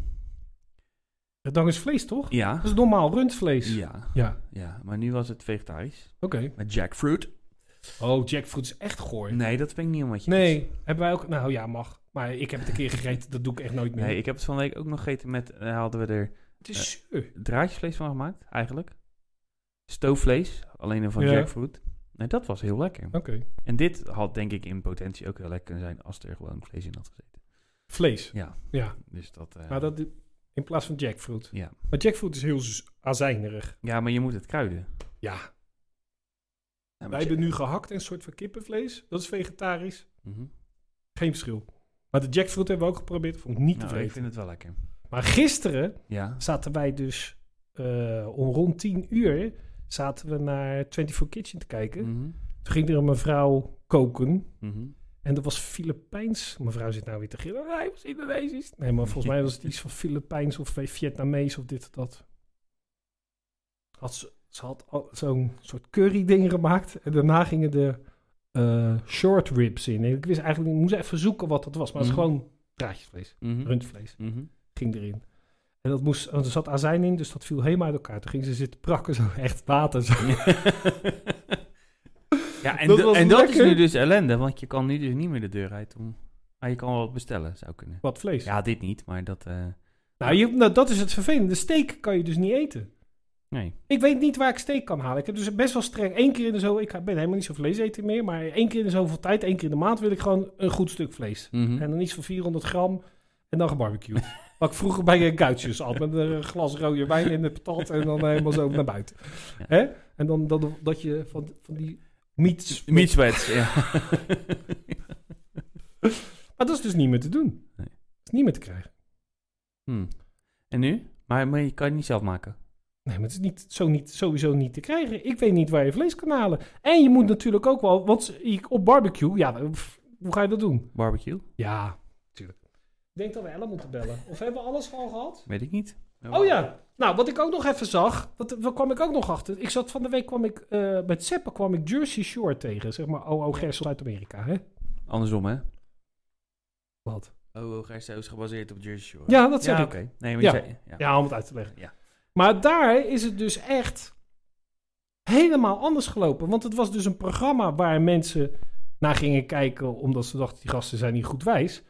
[SPEAKER 1] Het dan is vlees, toch?
[SPEAKER 2] Ja.
[SPEAKER 1] Dat is normaal rundvlees.
[SPEAKER 2] Ja,
[SPEAKER 1] Ja,
[SPEAKER 2] ja, maar nu was het vegetarisch.
[SPEAKER 1] oké.
[SPEAKER 2] Met jackfruit.
[SPEAKER 1] Oh, jackfruit is echt goor. Nee.
[SPEAKER 2] Nee, dat vind ik niet helemaal met je eens.
[SPEAKER 1] hebben wij ook. Nou ja, mag. Maar ik heb het een keer gegeten, dat doe ik echt nooit meer.
[SPEAKER 2] Nee, ik heb het van de week ook nog gegeten met... eh, hadden we er
[SPEAKER 1] het is zuur.
[SPEAKER 2] draadjesvlees van gemaakt, eigenlijk. Stoofvlees, alleen dan van
[SPEAKER 1] Ja.
[SPEAKER 2] jackfruit. Nee, dat was heel lekker.
[SPEAKER 1] Oké.
[SPEAKER 2] En dit had denk ik in potentie ook heel lekker kunnen zijn als er gewoon vlees in had gezeten.
[SPEAKER 1] Vlees.
[SPEAKER 2] Ja.
[SPEAKER 1] Ja.
[SPEAKER 2] Dus dat, eh,
[SPEAKER 1] Maar dat in plaats van jackfruit.
[SPEAKER 2] Ja.
[SPEAKER 1] Maar jackfruit is heel z- azijnerig.
[SPEAKER 2] ja, maar je moet het kruiden.
[SPEAKER 1] Ja.
[SPEAKER 2] Ja,
[SPEAKER 1] Wij hebben nu gehakt en een soort van kippenvlees. Dat is vegetarisch.
[SPEAKER 2] Mhm.
[SPEAKER 1] Geen verschil. Maar de jackfruit hebben we ook geprobeerd. Vond ik niet te
[SPEAKER 2] Nou, ik
[SPEAKER 1] vreten.
[SPEAKER 2] vind het wel lekker.
[SPEAKER 1] Maar gisteren
[SPEAKER 2] Ja.
[SPEAKER 1] zaten wij dus eh, om rond 10 uur zaten we naar 24 Kitchen te kijken.
[SPEAKER 2] Mhm.
[SPEAKER 1] Toen ging er een mevrouw koken.
[SPEAKER 2] Mhm.
[SPEAKER 1] En dat was Filipijns. Mevrouw zit nou weer te gillen. Hij was Indonesisch. Nee, maar volgens mij was het iets van Filipijns of eh, Vietnamees of dit of dat. Had ze, ze had al zo'n soort curry ding gemaakt. En daarna gingen de eh, short ribs in. En ik wist eigenlijk niet, ik moest even zoeken wat dat was. Maar het is
[SPEAKER 2] Mhm.
[SPEAKER 1] gewoon draadjesvlees,
[SPEAKER 2] Mhm.
[SPEAKER 1] rundvlees.
[SPEAKER 2] Mhm.
[SPEAKER 1] Ging erin. En dat moest, want er zat azijn in, dus dat viel helemaal uit elkaar. Toen ging ze zitten prakken, zo echt water. Zo.
[SPEAKER 2] ja, en
[SPEAKER 1] Dat
[SPEAKER 2] dat,
[SPEAKER 1] was
[SPEAKER 2] en dat is
[SPEAKER 1] lekker.
[SPEAKER 2] nu dus ellende, want je kan nu dus niet meer de deur uit om... Maar je kan wel wat bestellen, zou kunnen.
[SPEAKER 1] Wat vlees.
[SPEAKER 2] Ja, dit niet, maar dat... eh,
[SPEAKER 1] Nou, je, nou, dat is het vervelende. Steak kan je dus niet eten.
[SPEAKER 2] nee.
[SPEAKER 1] Ik weet niet waar ik steek kan halen. Ik heb dus best wel streng. Eén keer in de zoveel. Ik ben helemaal niet zo vleeseter meer. Maar één keer in de zoveel tijd, één keer in de maand wil ik gewoon een goed stuk vlees.
[SPEAKER 2] Mhm.
[SPEAKER 1] En dan iets van 400 gram. En dan gebarbecued. Wat ik vroeger bij eh, Guitjes at. Met een glas rode wijn in de patat. En dan helemaal zo naar buiten.
[SPEAKER 2] Ja.
[SPEAKER 1] Hè? En dan dat, dat je van, van die meats.
[SPEAKER 2] Meat sweats, ja.
[SPEAKER 1] Maar dat is dus niet meer te doen.
[SPEAKER 2] Nee.
[SPEAKER 1] Dat is niet meer te krijgen.
[SPEAKER 2] Hmm. En nu? Maar, maar je kan het niet zelf maken.
[SPEAKER 1] Nee, maar het is niet, zo niet, sowieso niet te krijgen. Ik weet niet waar je vlees kan halen. En je moet natuurlijk ook wel. Want op barbecue, ja, pff, hoe ga je dat doen?
[SPEAKER 2] Barbecue?
[SPEAKER 1] Ja, tuurlijk. Ik denk dat we Ellen moeten bellen. Of hebben we alles al gehad?
[SPEAKER 2] Weet ik niet.
[SPEAKER 1] Oh ja. Nou, wat ik ook nog even zag, wat, wat kwam ik ook nog achter. Ik zat van de week kwam ik eh, met Seppen kwam ik Jersey Shore tegen, zeg maar OO Gersel uit Amerika, hè?
[SPEAKER 2] Andersom, hè?
[SPEAKER 1] Wat?
[SPEAKER 2] Oh, Gerso is gebaseerd op Jersey Shore.
[SPEAKER 1] Ja, dat zeg
[SPEAKER 2] ja,
[SPEAKER 1] ik.
[SPEAKER 2] oké. Nee, maar je
[SPEAKER 1] Ja.
[SPEAKER 2] zei- ja.
[SPEAKER 1] Ja, om het uit te leggen.
[SPEAKER 2] Ja.
[SPEAKER 1] Maar daar is het dus echt helemaal anders gelopen. Want het was dus een programma waar mensen naar gingen kijken... omdat ze dachten, die gasten zijn niet goed wijs.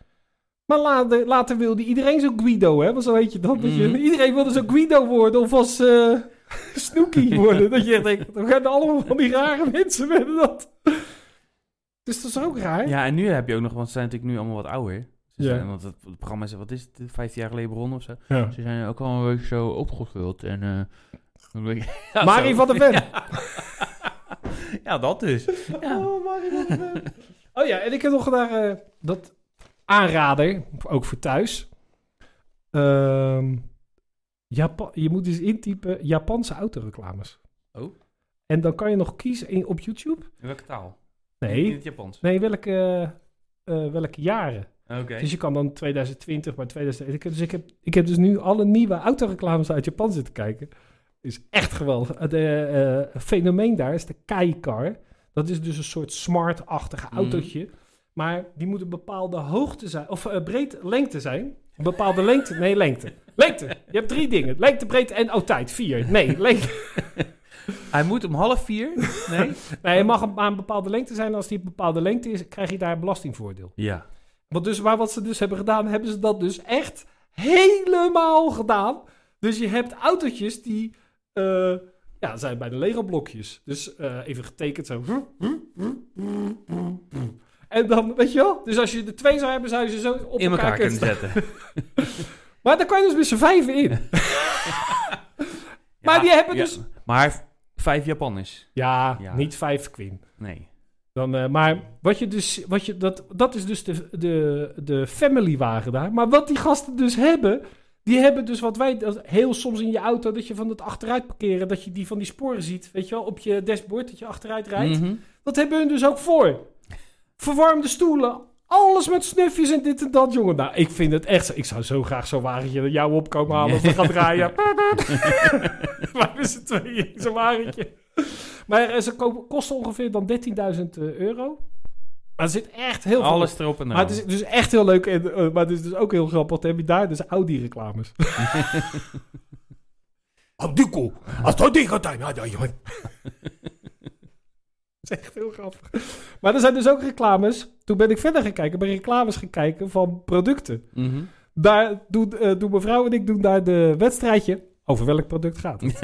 [SPEAKER 1] Maar later, later wilde iedereen zo'n Guido, hè? Want zo heet je dat. dat je,
[SPEAKER 2] Mhm.
[SPEAKER 1] iedereen wilde zo'n Guido worden of als eh Snoeky worden. dat je echt denkt, we gaan allemaal van die rare mensen werden dat. Dus dat is ook raar.
[SPEAKER 2] Ja, en nu heb je ook nog, want ze zijn natuurlijk nu allemaal wat ouder. Ze
[SPEAKER 1] Ja.
[SPEAKER 2] zijn, want het, het programma is, wat is het, 15 jaar geleden begonnen of zo.
[SPEAKER 1] Ja.
[SPEAKER 2] Ze zijn ook al een beetje zo opgevuld. En, eh een beetje- ja,
[SPEAKER 1] Marie
[SPEAKER 2] zo.
[SPEAKER 1] van der Ven.
[SPEAKER 2] Ja. ja, dat dus. Ja.
[SPEAKER 1] Oh, Marie van der Ven. oh ja, en ik heb nog daar eh, dat aanrader, ook voor thuis. Ehm, Japa- je moet dus intypen Japanse autoreclames.
[SPEAKER 2] Oh.
[SPEAKER 1] En dan kan je nog kiezen in, op YouTube.
[SPEAKER 2] In welke taal? In
[SPEAKER 1] Nee,
[SPEAKER 2] het Japans.
[SPEAKER 1] nee welke, eh, eh, welke jaren.
[SPEAKER 2] Oké.
[SPEAKER 1] Dus je kan dan 2020, maar 2020. Dus ik heb, ik heb dus nu alle nieuwe autoreclames uit Japan zitten kijken. Is echt geweldig. Het eh, eh, fenomeen daar is de Kai-car. Dat is dus een soort smart-achtig
[SPEAKER 2] Mhm.
[SPEAKER 1] autootje. Maar die moet een bepaalde hoogte zijn, of eh, breed lengte zijn. Een bepaalde lengte. Nee, lengte. Lengte. Je hebt drie dingen: lengte, breedte en oh, tijd. Vier. Nee, lengte.
[SPEAKER 2] Hij moet om half vier. Nee?
[SPEAKER 1] Nee, hij mag aan een bepaalde lengte zijn. Als die een bepaalde lengte is, krijg je daar een belastingvoordeel.
[SPEAKER 2] ja.
[SPEAKER 1] Want dus, maar wat ze dus hebben gedaan, hebben ze dat dus echt helemaal gedaan. Dus je hebt autootjes die eh, ja, zijn bij de Lego-blokjes. Dus eh, even getekend zo. En dan, weet je wel? Dus als je er twee zou hebben, zou je ze zo op
[SPEAKER 2] In elkaar
[SPEAKER 1] kunnen
[SPEAKER 2] kunnen zetten.
[SPEAKER 1] Maar dan kan je dus met z'n vijven in. Maar die hebben dus-
[SPEAKER 2] Maar vijf Japanners.
[SPEAKER 1] Ja,
[SPEAKER 2] Ja.
[SPEAKER 1] niet vijf Queen.
[SPEAKER 2] Nee.
[SPEAKER 1] Dan, eh, maar wat je dus, wat je, dat, dat is dus de, de, de family wagen daar. Maar wat die gasten dus hebben, die hebben dus wat wij dat heel soms in je auto, dat je van het achteruit parkeren, dat je die van die sporen ziet, weet je wel, op je dashboard, dat je achteruit rijdt.
[SPEAKER 2] Mhm.
[SPEAKER 1] Dat hebben hun dus ook voor. Verwarmde stoelen, alles met snufjes en dit en dat, jongen. Nou, ik vind het echt, zo- ik zou zo graag zo'n wagentje jou opkomen halen als we gaan draaien. maar we z'n tweeën in zo'n wagentje. Maar eh, ze kopen- kosten ongeveer dan 13.000 euro. Maar er zit echt heel veel...
[SPEAKER 2] Alles erop en
[SPEAKER 1] Maar
[SPEAKER 2] eraan.
[SPEAKER 1] het is dus echt heel leuk. En, eh, maar het is dus ook heel grappig. want Dan heb je daar dus Audi-reclames. Audiko. Als dat ding gaat zijn. Dat is echt heel grappig. Maar er zijn dus ook reclames. Toen ben ik verder gaan kijken. Ben reclames gaan kijken van producten.
[SPEAKER 2] Mhm.
[SPEAKER 1] Daar doen, eh, doen mevrouw en ik doen daar de wedstrijdje. Over welk product gaat het?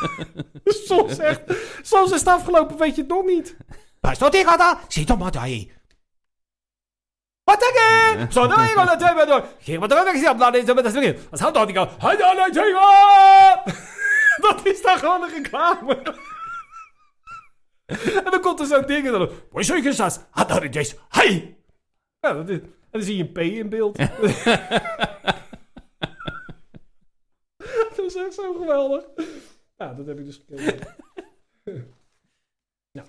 [SPEAKER 1] soms, echt, soms is het afgelopen, weet je het nog niet.
[SPEAKER 7] Bij dat ik had dat, ziet dan maar daar.
[SPEAKER 1] Wat denk je? Zo, dan gaan we twee door. Geen wat er ook gezien op laat eens met dat weer. Als houdt dat ik al. Hij dan uit Dat is dan gewoon een reclame. En dan komt er zo'n ding en dan. Wat zou je sas? Had dat het juist? Hey! Ja, dat is. En dan zie je een P in beeld. dat is echt zo geweldig. Ja, dat heb ik dus gekeken. ja.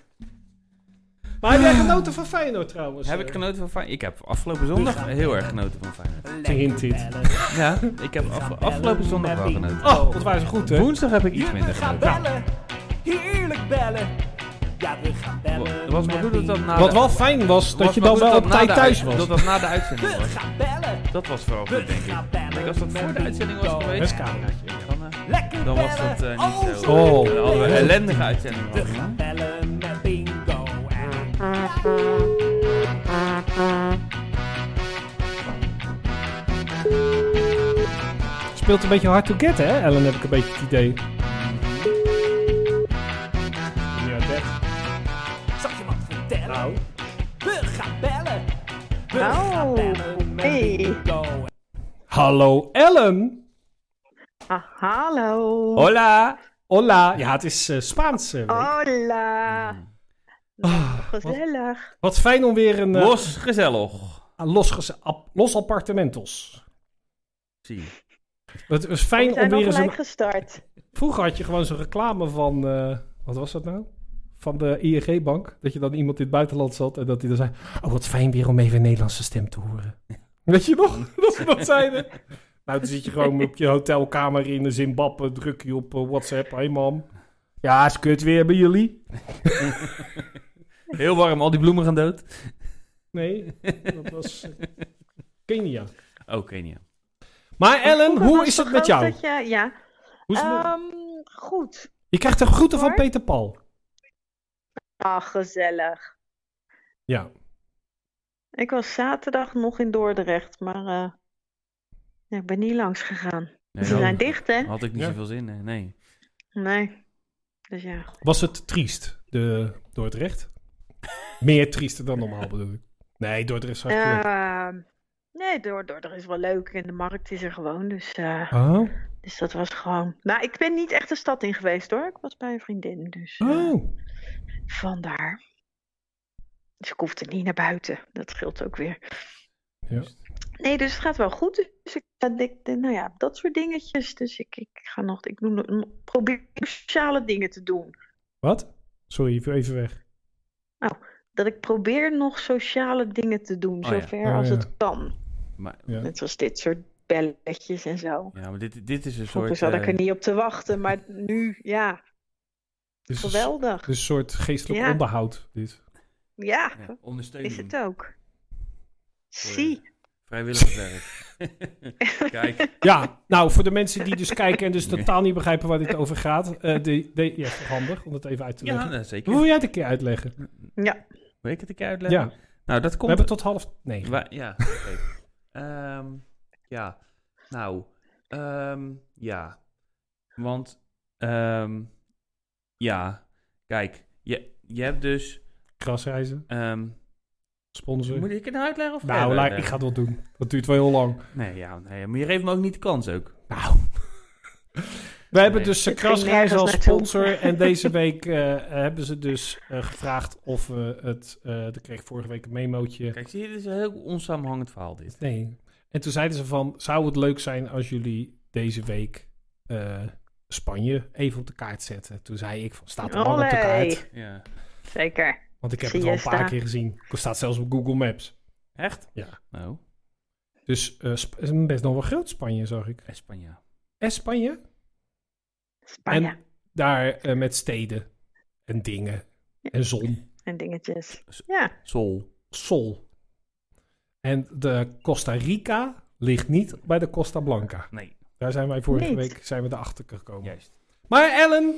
[SPEAKER 1] Maar heb jij genoten van Feyenoord trouwens?
[SPEAKER 2] Heb ik genoten van Feyenoord? Ik heb afgelopen
[SPEAKER 1] Dus-
[SPEAKER 2] zondag heel erg genoten van Feyenoord.
[SPEAKER 1] Hint, hint.
[SPEAKER 2] Ja, ik heb af- afgelopen zondag wel genoten.
[SPEAKER 1] Oh, wat waren ze goed, hè?
[SPEAKER 2] Woensdag heb ik iets
[SPEAKER 7] We
[SPEAKER 2] minder
[SPEAKER 7] gaan
[SPEAKER 2] genoten.
[SPEAKER 7] bellen, heerlijk bellen. Ja, we gaan bellen.
[SPEAKER 2] Het was maar goed dat dat na
[SPEAKER 1] Wat
[SPEAKER 2] de-
[SPEAKER 1] wel fijn was, dat
[SPEAKER 2] was
[SPEAKER 1] je
[SPEAKER 2] maar
[SPEAKER 1] dan
[SPEAKER 2] goed
[SPEAKER 1] wel
[SPEAKER 2] dat
[SPEAKER 1] op
[SPEAKER 2] na
[SPEAKER 1] tijd
[SPEAKER 2] de
[SPEAKER 1] thuis
[SPEAKER 2] uit-
[SPEAKER 1] was.
[SPEAKER 2] Dat was na de uitzending
[SPEAKER 7] We
[SPEAKER 2] was.
[SPEAKER 7] gaan bellen,
[SPEAKER 2] Dat was vooral goed, denk
[SPEAKER 7] we
[SPEAKER 2] ik.
[SPEAKER 7] gaan bellen.
[SPEAKER 2] Ik als dat voor de uitzending was
[SPEAKER 1] Dat is
[SPEAKER 2] geweest,
[SPEAKER 1] cameraatje.
[SPEAKER 2] dan, eh,
[SPEAKER 7] Lekker
[SPEAKER 2] dan was dat
[SPEAKER 7] bellen,
[SPEAKER 2] eh, niet zo.
[SPEAKER 1] Oh.
[SPEAKER 2] Dan hadden we een ellendige uitzending.
[SPEAKER 7] We
[SPEAKER 2] gehad.
[SPEAKER 7] gaan bellen met bingo en...
[SPEAKER 1] Speelt een beetje hard to get, hè? Ellen, heb ik een beetje het idee. Ja, dat.
[SPEAKER 7] Zal ik je wat vertellen?
[SPEAKER 2] Nou.
[SPEAKER 7] We gaan bellen. We gaan
[SPEAKER 1] Oh,
[SPEAKER 7] bellen met
[SPEAKER 8] Oh, hey.
[SPEAKER 7] bingo.
[SPEAKER 1] Hallo, Ellen.
[SPEAKER 8] Ah, hallo.
[SPEAKER 1] Hola. Hola. Ja, het is eh, Spaans. eh, week.
[SPEAKER 8] Hola.
[SPEAKER 1] Hmm. Ah,
[SPEAKER 8] Gezellig.
[SPEAKER 1] wat fijn om weer een eh,
[SPEAKER 2] Los gezellig.
[SPEAKER 1] los, geze- ap- los appartementos.
[SPEAKER 2] Zie.
[SPEAKER 1] Het was
[SPEAKER 8] We
[SPEAKER 1] fijn om
[SPEAKER 8] zijn al
[SPEAKER 1] weer eens
[SPEAKER 8] gelijk
[SPEAKER 1] een...
[SPEAKER 8] gestart.
[SPEAKER 1] Vroeger had je gewoon zo'n reclame van... eh, wat was dat nou? Van de ING-bank. Dat je dan iemand in het buitenland zat en dat hij dan zei... Oh, wat fijn weer om even een Nederlandse stem te horen. Weet je nog? dat ze dat zeiden. Nou, dan zit je gewoon op je hotelkamer in Zimbabwe. Druk je op eh, WhatsApp. Hey, mam. Ja, is kut weer bij jullie.
[SPEAKER 2] Heel warm, al die bloemen gaan dood.
[SPEAKER 1] Nee, dat was eh, Kenia.
[SPEAKER 2] Oké, Kenia.
[SPEAKER 1] Maar Ellen,
[SPEAKER 8] Vroeger
[SPEAKER 1] hoe
[SPEAKER 8] was
[SPEAKER 1] is
[SPEAKER 8] toch
[SPEAKER 1] het met
[SPEAKER 8] ook
[SPEAKER 1] jou?
[SPEAKER 8] Oh, dat je- ja.
[SPEAKER 1] Hoe is het met-
[SPEAKER 8] Ehm, goed.
[SPEAKER 1] Je krijgt een groeten van
[SPEAKER 8] hoor.
[SPEAKER 1] Peter Paul.
[SPEAKER 8] Ah, gezellig.
[SPEAKER 1] Ja.
[SPEAKER 8] Ik was zaterdag nog in Dordrecht, maar eh, ja, ik ben niet langs gegaan.
[SPEAKER 1] oh.
[SPEAKER 2] Nee,
[SPEAKER 8] Ze
[SPEAKER 2] dan
[SPEAKER 8] zijn dicht, hè?
[SPEAKER 2] Had ik niet
[SPEAKER 1] Ja.
[SPEAKER 2] zoveel zin in, nee.
[SPEAKER 8] Nee. Dus ja.
[SPEAKER 1] Was het triest, de Dordrecht? Meer triester dan normaal bedoel ik. Nee, Dordrecht is hartstikke leuk.
[SPEAKER 8] Ehm, nee, Dor- Dordrecht is wel leuk en de markt is er gewoon, dus, eh,
[SPEAKER 1] Oh,
[SPEAKER 8] dus dat was gewoon... Nou, ik ben niet echt de stad in geweest, hoor. Ik was bij een vriendin, dus... eh,
[SPEAKER 1] oh.
[SPEAKER 8] Vandaar. Dus ik hoefde niet naar buiten. Dat scheelt ook weer.
[SPEAKER 1] Ja.
[SPEAKER 8] Nee, dus het gaat wel goed. Dus ik, eh, ik denk, nou ja, dat soort dingetjes. Dus ik, ik ga nog, ik doe, nog- nog- probeer sociale dingen te doen.
[SPEAKER 1] Wat? Sorry, even weg.
[SPEAKER 8] Dat ik probeer nog sociale dingen te doen,
[SPEAKER 2] Oh ja.
[SPEAKER 8] zover
[SPEAKER 1] Oh
[SPEAKER 8] als
[SPEAKER 1] ja.
[SPEAKER 8] het kan.
[SPEAKER 2] Maar,
[SPEAKER 8] Net zoals dit soort belletjes en zo.
[SPEAKER 2] ja, maar dit, dit is een soort...
[SPEAKER 8] Vroeger zat dus ik
[SPEAKER 2] eh,
[SPEAKER 8] er niet op te wachten, maar nu, ja,
[SPEAKER 1] Dus een s-
[SPEAKER 8] geweldig.
[SPEAKER 1] Dus een soort geestelijk
[SPEAKER 8] Ja.
[SPEAKER 1] onderhoud, dit.
[SPEAKER 8] Ja,
[SPEAKER 2] ja,
[SPEAKER 8] is
[SPEAKER 2] ondersteuning.
[SPEAKER 8] het ook. Zie.
[SPEAKER 2] Vrijwilligerswerk. Kijk,
[SPEAKER 1] Ja, nou, voor de mensen die dus kijken en dus totaal niet begrijpen waar dit over gaat. eh de, de, ja, is toch handig om het even uit te
[SPEAKER 2] ja,
[SPEAKER 1] leggen.
[SPEAKER 2] nou, zeker.
[SPEAKER 1] Hoe wil jij het een keer uitleggen?
[SPEAKER 8] Ja,
[SPEAKER 2] Wil ik het een keer uitleggen?
[SPEAKER 1] Ja,
[SPEAKER 2] Nou, dat
[SPEAKER 1] we
[SPEAKER 2] komt...
[SPEAKER 1] hebben tot half negen.
[SPEAKER 2] Wa- ja, oké. Ehm, ja, nou, ehm, ja. Want, ehm, ja, kijk, je, je hebt dus...
[SPEAKER 1] Krasreizen,
[SPEAKER 2] ehm,
[SPEAKER 1] sponsor.
[SPEAKER 2] moet ik het nou uitleggen? Of ga je
[SPEAKER 1] nou,
[SPEAKER 2] het
[SPEAKER 1] la- ik
[SPEAKER 2] uitleggen?
[SPEAKER 1] ga het wel doen. Dat duurt wel heel lang.
[SPEAKER 2] Nee, ja, nee, maar je geeft me ook niet de kans ook.
[SPEAKER 1] Nou. We hebben
[SPEAKER 2] Nee.
[SPEAKER 1] dus eh,
[SPEAKER 8] Het ging
[SPEAKER 1] Krasreizen als
[SPEAKER 8] nergens naartoe.
[SPEAKER 1] sponsor. En deze week eh, hebben ze dus eh, gevraagd of we het... eh ik kreeg vorige week een memootje.
[SPEAKER 2] Kijk, zie je, dit is een heel onsamenhangend verhaal dit.
[SPEAKER 1] Nee. En toen zeiden ze van, zou het leuk zijn als jullie deze week eh, Spanje even op de kaart zetten? Toen zei ik van, staat er lang op de kaart?
[SPEAKER 8] Olé.
[SPEAKER 2] Ja.
[SPEAKER 8] zeker.
[SPEAKER 1] Want ik heb het al een paar
[SPEAKER 8] Siesta.
[SPEAKER 1] keer gezien. Het staat zelfs op Google Maps.
[SPEAKER 2] Echt?
[SPEAKER 1] Ja.
[SPEAKER 2] Nou,
[SPEAKER 1] Dus eh, Sp- is best nog wel groot Spanje, zag ik.
[SPEAKER 2] Espanja.
[SPEAKER 1] En Spanje?
[SPEAKER 8] Spanje en,
[SPEAKER 1] En daar eh, met steden en dingen en zon.
[SPEAKER 8] dingetjes.
[SPEAKER 2] S-
[SPEAKER 8] Ja,
[SPEAKER 2] Sol.
[SPEAKER 1] Sol. En de Costa Rica ligt niet bij de Costa Blanca.
[SPEAKER 2] Nee,
[SPEAKER 1] Daar zijn wij vorige
[SPEAKER 8] Niet.
[SPEAKER 1] week zijn we erachter gekomen.
[SPEAKER 2] juist.
[SPEAKER 1] Maar Ellen,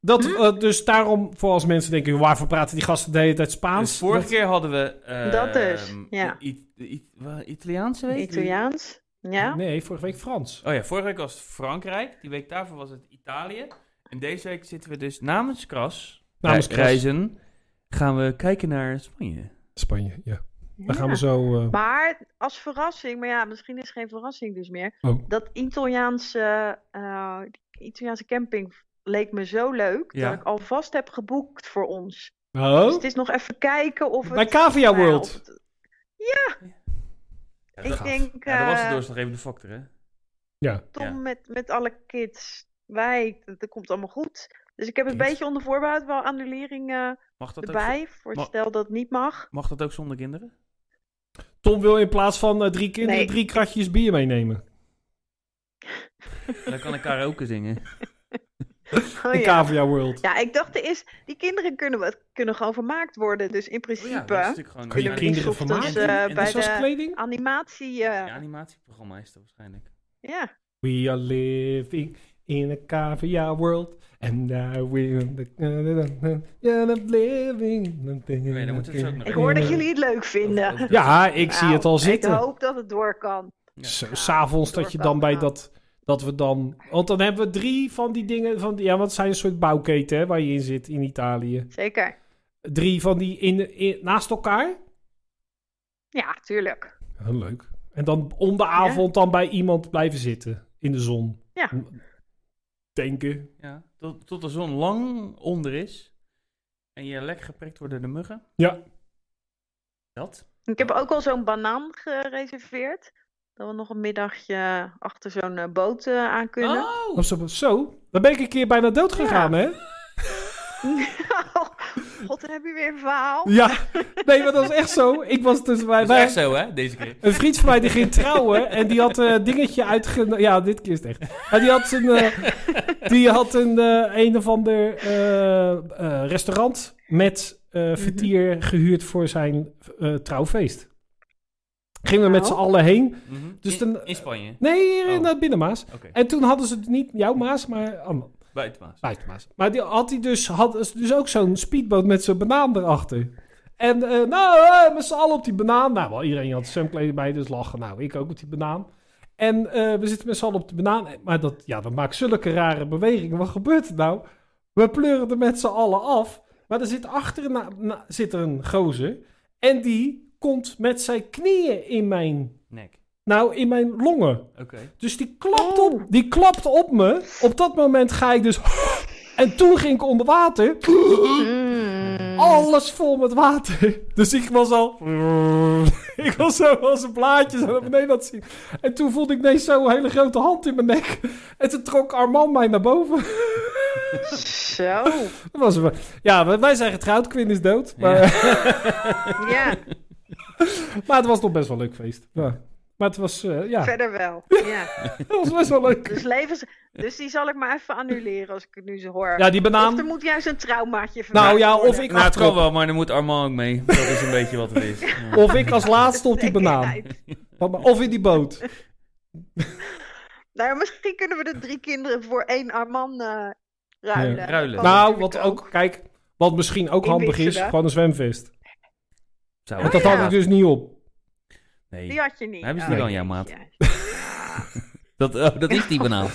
[SPEAKER 1] dat,
[SPEAKER 8] Hm?
[SPEAKER 1] eh, dus daarom, voor als mensen denken, waarvoor praten die gasten de hele tijd Spaans?
[SPEAKER 2] Dus vorige
[SPEAKER 1] Dat-
[SPEAKER 2] keer hadden we... eh,
[SPEAKER 8] Dat dus, ja.
[SPEAKER 2] I- I- wa- Italiaanse week?
[SPEAKER 8] Italiaans. Ja,
[SPEAKER 1] Nee, vorige week Frans.
[SPEAKER 2] Oh ja, vorige week was het Frankrijk. Die week daarvoor was het Italië. En deze week zitten we dus namens Kras...
[SPEAKER 1] Namens
[SPEAKER 2] eh,
[SPEAKER 1] Kras.
[SPEAKER 2] Reizen. Gaan we kijken naar Spanje.
[SPEAKER 1] Spanje, ja. Daar gaan
[SPEAKER 8] Ja.
[SPEAKER 1] we zo... eh,
[SPEAKER 8] Maar als verrassing, maar ja, misschien is het geen verrassing dus meer.
[SPEAKER 1] Oh.
[SPEAKER 8] Dat Italiaanse, eh, die Italiaanse camping leek me zo leuk
[SPEAKER 2] Ja.
[SPEAKER 8] dat ik alvast heb geboekt voor ons. Dus
[SPEAKER 1] oh?
[SPEAKER 8] het is nog even kijken of het.
[SPEAKER 1] Bij Cavia
[SPEAKER 8] nou ja,
[SPEAKER 1] World.
[SPEAKER 8] of het-
[SPEAKER 2] Ja,
[SPEAKER 8] ik
[SPEAKER 2] gaaf.
[SPEAKER 8] denk
[SPEAKER 2] Ja, dat was het
[SPEAKER 8] eh,
[SPEAKER 2] dus nog even de factor, hè?
[SPEAKER 8] Tom
[SPEAKER 2] ja.
[SPEAKER 8] met, met alle kids, wij, dat, dat komt allemaal goed. Dus ik heb een
[SPEAKER 2] Kids.
[SPEAKER 8] beetje onder voorbehoud wel annulering eh,
[SPEAKER 2] Mag dat, ook, zo-
[SPEAKER 8] erbij. Voor
[SPEAKER 2] Ma-
[SPEAKER 8] stel dat het niet mag.
[SPEAKER 2] mag dat ook zonder kinderen?
[SPEAKER 1] Tom wil in plaats van eh, drie kinderen
[SPEAKER 8] Nee. Oh
[SPEAKER 1] drie kratjes bier meenemen.
[SPEAKER 2] Dan kan ik karaoke zingen.
[SPEAKER 8] Oh,
[SPEAKER 1] in
[SPEAKER 8] ja.
[SPEAKER 1] Cavia World.
[SPEAKER 8] ja, ik dacht, er is, die kinderen kunnen, wat- kunnen gewoon vermaakt worden. Dus
[SPEAKER 2] Oh
[SPEAKER 8] in principe.
[SPEAKER 2] natuurlijk gewoon...
[SPEAKER 1] Kun je
[SPEAKER 2] Ja,
[SPEAKER 1] kinderen
[SPEAKER 2] dat is-
[SPEAKER 1] vermaken?
[SPEAKER 2] en- en-
[SPEAKER 8] Eh,
[SPEAKER 2] en-
[SPEAKER 8] bij
[SPEAKER 2] en-
[SPEAKER 1] Zoals
[SPEAKER 8] de-
[SPEAKER 1] kleding?
[SPEAKER 8] animatie. eh,
[SPEAKER 2] Ja, animatieprogramma is dat waarschijnlijk.
[SPEAKER 8] ja.
[SPEAKER 1] We are living in a Cavia World. And I will... Yeah, I'm living...
[SPEAKER 2] Nee, dan moeten we het zo ook nog
[SPEAKER 8] Ik
[SPEAKER 2] even-
[SPEAKER 8] hoor dat jullie het leuk
[SPEAKER 2] Over- eh, over
[SPEAKER 8] vinden.
[SPEAKER 2] dat-
[SPEAKER 1] Ja, ik zie het al
[SPEAKER 8] Nou,
[SPEAKER 1] zitten.
[SPEAKER 8] Ik hoop dat het door kan.
[SPEAKER 2] Ja.
[SPEAKER 1] Zo, S'avonds dat je dan bij dat... Dat we dan... Want dan hebben we drie van die dingen... Van, die- ja, want het zijn een soort bouwketen hè, waar je in zit in Italië.
[SPEAKER 8] Zeker.
[SPEAKER 1] Drie van die in, in- naast elkaar.
[SPEAKER 8] Ja, tuurlijk.
[SPEAKER 1] Heel leuk. En dan om de avond dan bij iemand blijven zitten. In de zon.
[SPEAKER 8] Ja.
[SPEAKER 1] Denken.
[SPEAKER 2] Ja, tot, tot de zon lang onder is en je lek geprikt wordt door de muggen.
[SPEAKER 1] Ja.
[SPEAKER 2] Dat?
[SPEAKER 8] Ik heb ook al zo'n banaan gereserveerd. Dat we nog een middagje achter zo'n eh, boot eh, aan kunnen.
[SPEAKER 2] Oh!
[SPEAKER 1] Of zo, zo. Dan ben ik een keer bijna dood gegaan, hè?
[SPEAKER 8] Oh, God, dan heb je weer een verhaal.
[SPEAKER 1] Ja. Nee, maar dat is echt zo. Ik was dus bij...
[SPEAKER 2] Dat is
[SPEAKER 1] bij-
[SPEAKER 2] echt zo, hè, deze keer.
[SPEAKER 1] Een vriend van mij die ging trouwen en die had een dingetje uitge... Ja, dit keer is het echt. Maar die had een, eh, die had een, eh, een of ander eh, eh, restaurant met eh vertier gehuurd voor zijn eh, trouwfeest. Gingen we met
[SPEAKER 8] Nou.
[SPEAKER 1] z'n allen heen.
[SPEAKER 2] Mhm.
[SPEAKER 1] Dus
[SPEAKER 2] in,
[SPEAKER 1] dan-
[SPEAKER 2] in Spanje.
[SPEAKER 1] Nee, hier in
[SPEAKER 2] Oh.
[SPEAKER 1] dat binnenmaas.
[SPEAKER 2] Oké,
[SPEAKER 1] En toen hadden ze het niet jouw maas, maar ander-
[SPEAKER 2] buitenmaas.
[SPEAKER 1] buitenmaas. Maar die had hij dus, had dus ook zo'n speedboot met zo'n banaan erachter. En eh, nou, eh, met z'n allen op die banaan. Nou, wel, iedereen had zwemkleding bij, dus lachen. Nou, ik ook op die banaan. En eh, we zitten met z'n allen op die banaan. Eh, Maar dat, ja, dat maakt zulke rare bewegingen. Wat gebeurt er nou? We pleuren er met z'n allen af. Maar er zit achter een, na- na- zit er een gozer. En die komt met zijn knieën in mijn,
[SPEAKER 2] Nek.
[SPEAKER 1] nou, in mijn longen.
[SPEAKER 2] Oké.
[SPEAKER 1] Dus die klapt, op, die klapt op me. Op dat moment ga ik dus. En toen ging ik onder water.
[SPEAKER 2] Oh.
[SPEAKER 8] Mm.
[SPEAKER 1] Alles vol met water. Dus ik was al. Ik was zo als een blaadje zo naar beneden aan het zien. En toen voelde ik ineens zo'n hele grote hand in mijn nek. En toen trok Armand mij naar boven.
[SPEAKER 8] Zo.
[SPEAKER 1] Dat was wel- ja, wij- wij zijn getrouwd, Quinn is dood. Maar,
[SPEAKER 8] Ja,
[SPEAKER 1] maar het was nog best wel een leuk feest. Ja. Maar het was, eh, ja,
[SPEAKER 8] verder wel. Ja.
[SPEAKER 1] het was best wel leuk.
[SPEAKER 8] Dus, levens... dus die zal ik maar even annuleren als ik het nu zo hoor.
[SPEAKER 1] Ja, die
[SPEAKER 8] Of er
[SPEAKER 1] banaan.
[SPEAKER 8] moet juist een traumaatje verwerkt
[SPEAKER 1] Nou ja, of
[SPEAKER 8] worden.
[SPEAKER 1] ik,
[SPEAKER 2] Nou, het kan
[SPEAKER 1] achterop,
[SPEAKER 2] wel, maar dan moet Armand ook mee. Dat is een beetje wat het is. Ja.
[SPEAKER 1] of ik als laatste op die
[SPEAKER 8] Denk ik
[SPEAKER 1] banaan.
[SPEAKER 8] uit.
[SPEAKER 1] Of in die boot.
[SPEAKER 8] Nou, ja, misschien kunnen we de drie kinderen voor één Arman eh ruilen.
[SPEAKER 1] Ja.
[SPEAKER 2] Ruilen.
[SPEAKER 8] Dat kan
[SPEAKER 1] Nou,
[SPEAKER 8] natuurlijk
[SPEAKER 1] wat ook, kijk, wat misschien ook
[SPEAKER 8] In
[SPEAKER 1] handig is,
[SPEAKER 8] Winsum, hè?
[SPEAKER 1] gewoon een zwemvest.
[SPEAKER 2] Zou
[SPEAKER 1] Want
[SPEAKER 2] het-
[SPEAKER 1] dat had ik dus niet op.
[SPEAKER 2] Nee.
[SPEAKER 8] Die had je niet.
[SPEAKER 2] Hebben ze die
[SPEAKER 8] Oh,
[SPEAKER 2] dan, ja, maat?
[SPEAKER 8] jeetje.
[SPEAKER 2] Dat, oh, dat is die banaan.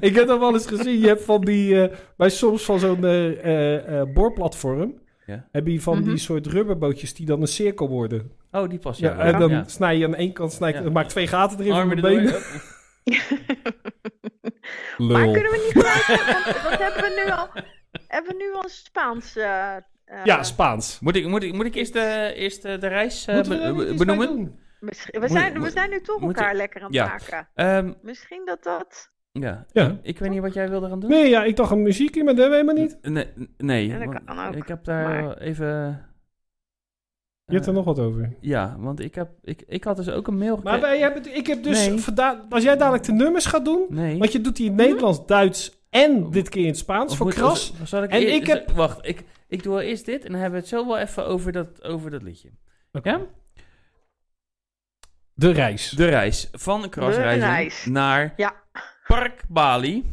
[SPEAKER 1] Ik heb dat wel eens gezien. Je hebt van die, eh, bij soms van zo'n eh, eh, eh, boorplatform,
[SPEAKER 2] Ja.
[SPEAKER 1] heb je van
[SPEAKER 8] Mhm.
[SPEAKER 1] die soort rubberbootjes die dan een cirkel worden.
[SPEAKER 2] Oh, die past
[SPEAKER 1] Ja,
[SPEAKER 2] jou.
[SPEAKER 1] en dan
[SPEAKER 2] Ja.
[SPEAKER 1] snij je aan één kant, snij,
[SPEAKER 2] Ja. Oh,
[SPEAKER 1] je maak twee gaten erin
[SPEAKER 2] Armen
[SPEAKER 1] van mijn benen.
[SPEAKER 2] erdoor.
[SPEAKER 8] Maar kunnen we niet gelijk... want Wat hebben we nu al? Hebben we nu al Spaans... eh, eh,
[SPEAKER 1] Ja, Spaans.
[SPEAKER 2] Moet ik, moet, ik, moet ik eerst de, eerst de, de reis eh,
[SPEAKER 1] Moeten we
[SPEAKER 2] be-
[SPEAKER 1] daar niet
[SPEAKER 2] be-
[SPEAKER 1] iets
[SPEAKER 2] benoemen?
[SPEAKER 1] mee doen?
[SPEAKER 8] misschien- we, zijn, we
[SPEAKER 2] moet-
[SPEAKER 8] zijn nu toch
[SPEAKER 2] moet-
[SPEAKER 8] elkaar lekker aan het
[SPEAKER 2] ja.
[SPEAKER 8] maken.
[SPEAKER 2] Ehm,
[SPEAKER 8] Misschien dat dat...
[SPEAKER 2] ja.
[SPEAKER 1] Ja.
[SPEAKER 2] Ik weet niet wat jij wilde gaan doen.
[SPEAKER 1] Nee, ja, ik dacht een muziek in, maar dat hebben we helemaal niet.
[SPEAKER 2] Nee, nee,
[SPEAKER 8] Ja, dat
[SPEAKER 2] want
[SPEAKER 8] kan ook,
[SPEAKER 2] ik heb daar
[SPEAKER 8] maar-
[SPEAKER 2] wel even... eh,
[SPEAKER 1] Je hebt er nog wat over.
[SPEAKER 2] Ja, want ik, heb, ik, ik had dus ook een mail
[SPEAKER 1] Maar wij
[SPEAKER 2] gekregen.
[SPEAKER 1] hebben, ik heb dus,
[SPEAKER 2] Nee.
[SPEAKER 1] vanda- als jij dadelijk de nummers gaat doen,
[SPEAKER 2] Nee.
[SPEAKER 1] Want je doet die in het Nederlands, Duits en dit keer in het Spaans.
[SPEAKER 2] Mhm. Of
[SPEAKER 1] voor
[SPEAKER 2] moet-
[SPEAKER 1] kras.
[SPEAKER 2] of- of zal ik
[SPEAKER 1] En
[SPEAKER 2] eer-
[SPEAKER 1] ik heb-
[SPEAKER 2] Wacht, ik, ik doe wel eerst dit en dan hebben we het zo wel even over dat, over dat liedje. Ja?
[SPEAKER 1] De reis.
[SPEAKER 2] De reis van
[SPEAKER 8] De
[SPEAKER 2] Krasreis
[SPEAKER 8] reis.
[SPEAKER 2] naar
[SPEAKER 8] Ja.
[SPEAKER 2] Park Bali.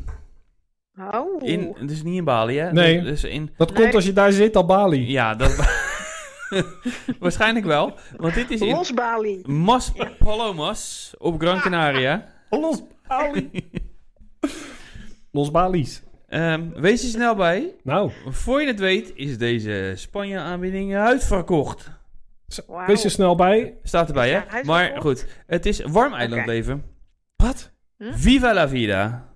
[SPEAKER 8] Oh.
[SPEAKER 2] In, het is niet in Bali, hè?
[SPEAKER 1] Nee.
[SPEAKER 2] Dus in,
[SPEAKER 1] Dat
[SPEAKER 8] Nee.
[SPEAKER 1] komt als je daar zit, al Bali.
[SPEAKER 2] ja, dat... waarschijnlijk wel. Want dit is in
[SPEAKER 8] Los Bali.
[SPEAKER 2] Mas Palomas op Gran Canaria.
[SPEAKER 1] Los Bali. Los Bali's.
[SPEAKER 2] Ehm, wees er snel bij.
[SPEAKER 1] Nou,
[SPEAKER 2] Voor je het weet is deze Spanje-aanbieding uitverkocht.
[SPEAKER 8] Wauw.
[SPEAKER 1] wees er snel bij.
[SPEAKER 2] Staat erbij,
[SPEAKER 8] Ja, hij
[SPEAKER 2] hè?
[SPEAKER 8] is
[SPEAKER 2] Maar
[SPEAKER 8] verkocht.
[SPEAKER 2] goed, het is warm eilandleven.
[SPEAKER 1] Wat?
[SPEAKER 8] Hm?
[SPEAKER 2] Viva la vida.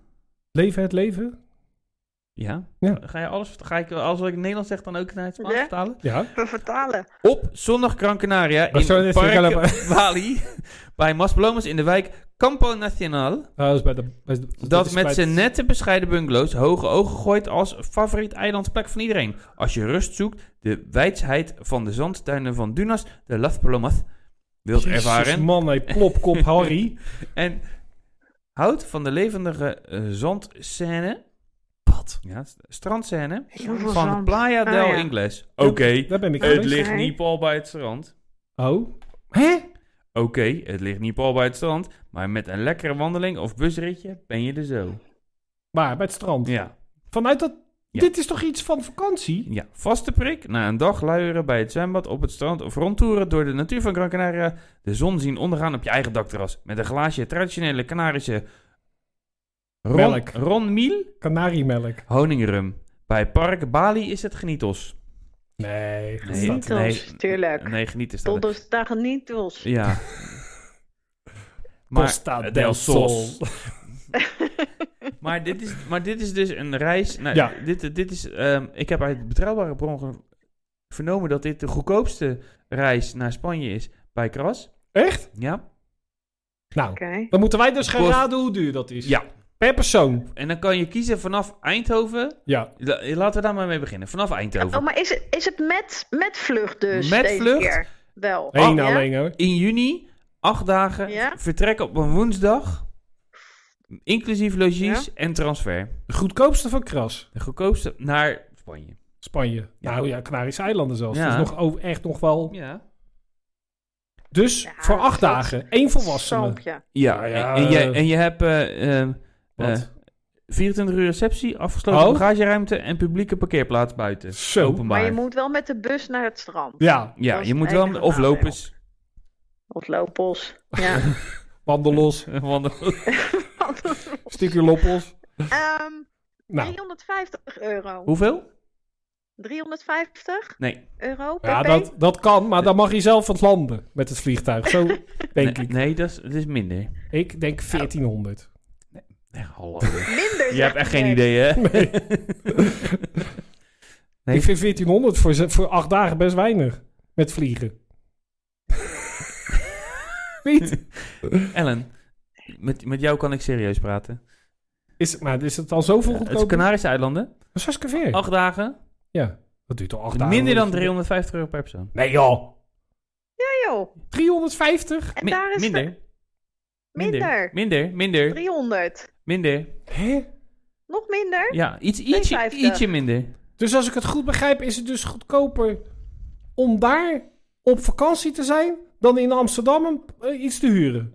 [SPEAKER 1] Leven het leven?
[SPEAKER 2] Ja.
[SPEAKER 1] Ja.
[SPEAKER 2] Ga je alles, ga ik alles wat ik in Nederland zeg dan ook naar het Spaans
[SPEAKER 8] Ja.
[SPEAKER 2] vertalen?
[SPEAKER 1] Ja.
[SPEAKER 8] We vertalen.
[SPEAKER 2] Op zondag Gran Canaria
[SPEAKER 1] Oh, sorry,
[SPEAKER 2] in
[SPEAKER 1] dit vind ik
[SPEAKER 2] Park
[SPEAKER 1] wel
[SPEAKER 2] Bali bij Maspalomas in de wijk Campo Nacional.
[SPEAKER 1] Nou, dat is bij de, bij de-
[SPEAKER 2] Dat
[SPEAKER 1] is bij
[SPEAKER 2] met
[SPEAKER 1] het-
[SPEAKER 2] zijn nette bescheiden bungalows hoge ogen gooit als favoriet eilandsplek van iedereen. Als je rust zoekt, de wijsheid van de zandtuinen van Dunas, de Las Palomas, wilt
[SPEAKER 1] Jezus,
[SPEAKER 2] ervaren.
[SPEAKER 1] man, hey, plopkop Harry.
[SPEAKER 2] En houdt van de levendige eh, zandscène. Wat? Ja, st- strandscène
[SPEAKER 8] Heel
[SPEAKER 2] van Playa del
[SPEAKER 8] Ah, ja.
[SPEAKER 2] Ingles. Oké,
[SPEAKER 1] Daar ben ik
[SPEAKER 2] het
[SPEAKER 1] geweest.
[SPEAKER 2] ligt niet pal bij het strand.
[SPEAKER 1] Oh. Hè?
[SPEAKER 2] Oké, het ligt niet pal bij het strand, maar met een lekkere wandeling of busritje ben je er zo.
[SPEAKER 1] Maar bij het strand.
[SPEAKER 2] Ja.
[SPEAKER 1] Vanuit dat...
[SPEAKER 2] Ja.
[SPEAKER 1] Dit is toch iets van vakantie?
[SPEAKER 2] Ja, vaste prik. Na een dag luieren bij het zwembad op het strand of rondtoeren door de natuur van Gran Canaria. De zon zien ondergaan op je eigen dakterras. Met een glaasje traditionele Canarische ron,
[SPEAKER 1] Melk.
[SPEAKER 2] ronmiel
[SPEAKER 1] Kanariemelk.
[SPEAKER 2] honingrum. Bij Park Bali is het genitos.
[SPEAKER 1] Nee.
[SPEAKER 2] Nee,
[SPEAKER 8] Genietels,
[SPEAKER 2] nee.
[SPEAKER 8] tuurlijk.
[SPEAKER 2] Nee, geniet is dat.
[SPEAKER 8] Todos daar niet los.
[SPEAKER 2] Ja.
[SPEAKER 1] Costa
[SPEAKER 2] eh,
[SPEAKER 1] del Sol.
[SPEAKER 2] maar, dit is, maar dit is dus een reis. Nou,
[SPEAKER 1] Ja.
[SPEAKER 2] dit, dit is, ehm, ik heb uit betrouwbare bron ge- vernomen dat dit de goedkoopste reis naar Spanje is bij Kras.
[SPEAKER 1] Echt?
[SPEAKER 2] Ja.
[SPEAKER 1] Nou,
[SPEAKER 8] Oké.
[SPEAKER 1] dan moeten wij dus gaan
[SPEAKER 2] Kost-
[SPEAKER 1] raden hoe duur dat is.
[SPEAKER 2] ja.
[SPEAKER 1] Per persoon.
[SPEAKER 2] En dan kan je kiezen vanaf Eindhoven.
[SPEAKER 1] Ja.
[SPEAKER 2] La- laten we daar maar mee beginnen. Vanaf Eindhoven.
[SPEAKER 8] Oh, maar is het, is het met, met vlucht dus?
[SPEAKER 2] Met
[SPEAKER 8] deze
[SPEAKER 2] vlucht?
[SPEAKER 8] Keer? Wel.
[SPEAKER 1] Eén
[SPEAKER 8] Oh, ja?
[SPEAKER 1] alleen hoor.
[SPEAKER 2] In juni, acht dagen.
[SPEAKER 8] Ja.
[SPEAKER 2] Vertrek op een woensdag. Inclusief logies en transfer.
[SPEAKER 1] De goedkoopste van Kras.
[SPEAKER 2] De goedkoopste naar Spanje.
[SPEAKER 1] Spanje.
[SPEAKER 2] Ja.
[SPEAKER 1] Nou ja, Canarische eilanden zelfs.
[SPEAKER 2] Ja.
[SPEAKER 1] Dus nog over, echt nog wel.
[SPEAKER 2] Ja.
[SPEAKER 1] Dus
[SPEAKER 8] Ja,
[SPEAKER 1] voor acht
[SPEAKER 8] dat-
[SPEAKER 1] dagen. één volwassene.
[SPEAKER 8] Sampje.
[SPEAKER 2] Ja,
[SPEAKER 1] Nou ja,
[SPEAKER 2] en, en je,
[SPEAKER 1] eh,
[SPEAKER 2] en je hebt eh, eh, eh,
[SPEAKER 1] Wat?
[SPEAKER 2] 24 uur receptie, afgesloten
[SPEAKER 1] Oh.
[SPEAKER 2] bagageruimte en publieke parkeerplaats buiten.
[SPEAKER 1] Zo.
[SPEAKER 2] Openbaar.
[SPEAKER 8] Maar je moet wel met de bus naar het strand.
[SPEAKER 1] Ja.
[SPEAKER 2] ja,
[SPEAKER 8] dat is
[SPEAKER 2] je
[SPEAKER 8] het
[SPEAKER 2] moet wel...
[SPEAKER 8] enige
[SPEAKER 2] Of
[SPEAKER 8] nadeel.
[SPEAKER 2] lopers.
[SPEAKER 8] Of lopels. Ja.
[SPEAKER 1] Wandelos.
[SPEAKER 2] eh, wandelen.
[SPEAKER 1] Stukje loppels.
[SPEAKER 8] Ehm,
[SPEAKER 1] Nou.
[SPEAKER 8] 350 euro.
[SPEAKER 2] Hoeveel?
[SPEAKER 8] 350
[SPEAKER 2] Nee.
[SPEAKER 8] euro per
[SPEAKER 1] Ja, dat, dat kan. Maar dan mag je zelf wat landen met het vliegtuig. Zo denk
[SPEAKER 2] nee,
[SPEAKER 1] ik.
[SPEAKER 2] nee, dat is, dat is minder.
[SPEAKER 1] Ik denk 1400.
[SPEAKER 2] Nee, hallo.
[SPEAKER 8] Minder
[SPEAKER 2] je hebt echt geen idee, hè?
[SPEAKER 1] Nee.
[SPEAKER 2] Nee.
[SPEAKER 1] Ik vind 1400 voor, ze- voor acht dagen best weinig. Met vliegen. Niet?
[SPEAKER 2] Ellen, met, met jou kan ik serieus praten.
[SPEAKER 1] Is, maar is het al zoveel
[SPEAKER 2] Het
[SPEAKER 1] goedkoper?
[SPEAKER 2] Canarische eilanden.
[SPEAKER 1] Zes keer veer.
[SPEAKER 2] Acht dagen.
[SPEAKER 1] Ja. Dat duurt al acht dagen.
[SPEAKER 2] minder dan 350 euro per persoon.
[SPEAKER 1] Nee joh.
[SPEAKER 8] Ja joh.
[SPEAKER 1] 350?
[SPEAKER 8] En
[SPEAKER 2] Mi-
[SPEAKER 8] daar is
[SPEAKER 2] minder.
[SPEAKER 8] ver- Minder.
[SPEAKER 2] Minder. Minder.
[SPEAKER 8] 300.
[SPEAKER 2] Minder.
[SPEAKER 1] Hè?
[SPEAKER 8] Nog minder?
[SPEAKER 2] Ja, iets, ietsje,
[SPEAKER 8] 52.
[SPEAKER 2] ietsje minder.
[SPEAKER 1] Dus als ik het goed begrijp, is het dus goedkoper om daar op vakantie te zijn dan in Amsterdam een- eh, iets te huren.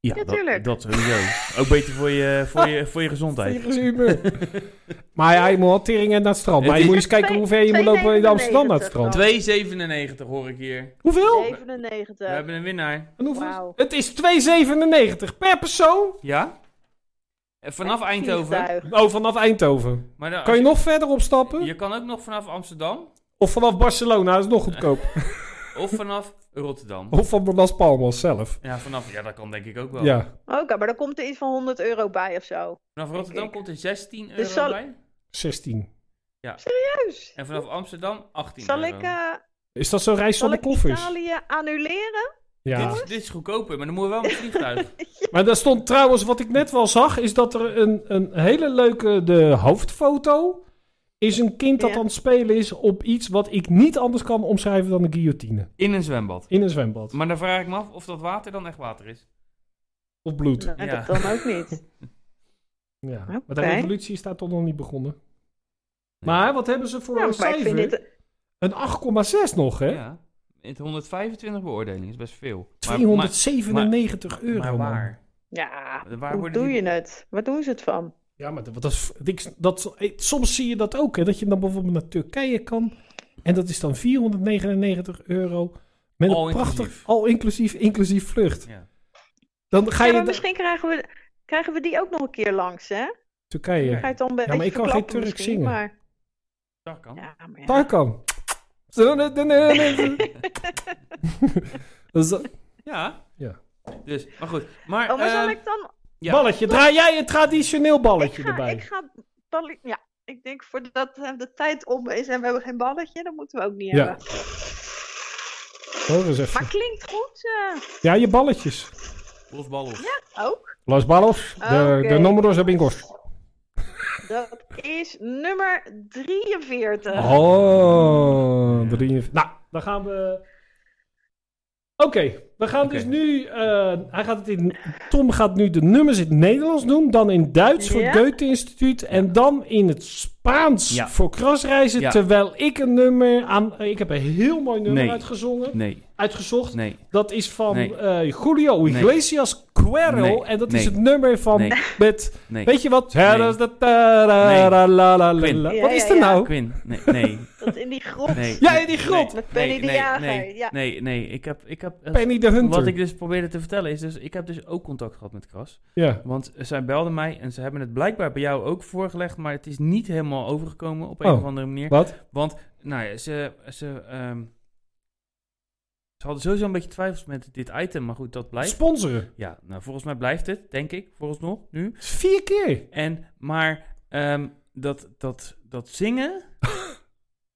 [SPEAKER 2] Ja,
[SPEAKER 8] Ja,
[SPEAKER 2] dat-
[SPEAKER 8] tuurlijk.
[SPEAKER 2] Dat, sowieso. Ook beter voor je, voor je, voor je gezondheid.
[SPEAKER 1] Tegen zijn humeur. maar ja, je moet wel teringen naar het strand. Maar
[SPEAKER 2] Het
[SPEAKER 1] je
[SPEAKER 2] is-
[SPEAKER 1] moet eens kijken hoe ver je moet lopen in Amsterdam naar het
[SPEAKER 8] 2,97
[SPEAKER 1] strand.
[SPEAKER 8] dan.
[SPEAKER 2] 2,97 hoor ik hier.
[SPEAKER 1] Hoeveel?
[SPEAKER 8] 97.
[SPEAKER 2] We hebben een winnaar.
[SPEAKER 1] En hoeveel? is-
[SPEAKER 8] Wauw.
[SPEAKER 1] Het is 2,97 per persoon.
[SPEAKER 2] Ja? En Vanaf Eindhoven.
[SPEAKER 8] Vliegtuig.
[SPEAKER 1] Oh, vanaf Eindhoven.
[SPEAKER 2] Maar dan-
[SPEAKER 1] Kan je nog verder opstappen?
[SPEAKER 2] je kan ook nog vanaf Amsterdam
[SPEAKER 1] Of vanaf Barcelona, dat is nog goedkoop.
[SPEAKER 2] of vanaf Rotterdam.
[SPEAKER 1] Of van Las Palmas zelf.
[SPEAKER 2] Ja, vanaf, ja, dat kan denk ik ook wel.
[SPEAKER 1] Oh. Ja,
[SPEAKER 8] Oké, maar daar komt er iets van 100 euro bij of zo.
[SPEAKER 2] Vanaf Rotterdam komt er 16 euro
[SPEAKER 8] Dus zal-
[SPEAKER 2] bij.
[SPEAKER 1] 16.
[SPEAKER 8] Juist.
[SPEAKER 2] En vanaf Amsterdam 18
[SPEAKER 8] Zal
[SPEAKER 2] euro.
[SPEAKER 8] ik, eh
[SPEAKER 1] Is dat zo'n reis
[SPEAKER 8] zal
[SPEAKER 1] zonder
[SPEAKER 8] ik
[SPEAKER 1] koffers?
[SPEAKER 8] Italië annuleren?
[SPEAKER 1] Ja.
[SPEAKER 2] dit, is, dit is goedkoper, maar dan moeten we wel met vliegtuig.
[SPEAKER 1] Maar daar stond trouwens, wat ik net wel zag, is dat er een, een hele leuke, de hoofdfoto, is een kind dat
[SPEAKER 8] Ja.
[SPEAKER 1] aan het spelen is op iets wat ik niet anders kan omschrijven dan een guillotine.
[SPEAKER 2] In een zwembad.
[SPEAKER 1] In een zwembad.
[SPEAKER 2] Maar dan vraag ik me af of dat water dan echt water is.
[SPEAKER 1] Of bloed.
[SPEAKER 8] Nou,
[SPEAKER 2] Ja.
[SPEAKER 8] dat dan ook niet.
[SPEAKER 1] Ja.
[SPEAKER 8] Oké.
[SPEAKER 1] Maar de revolutie is daar toch nog niet begonnen. Maar wat hebben ze voor
[SPEAKER 8] Nou,
[SPEAKER 1] een
[SPEAKER 8] maar ik
[SPEAKER 1] cijfer?
[SPEAKER 8] vind dit...
[SPEAKER 1] Een 8,6 nog, hè?
[SPEAKER 2] Ja. Het 125 beoordelingen is best veel. Maar-
[SPEAKER 1] 297
[SPEAKER 2] maar,
[SPEAKER 1] euro,
[SPEAKER 2] maar
[SPEAKER 1] man.
[SPEAKER 2] waar?
[SPEAKER 8] Ja,
[SPEAKER 2] Waar
[SPEAKER 8] hoe
[SPEAKER 2] worden
[SPEAKER 8] doe
[SPEAKER 2] die-
[SPEAKER 8] je het? Waar doen ze het van?
[SPEAKER 1] Ja, maar dat, dat, is- ik- dat, soms zie je dat ook, hè? Dat je dan bijvoorbeeld naar Turkije kan. En dat is dan 499 euro. Met
[SPEAKER 2] Al
[SPEAKER 1] een prachtig,
[SPEAKER 2] inclusief.
[SPEAKER 1] al inclusief, inclusief vlucht.
[SPEAKER 2] Ja.
[SPEAKER 1] Dan ga je
[SPEAKER 8] Ja, maar
[SPEAKER 1] naar
[SPEAKER 8] misschien krijgen we, krijgen we die ook nog een keer langs, hè?
[SPEAKER 1] Turkije.
[SPEAKER 8] Ga je het dan een beetje
[SPEAKER 1] maar ik kan geen
[SPEAKER 8] verklappen
[SPEAKER 1] Turks
[SPEAKER 8] misschien,
[SPEAKER 1] zingen.
[SPEAKER 8] Maar...
[SPEAKER 2] Dat kan.
[SPEAKER 8] Ja, maar ja.
[SPEAKER 1] Daar kan. Dus dat-
[SPEAKER 2] Ja.
[SPEAKER 1] Ja.
[SPEAKER 2] Dus, maar goed. Maar,
[SPEAKER 8] Oh, maar zal
[SPEAKER 2] ehm,
[SPEAKER 8] ik dan...
[SPEAKER 2] ja.
[SPEAKER 1] Balletje, draai jij een traditioneel
[SPEAKER 8] Ik
[SPEAKER 1] Eh, balletje
[SPEAKER 8] ga,
[SPEAKER 1] erbij.
[SPEAKER 8] ik ga... balli- Ja, ik denk voordat eh, de tijd om is en we hebben geen balletje, dan moeten we ook niet
[SPEAKER 1] Ja.
[SPEAKER 8] hebben.
[SPEAKER 1] Hoor eens even.
[SPEAKER 8] Maar klinkt goed eh,
[SPEAKER 1] Ja, je balletjes.
[SPEAKER 2] Losballos.
[SPEAKER 8] ook.
[SPEAKER 1] Los ballos, de,
[SPEAKER 8] Oké.
[SPEAKER 1] de números heb ik kost.
[SPEAKER 8] Dat is nummer 43.
[SPEAKER 1] Oh, drie. Nou, dan gaan we. Oké, we gaan dus nu. eh, hij gaat het in, Tom gaat nu de nummers in het Nederlands doen, dan in Duits voor
[SPEAKER 8] Ja.
[SPEAKER 1] het Goethe-instituut en dan in het Spaans
[SPEAKER 2] Ja.
[SPEAKER 1] voor krasreizen.
[SPEAKER 2] Ja.
[SPEAKER 1] Terwijl ik een nummer aan. Ik heb een heel mooi nummer
[SPEAKER 2] Nee.
[SPEAKER 1] uitgezongen,
[SPEAKER 2] Nee,
[SPEAKER 1] uitgezocht.
[SPEAKER 2] nee,
[SPEAKER 1] Dat is van
[SPEAKER 2] Nee.
[SPEAKER 1] eh, Julio Iglesias Cuero.
[SPEAKER 2] Nee.
[SPEAKER 1] En dat is
[SPEAKER 2] Nee.
[SPEAKER 1] het nummer van.
[SPEAKER 2] Nee.
[SPEAKER 1] Met,
[SPEAKER 2] nee.
[SPEAKER 1] Weet je wat?
[SPEAKER 2] Nee.
[SPEAKER 1] Nee.
[SPEAKER 2] Quinn.
[SPEAKER 1] Wat is
[SPEAKER 8] Ja,
[SPEAKER 1] er
[SPEAKER 8] ja, ja.
[SPEAKER 1] nou?
[SPEAKER 2] Quinn, nee, nee,
[SPEAKER 8] Dat in die grot.
[SPEAKER 2] nee.
[SPEAKER 1] Ja,
[SPEAKER 2] nee,
[SPEAKER 1] in die grot.
[SPEAKER 2] nee,
[SPEAKER 8] Met Penny
[SPEAKER 2] nee,
[SPEAKER 8] de
[SPEAKER 2] nee,
[SPEAKER 8] Jager,
[SPEAKER 2] Nee,
[SPEAKER 8] ja.
[SPEAKER 2] nee, nee, ik heb, ik heb... eh,
[SPEAKER 1] Penny de Hunter.
[SPEAKER 2] Wat ik dus probeerde te vertellen is, dus, ik heb dus ook contact gehad met Kras.
[SPEAKER 1] Ja.
[SPEAKER 2] Want zij belden mij en ze hebben het blijkbaar bij jou ook voorgelegd, maar het is niet helemaal overgekomen op een
[SPEAKER 1] Oh.
[SPEAKER 2] of andere manier.
[SPEAKER 1] Wat?
[SPEAKER 2] Want, nou ja, ze, ze, ehm, ze hadden sowieso een beetje twijfels met dit item, maar goed, dat blijft.
[SPEAKER 1] Sponsoren.
[SPEAKER 2] Ja, nou, volgens mij blijft het, denk ik, volgens nog, nu.
[SPEAKER 1] Vier keer.
[SPEAKER 2] En, maar ehm, dat, dat, dat zingen,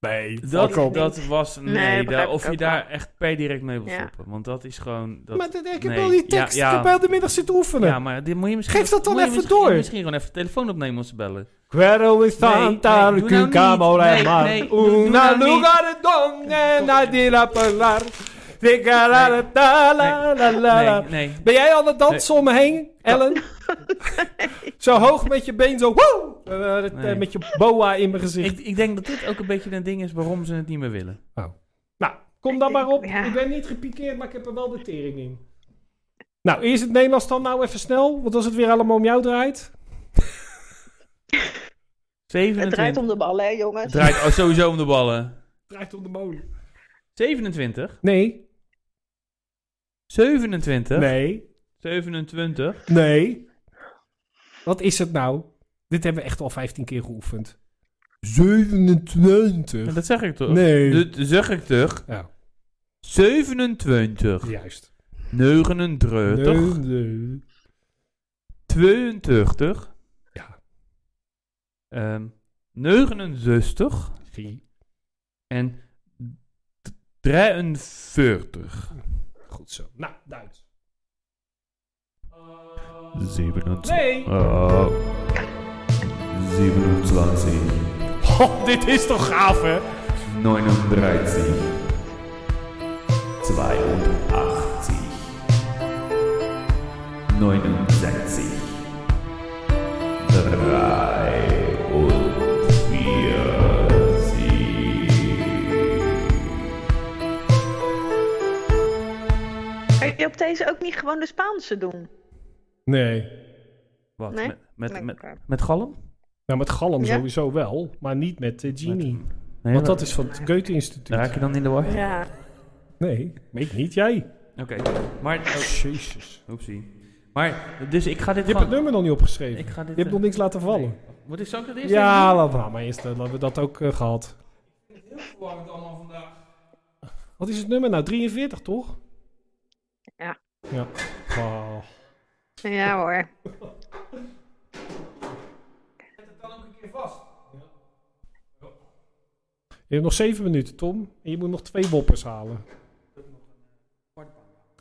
[SPEAKER 1] Nee,
[SPEAKER 2] dat,
[SPEAKER 8] op.
[SPEAKER 2] dat was, nee,
[SPEAKER 8] begrijp
[SPEAKER 2] daar-
[SPEAKER 8] ik
[SPEAKER 2] of je
[SPEAKER 8] ook
[SPEAKER 2] daar
[SPEAKER 8] wel.
[SPEAKER 2] echt per direct mee wil
[SPEAKER 8] Ja.
[SPEAKER 2] stoppen. Want dat is gewoon, dat,
[SPEAKER 1] maar dat- ik heb
[SPEAKER 2] nee.
[SPEAKER 1] al die
[SPEAKER 2] Ja,
[SPEAKER 1] tekst.
[SPEAKER 2] ja.
[SPEAKER 1] Ik heb heel de middag zitten oefenen.
[SPEAKER 2] ja, maar dit moet je misschien...
[SPEAKER 1] Geef dat dan
[SPEAKER 2] moet je
[SPEAKER 1] even
[SPEAKER 2] misschien-
[SPEAKER 1] door.
[SPEAKER 2] Misschien gewoon even de telefoon opnemen om te bellen.
[SPEAKER 1] Quero in
[SPEAKER 2] Santa nee, doe nou Cucamore niet. Nee, mar. nee, doe- doe Una nou niet. lugar
[SPEAKER 1] donde
[SPEAKER 2] nadie
[SPEAKER 1] la pelar.
[SPEAKER 2] Nee, nee.
[SPEAKER 1] Ben jij aan het dansen om me heen, Ellen? Zo hoog met je been, zo woe! Eh, eh,
[SPEAKER 2] Nee.
[SPEAKER 1] Met je boa in mijn gezicht.
[SPEAKER 2] Ik, ik denk dat dit ook een beetje een ding is waarom ze het niet meer willen.
[SPEAKER 1] Nou, kom dan maar op.
[SPEAKER 8] Ja.
[SPEAKER 1] Ik ben niet gepikeerd, maar ik heb er wel de tering in. Nou, eerst het Nederlands dan nou even snel. Want als het weer allemaal om jou draait.
[SPEAKER 8] Het
[SPEAKER 2] 27.
[SPEAKER 8] draait om de ballen, hè, jongens.
[SPEAKER 2] draait oh, sowieso om de ballen.
[SPEAKER 1] Draait om de molen.
[SPEAKER 2] 27.
[SPEAKER 1] Nee.
[SPEAKER 2] 27.
[SPEAKER 1] Nee.
[SPEAKER 2] 27.
[SPEAKER 1] Nee. Wat is het nou? Dit hebben we echt al 15 keer geoefend. 27.
[SPEAKER 2] En dat zeg ik toch?
[SPEAKER 1] Nee.
[SPEAKER 2] Dat zeg ik toch?
[SPEAKER 1] Ja.
[SPEAKER 2] 27.
[SPEAKER 1] Juist.
[SPEAKER 2] 39.
[SPEAKER 1] Nee.
[SPEAKER 2] 82.
[SPEAKER 1] Ja.
[SPEAKER 2] ehm, 69.
[SPEAKER 1] Zie.
[SPEAKER 2] En d- 43.
[SPEAKER 1] Goed zo. Nou, Duits.
[SPEAKER 2] 27.
[SPEAKER 1] Nee.
[SPEAKER 2] Oh.
[SPEAKER 9] 27,
[SPEAKER 1] Oh, dit is toch gaaf, hè?
[SPEAKER 9] 39, 82, 69, 43.
[SPEAKER 8] Kan je op deze ook niet gewoon de Spaanse doen?
[SPEAKER 1] Nee.
[SPEAKER 2] Wat?
[SPEAKER 8] Nee?
[SPEAKER 2] Met, met,
[SPEAKER 8] Nee,
[SPEAKER 2] met,
[SPEAKER 8] oké.
[SPEAKER 2] met galm?
[SPEAKER 1] Nou, met Galm
[SPEAKER 8] Ja.
[SPEAKER 1] sowieso wel, maar niet met eh, Genie.
[SPEAKER 2] Nee,
[SPEAKER 1] Want
[SPEAKER 2] maar-
[SPEAKER 1] dat is van het Goethe-instituut.
[SPEAKER 2] Raak je dan in de war?
[SPEAKER 8] Ja.
[SPEAKER 1] Nee, maar ik niet, jij.
[SPEAKER 2] Oké. Maar... oh,
[SPEAKER 1] Jezus.
[SPEAKER 2] oepsie. Maar, dus ik ga
[SPEAKER 1] Je hebt
[SPEAKER 2] dit
[SPEAKER 1] het
[SPEAKER 2] gewoon...
[SPEAKER 1] nummer nog niet opgeschreven.
[SPEAKER 2] Ik ga dit...
[SPEAKER 1] Je hebt
[SPEAKER 2] eh,
[SPEAKER 1] nog niks laten vallen.
[SPEAKER 2] Moet ik zo dat eerst
[SPEAKER 1] Ja, laat maar, maar eerst eh, laten we dat ook eh, gehad. Wat is het nummer nou? 43, toch?
[SPEAKER 8] Ja.
[SPEAKER 1] Ja. Wauw.
[SPEAKER 8] Ja hoor.
[SPEAKER 1] Je hebt nog 7 minuten, Tom. En je moet nog twee woppers halen.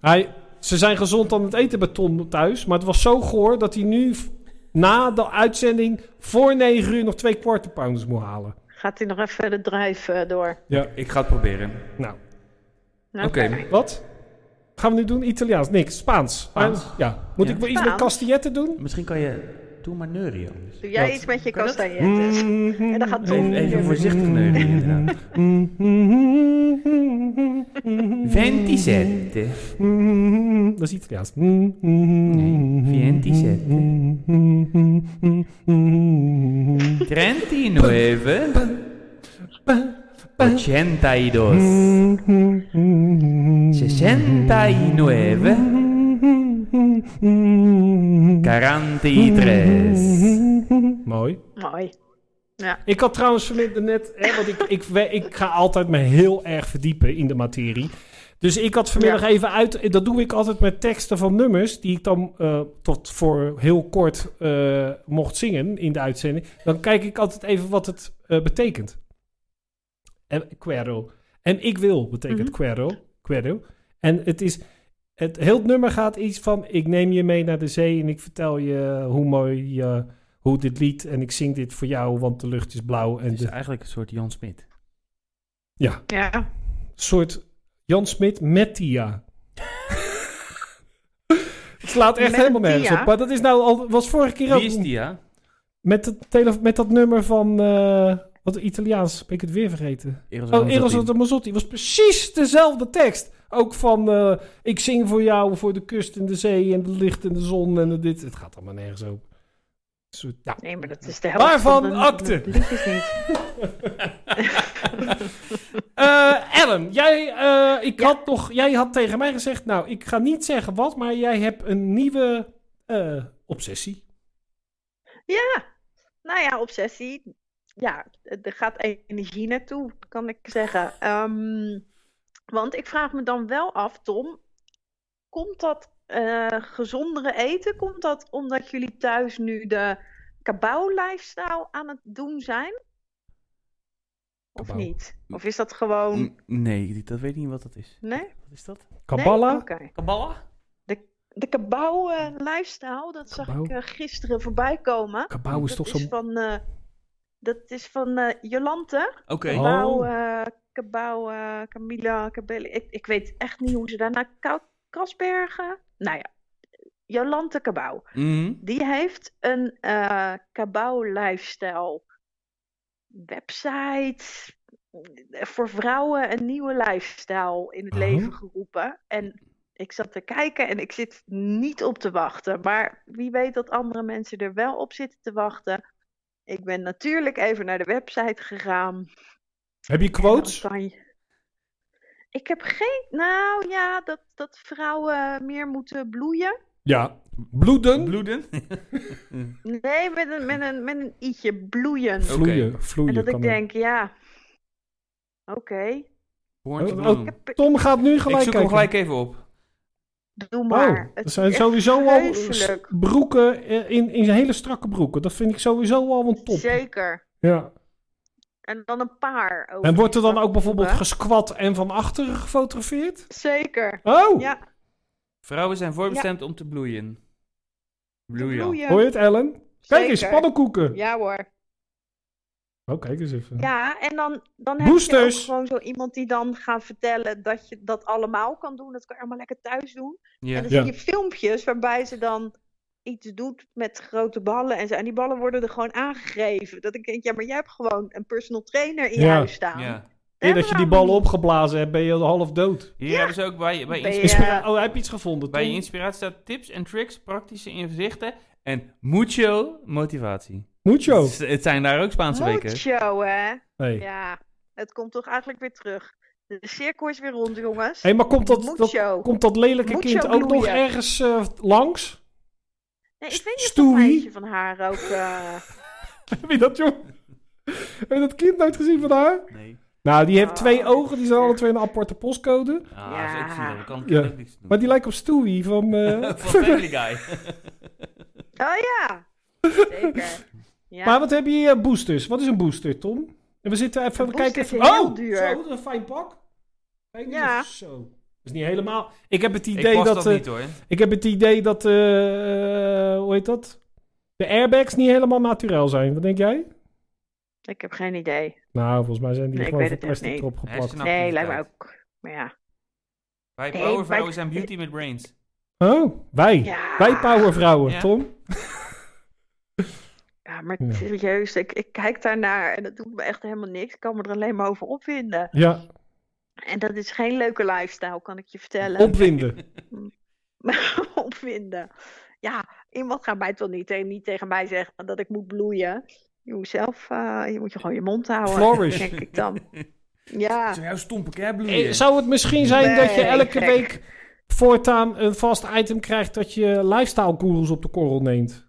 [SPEAKER 1] Hij, ze zijn gezond aan het eten bij Tom thuis. Maar het was zo goor dat hij nu v- na de uitzending voor 9 uur nog twee quarter pounds moet halen.
[SPEAKER 8] Gaat hij nog even de drive eh, door?
[SPEAKER 1] Ja.
[SPEAKER 2] Ik ga het proberen.
[SPEAKER 1] Nou,
[SPEAKER 8] Oké.
[SPEAKER 1] wat? Gaan we nu doen? Italiaans, niks. Spaans.
[SPEAKER 2] Spaans.
[SPEAKER 1] Ah, Ja. Moet
[SPEAKER 2] Ja.
[SPEAKER 1] ik wel iets met
[SPEAKER 8] Spaans.
[SPEAKER 1] castilletten doen?
[SPEAKER 2] Misschien kan je... Doe maar neurie anders.
[SPEAKER 8] Doe jij
[SPEAKER 1] Wat?
[SPEAKER 8] iets met je
[SPEAKER 2] Kan dat?
[SPEAKER 8] kastanjettes? En dan gaat Tom...
[SPEAKER 2] Even, even voorzichtig neurie inderdaad. 27.
[SPEAKER 1] Dat is Italiaans. mm, Nee,
[SPEAKER 2] 39. 82. 69.
[SPEAKER 1] mm,
[SPEAKER 2] 43.
[SPEAKER 1] Mooi.
[SPEAKER 8] Mooi.
[SPEAKER 1] Ik had trouwens vanmiddag net, hè, want ik, ik, we- ik ga altijd me heel erg verdiepen in de materie. Dus ik had vanmiddag
[SPEAKER 8] Ja.
[SPEAKER 1] even uit, dat doe ik altijd met teksten van nummers, die ik dan eh, tot voor heel kort eh, mocht zingen in de uitzending. Dan kijk ik altijd even wat het eh, betekent. En quero. En ik wil betekent
[SPEAKER 8] Mhm.
[SPEAKER 1] quero. Quero. En het is, het heel het nummer gaat iets van, ik neem je mee naar de zee en ik vertel je hoe mooi je hoe dit lied en ik zing dit voor jou, want de lucht is blauw. En
[SPEAKER 2] Het is
[SPEAKER 1] de
[SPEAKER 2] eigenlijk een soort Jan Smit.
[SPEAKER 8] Ja.
[SPEAKER 1] soort Jan Smit met Tia. Het slaat echt
[SPEAKER 8] Met
[SPEAKER 1] helemaal nergens
[SPEAKER 8] Tia?
[SPEAKER 1] op. Maar dat is nou al, was vorige keer ook
[SPEAKER 2] Wie is die, ja?
[SPEAKER 1] Met, het tele- met dat nummer van, eh, wat Italiaans, ben ik het weer vergeten. Oh, Eros de Mazzotti was precies dezelfde tekst. Ook van, eh, ik zing voor jou, voor de kust en de zee en het licht en de zon en de dit. Het gaat allemaal nergens op. Een soort- ja.
[SPEAKER 8] Nee, maar dat is de helft
[SPEAKER 1] Waarvan
[SPEAKER 8] van de-
[SPEAKER 1] akte?
[SPEAKER 8] de liedjes niet.
[SPEAKER 1] Eh Ellen, jij, eh, ik had nog, jij had tegen mij gezegd, nou, ik ga niet zeggen wat, maar jij hebt een nieuwe eh, obsessie.
[SPEAKER 8] Ja. Nou ja, obsessie. Ja, er gaat energie naartoe, kan ik zeggen. Ehm, want ik vraag me dan wel af, Tom. Komt dat eh, gezondere eten, komt dat omdat jullie thuis nu de kabouw-lifestyle aan het doen zijn? Of
[SPEAKER 1] Kabouw. Mm.
[SPEAKER 8] niet? Of is dat gewoon...
[SPEAKER 2] Mm, Nee, die- dat weet ik niet wat dat is.
[SPEAKER 8] Nee?
[SPEAKER 2] Wat is dat?
[SPEAKER 1] Kabbalah?
[SPEAKER 8] Nee? Oké.
[SPEAKER 2] Kabbalah?
[SPEAKER 8] De kabouw eh, lifestyle, dat zag
[SPEAKER 1] Kabouw?
[SPEAKER 8] ik eh, gisteren voorbij komen.
[SPEAKER 1] Kabouw is
[SPEAKER 8] dat
[SPEAKER 1] toch zo'n...
[SPEAKER 8] van, eh, dat is van eh, Jolante.
[SPEAKER 2] Oké.
[SPEAKER 1] Oh.
[SPEAKER 8] Kabouw, eh, Kabouw, eh, Camilla, Cabelli. Ik, ik weet echt niet hoe ze daarna... Kau- Kasbergen? Nou ja, Jolante Kabouw.
[SPEAKER 2] Mhm.
[SPEAKER 8] Die heeft een eh Kabouw lifestyle website eh, voor vrouwen een nieuwe lifestyle in het
[SPEAKER 1] Oh.
[SPEAKER 8] leven geroepen. En ik zat te kijken en ik zit niet op te wachten. Maar wie weet dat andere mensen er wel op zitten te wachten. Ik ben natuurlijk even naar de website gegaan.
[SPEAKER 1] Heb je
[SPEAKER 8] En dan
[SPEAKER 1] quotes?
[SPEAKER 8] kan je- Ik heb geen. Nou ja, dat, dat vrouwen meer moeten bloeien.
[SPEAKER 1] Ja. Bloeden?
[SPEAKER 2] Bloeden?
[SPEAKER 8] Nee, met een, met een, met een i'tje bloeien.
[SPEAKER 1] Vloeien.
[SPEAKER 8] En
[SPEAKER 1] Vloeien
[SPEAKER 8] dat ik
[SPEAKER 1] kan
[SPEAKER 8] denk, ja. Oké,
[SPEAKER 2] Born to
[SPEAKER 1] Oh,
[SPEAKER 2] bloom.
[SPEAKER 1] oh,
[SPEAKER 8] Ik heb-
[SPEAKER 1] ook. Tom gaat nu
[SPEAKER 2] Ik
[SPEAKER 1] gelijk
[SPEAKER 2] zoek hem
[SPEAKER 1] kijken.
[SPEAKER 2] gelijk even op.
[SPEAKER 8] doe
[SPEAKER 1] Oh,
[SPEAKER 8] maar.
[SPEAKER 1] er
[SPEAKER 8] Het
[SPEAKER 1] zijn
[SPEAKER 8] is echt
[SPEAKER 1] sowieso al eh,
[SPEAKER 8] vreselijk.
[SPEAKER 1] s- broeken, eh, in, in hele strakke broeken. Dat vind ik sowieso al een top.
[SPEAKER 8] Zeker.
[SPEAKER 1] Ja.
[SPEAKER 8] En dan een paar. over
[SPEAKER 1] En wordt er
[SPEAKER 8] die
[SPEAKER 1] dan ook bijvoorbeeld
[SPEAKER 8] zakken.
[SPEAKER 1] gesquat en van achteren gefotografeerd?
[SPEAKER 8] Zeker.
[SPEAKER 1] Oh,
[SPEAKER 8] Ja,
[SPEAKER 2] Vrouwen zijn voorbestemd om te bloeien. Bloeien.
[SPEAKER 8] bloeien.
[SPEAKER 1] hoor je het Ellen? Kijk eens,
[SPEAKER 8] Zeker.
[SPEAKER 1] pannenkoeken.
[SPEAKER 8] Ja hoor.
[SPEAKER 1] Oh, kijk eens even.
[SPEAKER 8] Ja, en dan, dan heb je ook
[SPEAKER 1] Boosters!
[SPEAKER 8] gewoon zo iemand die dan gaat vertellen dat je dat allemaal kan doen. Dat kan je allemaal lekker thuis doen. En dus
[SPEAKER 2] Ja.
[SPEAKER 8] dan
[SPEAKER 1] Ja.
[SPEAKER 8] zie je filmpjes waarbij ze dan iets doet met grote ballen en zo. En die ballen worden er gewoon aangegeven. Dat ik denk, ja, maar jij hebt gewoon een personal trainer in je
[SPEAKER 1] Ja.
[SPEAKER 8] huis staan.
[SPEAKER 2] Ja.
[SPEAKER 8] Daar
[SPEAKER 1] Eer dat je die
[SPEAKER 8] hebben we
[SPEAKER 1] ballen
[SPEAKER 8] allemaal
[SPEAKER 1] opgeblazen hebt, ben je al half dood.
[SPEAKER 2] Hier hebben ze ook bij, bij,
[SPEAKER 8] Ben je-
[SPEAKER 2] insp-
[SPEAKER 1] Inspira- Oh, heb je iets gevonden?
[SPEAKER 2] bij je
[SPEAKER 1] Tom?
[SPEAKER 2] inspiratie staat tips en tricks, praktische inzichten en mucho motivatie.
[SPEAKER 1] Mucho.
[SPEAKER 2] Het, het zijn daar ook Spaanse
[SPEAKER 8] niet.
[SPEAKER 2] weken.
[SPEAKER 8] Mucho, hè?
[SPEAKER 1] Hey.
[SPEAKER 8] Ja, het komt toch eigenlijk weer terug. De cirkel is weer rond, jongens.
[SPEAKER 1] Hey, maar komt dat,
[SPEAKER 8] Mucho.
[SPEAKER 1] dat, komt dat lelijke
[SPEAKER 8] Mucho
[SPEAKER 1] kind ook nog
[SPEAKER 8] bloeien.
[SPEAKER 1] ergens eh, langs?
[SPEAKER 8] Nee, ik weet niet of dat
[SPEAKER 1] Stewie?
[SPEAKER 8] meisje van haar ook... eh,
[SPEAKER 1] Heb je dat, joh? Heb je dat kind nooit gezien van haar?
[SPEAKER 2] Nee.
[SPEAKER 1] Nou, die heeft twee
[SPEAKER 8] Oh,
[SPEAKER 1] ogen, die zijn alle twee een aparte postcode.
[SPEAKER 2] Ah,
[SPEAKER 8] Ja.
[SPEAKER 2] dat is ook zielig. Kan ik
[SPEAKER 1] Ja.
[SPEAKER 2] ook niks doen.
[SPEAKER 1] Maar die lijkt op Stewie van... eh,
[SPEAKER 2] Van Family Guy.
[SPEAKER 8] Oh ja, zeker. Ja.
[SPEAKER 1] Maar wat heb je hier? Boosters. Wat is een booster, Tom? En we zitten even... We
[SPEAKER 8] Een booster
[SPEAKER 1] kijken even...
[SPEAKER 8] is heel
[SPEAKER 1] oh,
[SPEAKER 8] duur.
[SPEAKER 1] zo, wat een fijn pak. Kijk eens
[SPEAKER 8] Ja.
[SPEAKER 1] even, Zo. Dat is niet helemaal... Ik heb het
[SPEAKER 2] Ik
[SPEAKER 1] idee
[SPEAKER 2] pas
[SPEAKER 1] dat...
[SPEAKER 2] dat,
[SPEAKER 1] eh,
[SPEAKER 2] niet hoor.
[SPEAKER 1] Ik heb het idee dat... eh, eh, hoe heet dat? De airbags niet helemaal naturel zijn. Wat denk jij?
[SPEAKER 8] Ik heb geen idee.
[SPEAKER 1] Nou, volgens mij zijn die
[SPEAKER 8] Nee, ik
[SPEAKER 1] gewoon
[SPEAKER 8] weet
[SPEAKER 1] van
[SPEAKER 8] het echt
[SPEAKER 1] plastic
[SPEAKER 8] niet.
[SPEAKER 1] erop geplakt.
[SPEAKER 2] Hersenactiviteit.
[SPEAKER 8] nee, lijkt me ook. Maar ja.
[SPEAKER 2] Wij
[SPEAKER 8] Nee,
[SPEAKER 2] power
[SPEAKER 8] wij-
[SPEAKER 2] vrouwen zijn beauty met brains.
[SPEAKER 1] Oh, wij.
[SPEAKER 8] Ja.
[SPEAKER 1] Wij powervrouwen,
[SPEAKER 2] Ja.
[SPEAKER 1] Tom.
[SPEAKER 8] ja, maar
[SPEAKER 1] Ja.
[SPEAKER 8] serieus, ik, ik kijk daarnaar en dat doet me echt helemaal niks. Ik kan me er alleen maar over opwinden.
[SPEAKER 1] Ja,
[SPEAKER 8] En dat is geen leuke lifestyle, kan ik je vertellen.
[SPEAKER 1] opwinden.
[SPEAKER 8] opwinden. Ja, iemand gaat mij toch niet, te- niet tegen mij zeggen dat ik moet bloeien. Je moet zelf, eh, je moet je gewoon je mond houden,
[SPEAKER 1] Flourish.
[SPEAKER 8] denk ik dan. Ja.
[SPEAKER 2] Zo'n jouw stompe kerbloeien.
[SPEAKER 1] Eh, Zou het misschien zijn dat je
[SPEAKER 8] Nee,
[SPEAKER 1] elke
[SPEAKER 8] gek.
[SPEAKER 1] week voortaan een vast item krijgt dat je lifestyle gurus op de korrel neemt?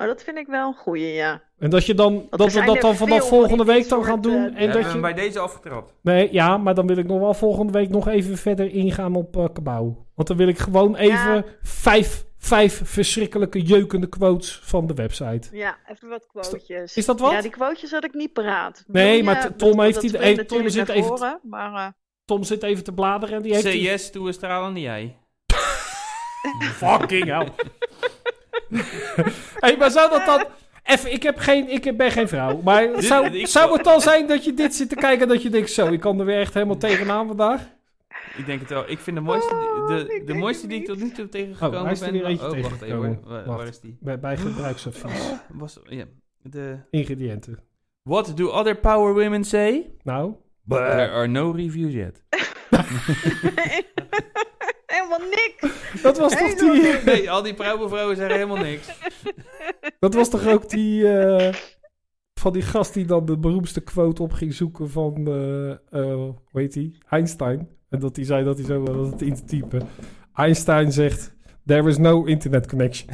[SPEAKER 8] Oh, dat vind ik wel een goeie, ja.
[SPEAKER 1] En dat, je dan,
[SPEAKER 8] er
[SPEAKER 1] dat we
[SPEAKER 8] zijn
[SPEAKER 1] dat
[SPEAKER 8] er
[SPEAKER 1] dan vanaf
[SPEAKER 8] veel
[SPEAKER 1] volgende
[SPEAKER 8] van
[SPEAKER 1] week
[SPEAKER 8] dit
[SPEAKER 1] dan gaan
[SPEAKER 8] soort,
[SPEAKER 1] doen. En
[SPEAKER 8] eh,
[SPEAKER 2] hebben we
[SPEAKER 1] dat
[SPEAKER 2] hem
[SPEAKER 1] je,
[SPEAKER 2] bij deze afgetrapt.
[SPEAKER 1] nee, ja, maar dan wil ik nog wel volgende week nog even verder ingaan op eh kabouw. Want dan wil ik gewoon even
[SPEAKER 8] Ja.
[SPEAKER 1] vijf, vijf verschrikkelijke jeukende quotes van de website.
[SPEAKER 8] Ja, even wat quotejes.
[SPEAKER 1] is dat wat?
[SPEAKER 8] Ja, die quotejes had ik niet paraat.
[SPEAKER 1] Nee,
[SPEAKER 8] Wil je-
[SPEAKER 1] maar t- Tom
[SPEAKER 8] dat-
[SPEAKER 1] heeft
[SPEAKER 8] dat
[SPEAKER 1] die-
[SPEAKER 8] wil
[SPEAKER 1] heeft-
[SPEAKER 8] je
[SPEAKER 1] Tom
[SPEAKER 8] natuurlijk
[SPEAKER 1] zit
[SPEAKER 8] naar
[SPEAKER 1] even-
[SPEAKER 8] voren, maar eh,
[SPEAKER 1] Tom zit even te bladeren en die heeft...
[SPEAKER 2] Say yes to een stralende jij.
[SPEAKER 1] Fucking hell. hey, maar zou dat dan... Even, ik, heb geen, ik ben geen vrouw. Maar zou,
[SPEAKER 2] ik-
[SPEAKER 1] zou het dan zijn dat je dit zit te kijken en dat je denkt... Zo, ik kan er weer echt helemaal tegenaan vandaag.
[SPEAKER 2] Ik denk het wel. Ik vind de mooiste,
[SPEAKER 8] Oh, ik
[SPEAKER 2] de,
[SPEAKER 8] weet
[SPEAKER 2] de
[SPEAKER 8] het
[SPEAKER 2] mooiste die ik
[SPEAKER 8] niet.
[SPEAKER 2] tot nu toe
[SPEAKER 1] Oh, hij
[SPEAKER 2] tegengekomen
[SPEAKER 1] is er
[SPEAKER 2] ben.
[SPEAKER 1] weer eentje
[SPEAKER 2] oh, wacht even.
[SPEAKER 1] tegengekomen.
[SPEAKER 2] hoor. Waar,
[SPEAKER 1] Wacht.
[SPEAKER 2] waar is die?
[SPEAKER 1] Bij, bij gebruiksadvies.
[SPEAKER 2] Was, ja. de,
[SPEAKER 1] Ingrediënten.
[SPEAKER 2] what do other power women say?
[SPEAKER 1] Nou,
[SPEAKER 2] There are no reviews yet.
[SPEAKER 8] eh, helemaal niks.
[SPEAKER 1] dat was toch die...
[SPEAKER 2] Nee, al die vrouwen vrouwen zeggen helemaal niks.
[SPEAKER 1] Dat was toch ook die... eh, van die gast die dan de beroemdste quote op ging zoeken van... eh, eh, hoe heet die? Einstein. En dat hij zei dat hij zo was het in te typen. Einstein zegt... There is no internet connection.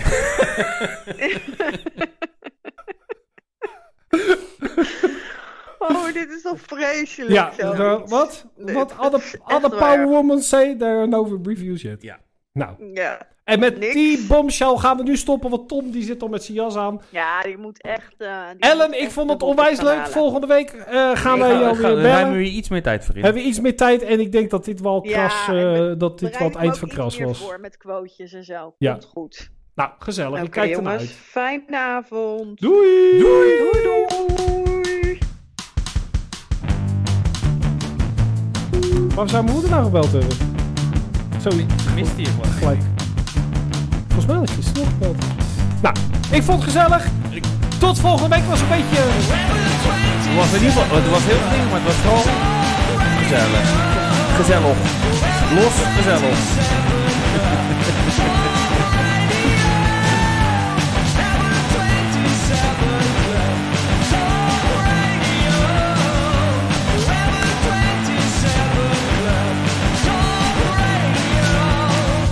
[SPEAKER 8] Oh, dit is toch vreselijk.
[SPEAKER 1] Ja,
[SPEAKER 8] zoiets.
[SPEAKER 1] eh, wat?
[SPEAKER 8] Nee,
[SPEAKER 1] wat
[SPEAKER 8] het is
[SPEAKER 1] other,
[SPEAKER 8] echt
[SPEAKER 1] other
[SPEAKER 8] waar.
[SPEAKER 1] Power Woman say there are no reviews yet.
[SPEAKER 2] Ja.
[SPEAKER 1] Nou,
[SPEAKER 8] Ja.
[SPEAKER 1] en met
[SPEAKER 8] Niks.
[SPEAKER 1] die bombshell gaan we nu stoppen, want Tom die zit al met zijn jas aan.
[SPEAKER 8] ja, die moet echt... eh, die moet
[SPEAKER 1] Ellen, ik
[SPEAKER 8] echt
[SPEAKER 1] vond
[SPEAKER 8] de
[SPEAKER 1] het onwijs
[SPEAKER 8] botten
[SPEAKER 1] leuk.
[SPEAKER 8] gaan
[SPEAKER 1] Volgende week eh, gaan wij
[SPEAKER 2] Daar
[SPEAKER 1] jou weer
[SPEAKER 2] hebben
[SPEAKER 1] bellen.
[SPEAKER 2] we hier iets meer tijd voor in.
[SPEAKER 1] Hebben we iets meer tijd en ik denk dat dit wel,
[SPEAKER 8] Ja,
[SPEAKER 1] kras, eh,
[SPEAKER 8] en
[SPEAKER 1] dat dit
[SPEAKER 8] halen.
[SPEAKER 1] wel het
[SPEAKER 8] Bereid me
[SPEAKER 1] eind
[SPEAKER 8] ook
[SPEAKER 1] van
[SPEAKER 8] iets
[SPEAKER 1] kras
[SPEAKER 8] meer
[SPEAKER 1] was.
[SPEAKER 8] voor met quotejes en zo.
[SPEAKER 1] Ja.
[SPEAKER 8] Komt goed.
[SPEAKER 1] Nou, gezellig.
[SPEAKER 8] Oké,
[SPEAKER 1] ik kijk ernaar
[SPEAKER 8] jongens.
[SPEAKER 1] uit.
[SPEAKER 8] Fijne avond.
[SPEAKER 1] Doei!
[SPEAKER 8] doei.
[SPEAKER 1] Waarom zou mijn moeder nou gebeld hebben? Zo,
[SPEAKER 2] Mist hier gewoon.
[SPEAKER 1] gelijk. Volgens mij had ik gisteren nog gebeld. Nou, ik vond het gezellig. Tot volgende week was een beetje...
[SPEAKER 2] Het was in ieder geval, het was heel ding, maar het was vooral gezellig. Gezellig. Los gezellig.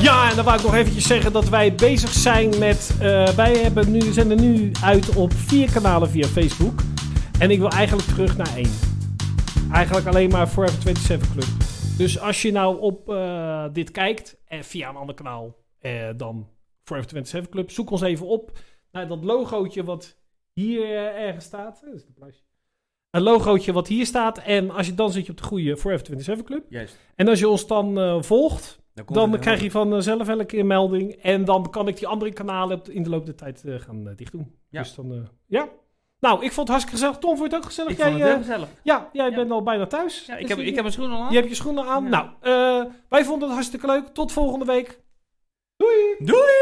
[SPEAKER 1] Ja, en dan wou ik nog eventjes zeggen dat wij bezig zijn met... eh, wij hebben nu, zijn er nu uit op vier kanalen via Facebook. En ik wil eigenlijk terug naar één. Eigenlijk alleen maar Forever 27 Club. Dus als je nou op eh, dit kijkt, en via een ander kanaal eh, dan Forever 27 Club, zoek ons even op naar dat logootje wat hier eh, ergens staat. Dat is de plasje. Een logootje wat hier staat. En als je dan zit je op de goede Forever 27 Club.
[SPEAKER 2] Juist.
[SPEAKER 1] En als je ons dan eh, volgt,
[SPEAKER 2] komt
[SPEAKER 1] dan
[SPEAKER 2] het
[SPEAKER 1] krijg je vanzelf elke keer een eh, melding. En dan kan ik die andere kanalen op de- in de loop der tijd eh, gaan eh, dichtdoen.
[SPEAKER 2] Ja.
[SPEAKER 1] Dus dan, eh, ja. Nou, ik vond het hartstikke gezellig. Tom, vond je het ook gezellig?
[SPEAKER 2] Ik
[SPEAKER 1] Jij,
[SPEAKER 2] vond het heel
[SPEAKER 1] eh,
[SPEAKER 2] gezellig.
[SPEAKER 1] ja, jij
[SPEAKER 2] Ja.
[SPEAKER 1] bent al bijna thuis.
[SPEAKER 2] Ja, ik,
[SPEAKER 1] Dus
[SPEAKER 2] heb,
[SPEAKER 1] die-
[SPEAKER 2] ik heb mijn schoenen al aan.
[SPEAKER 1] Je hebt je schoenen aan.
[SPEAKER 2] Ja.
[SPEAKER 1] Nou, eh, wij vonden het hartstikke leuk. Tot volgende week.
[SPEAKER 2] Doei!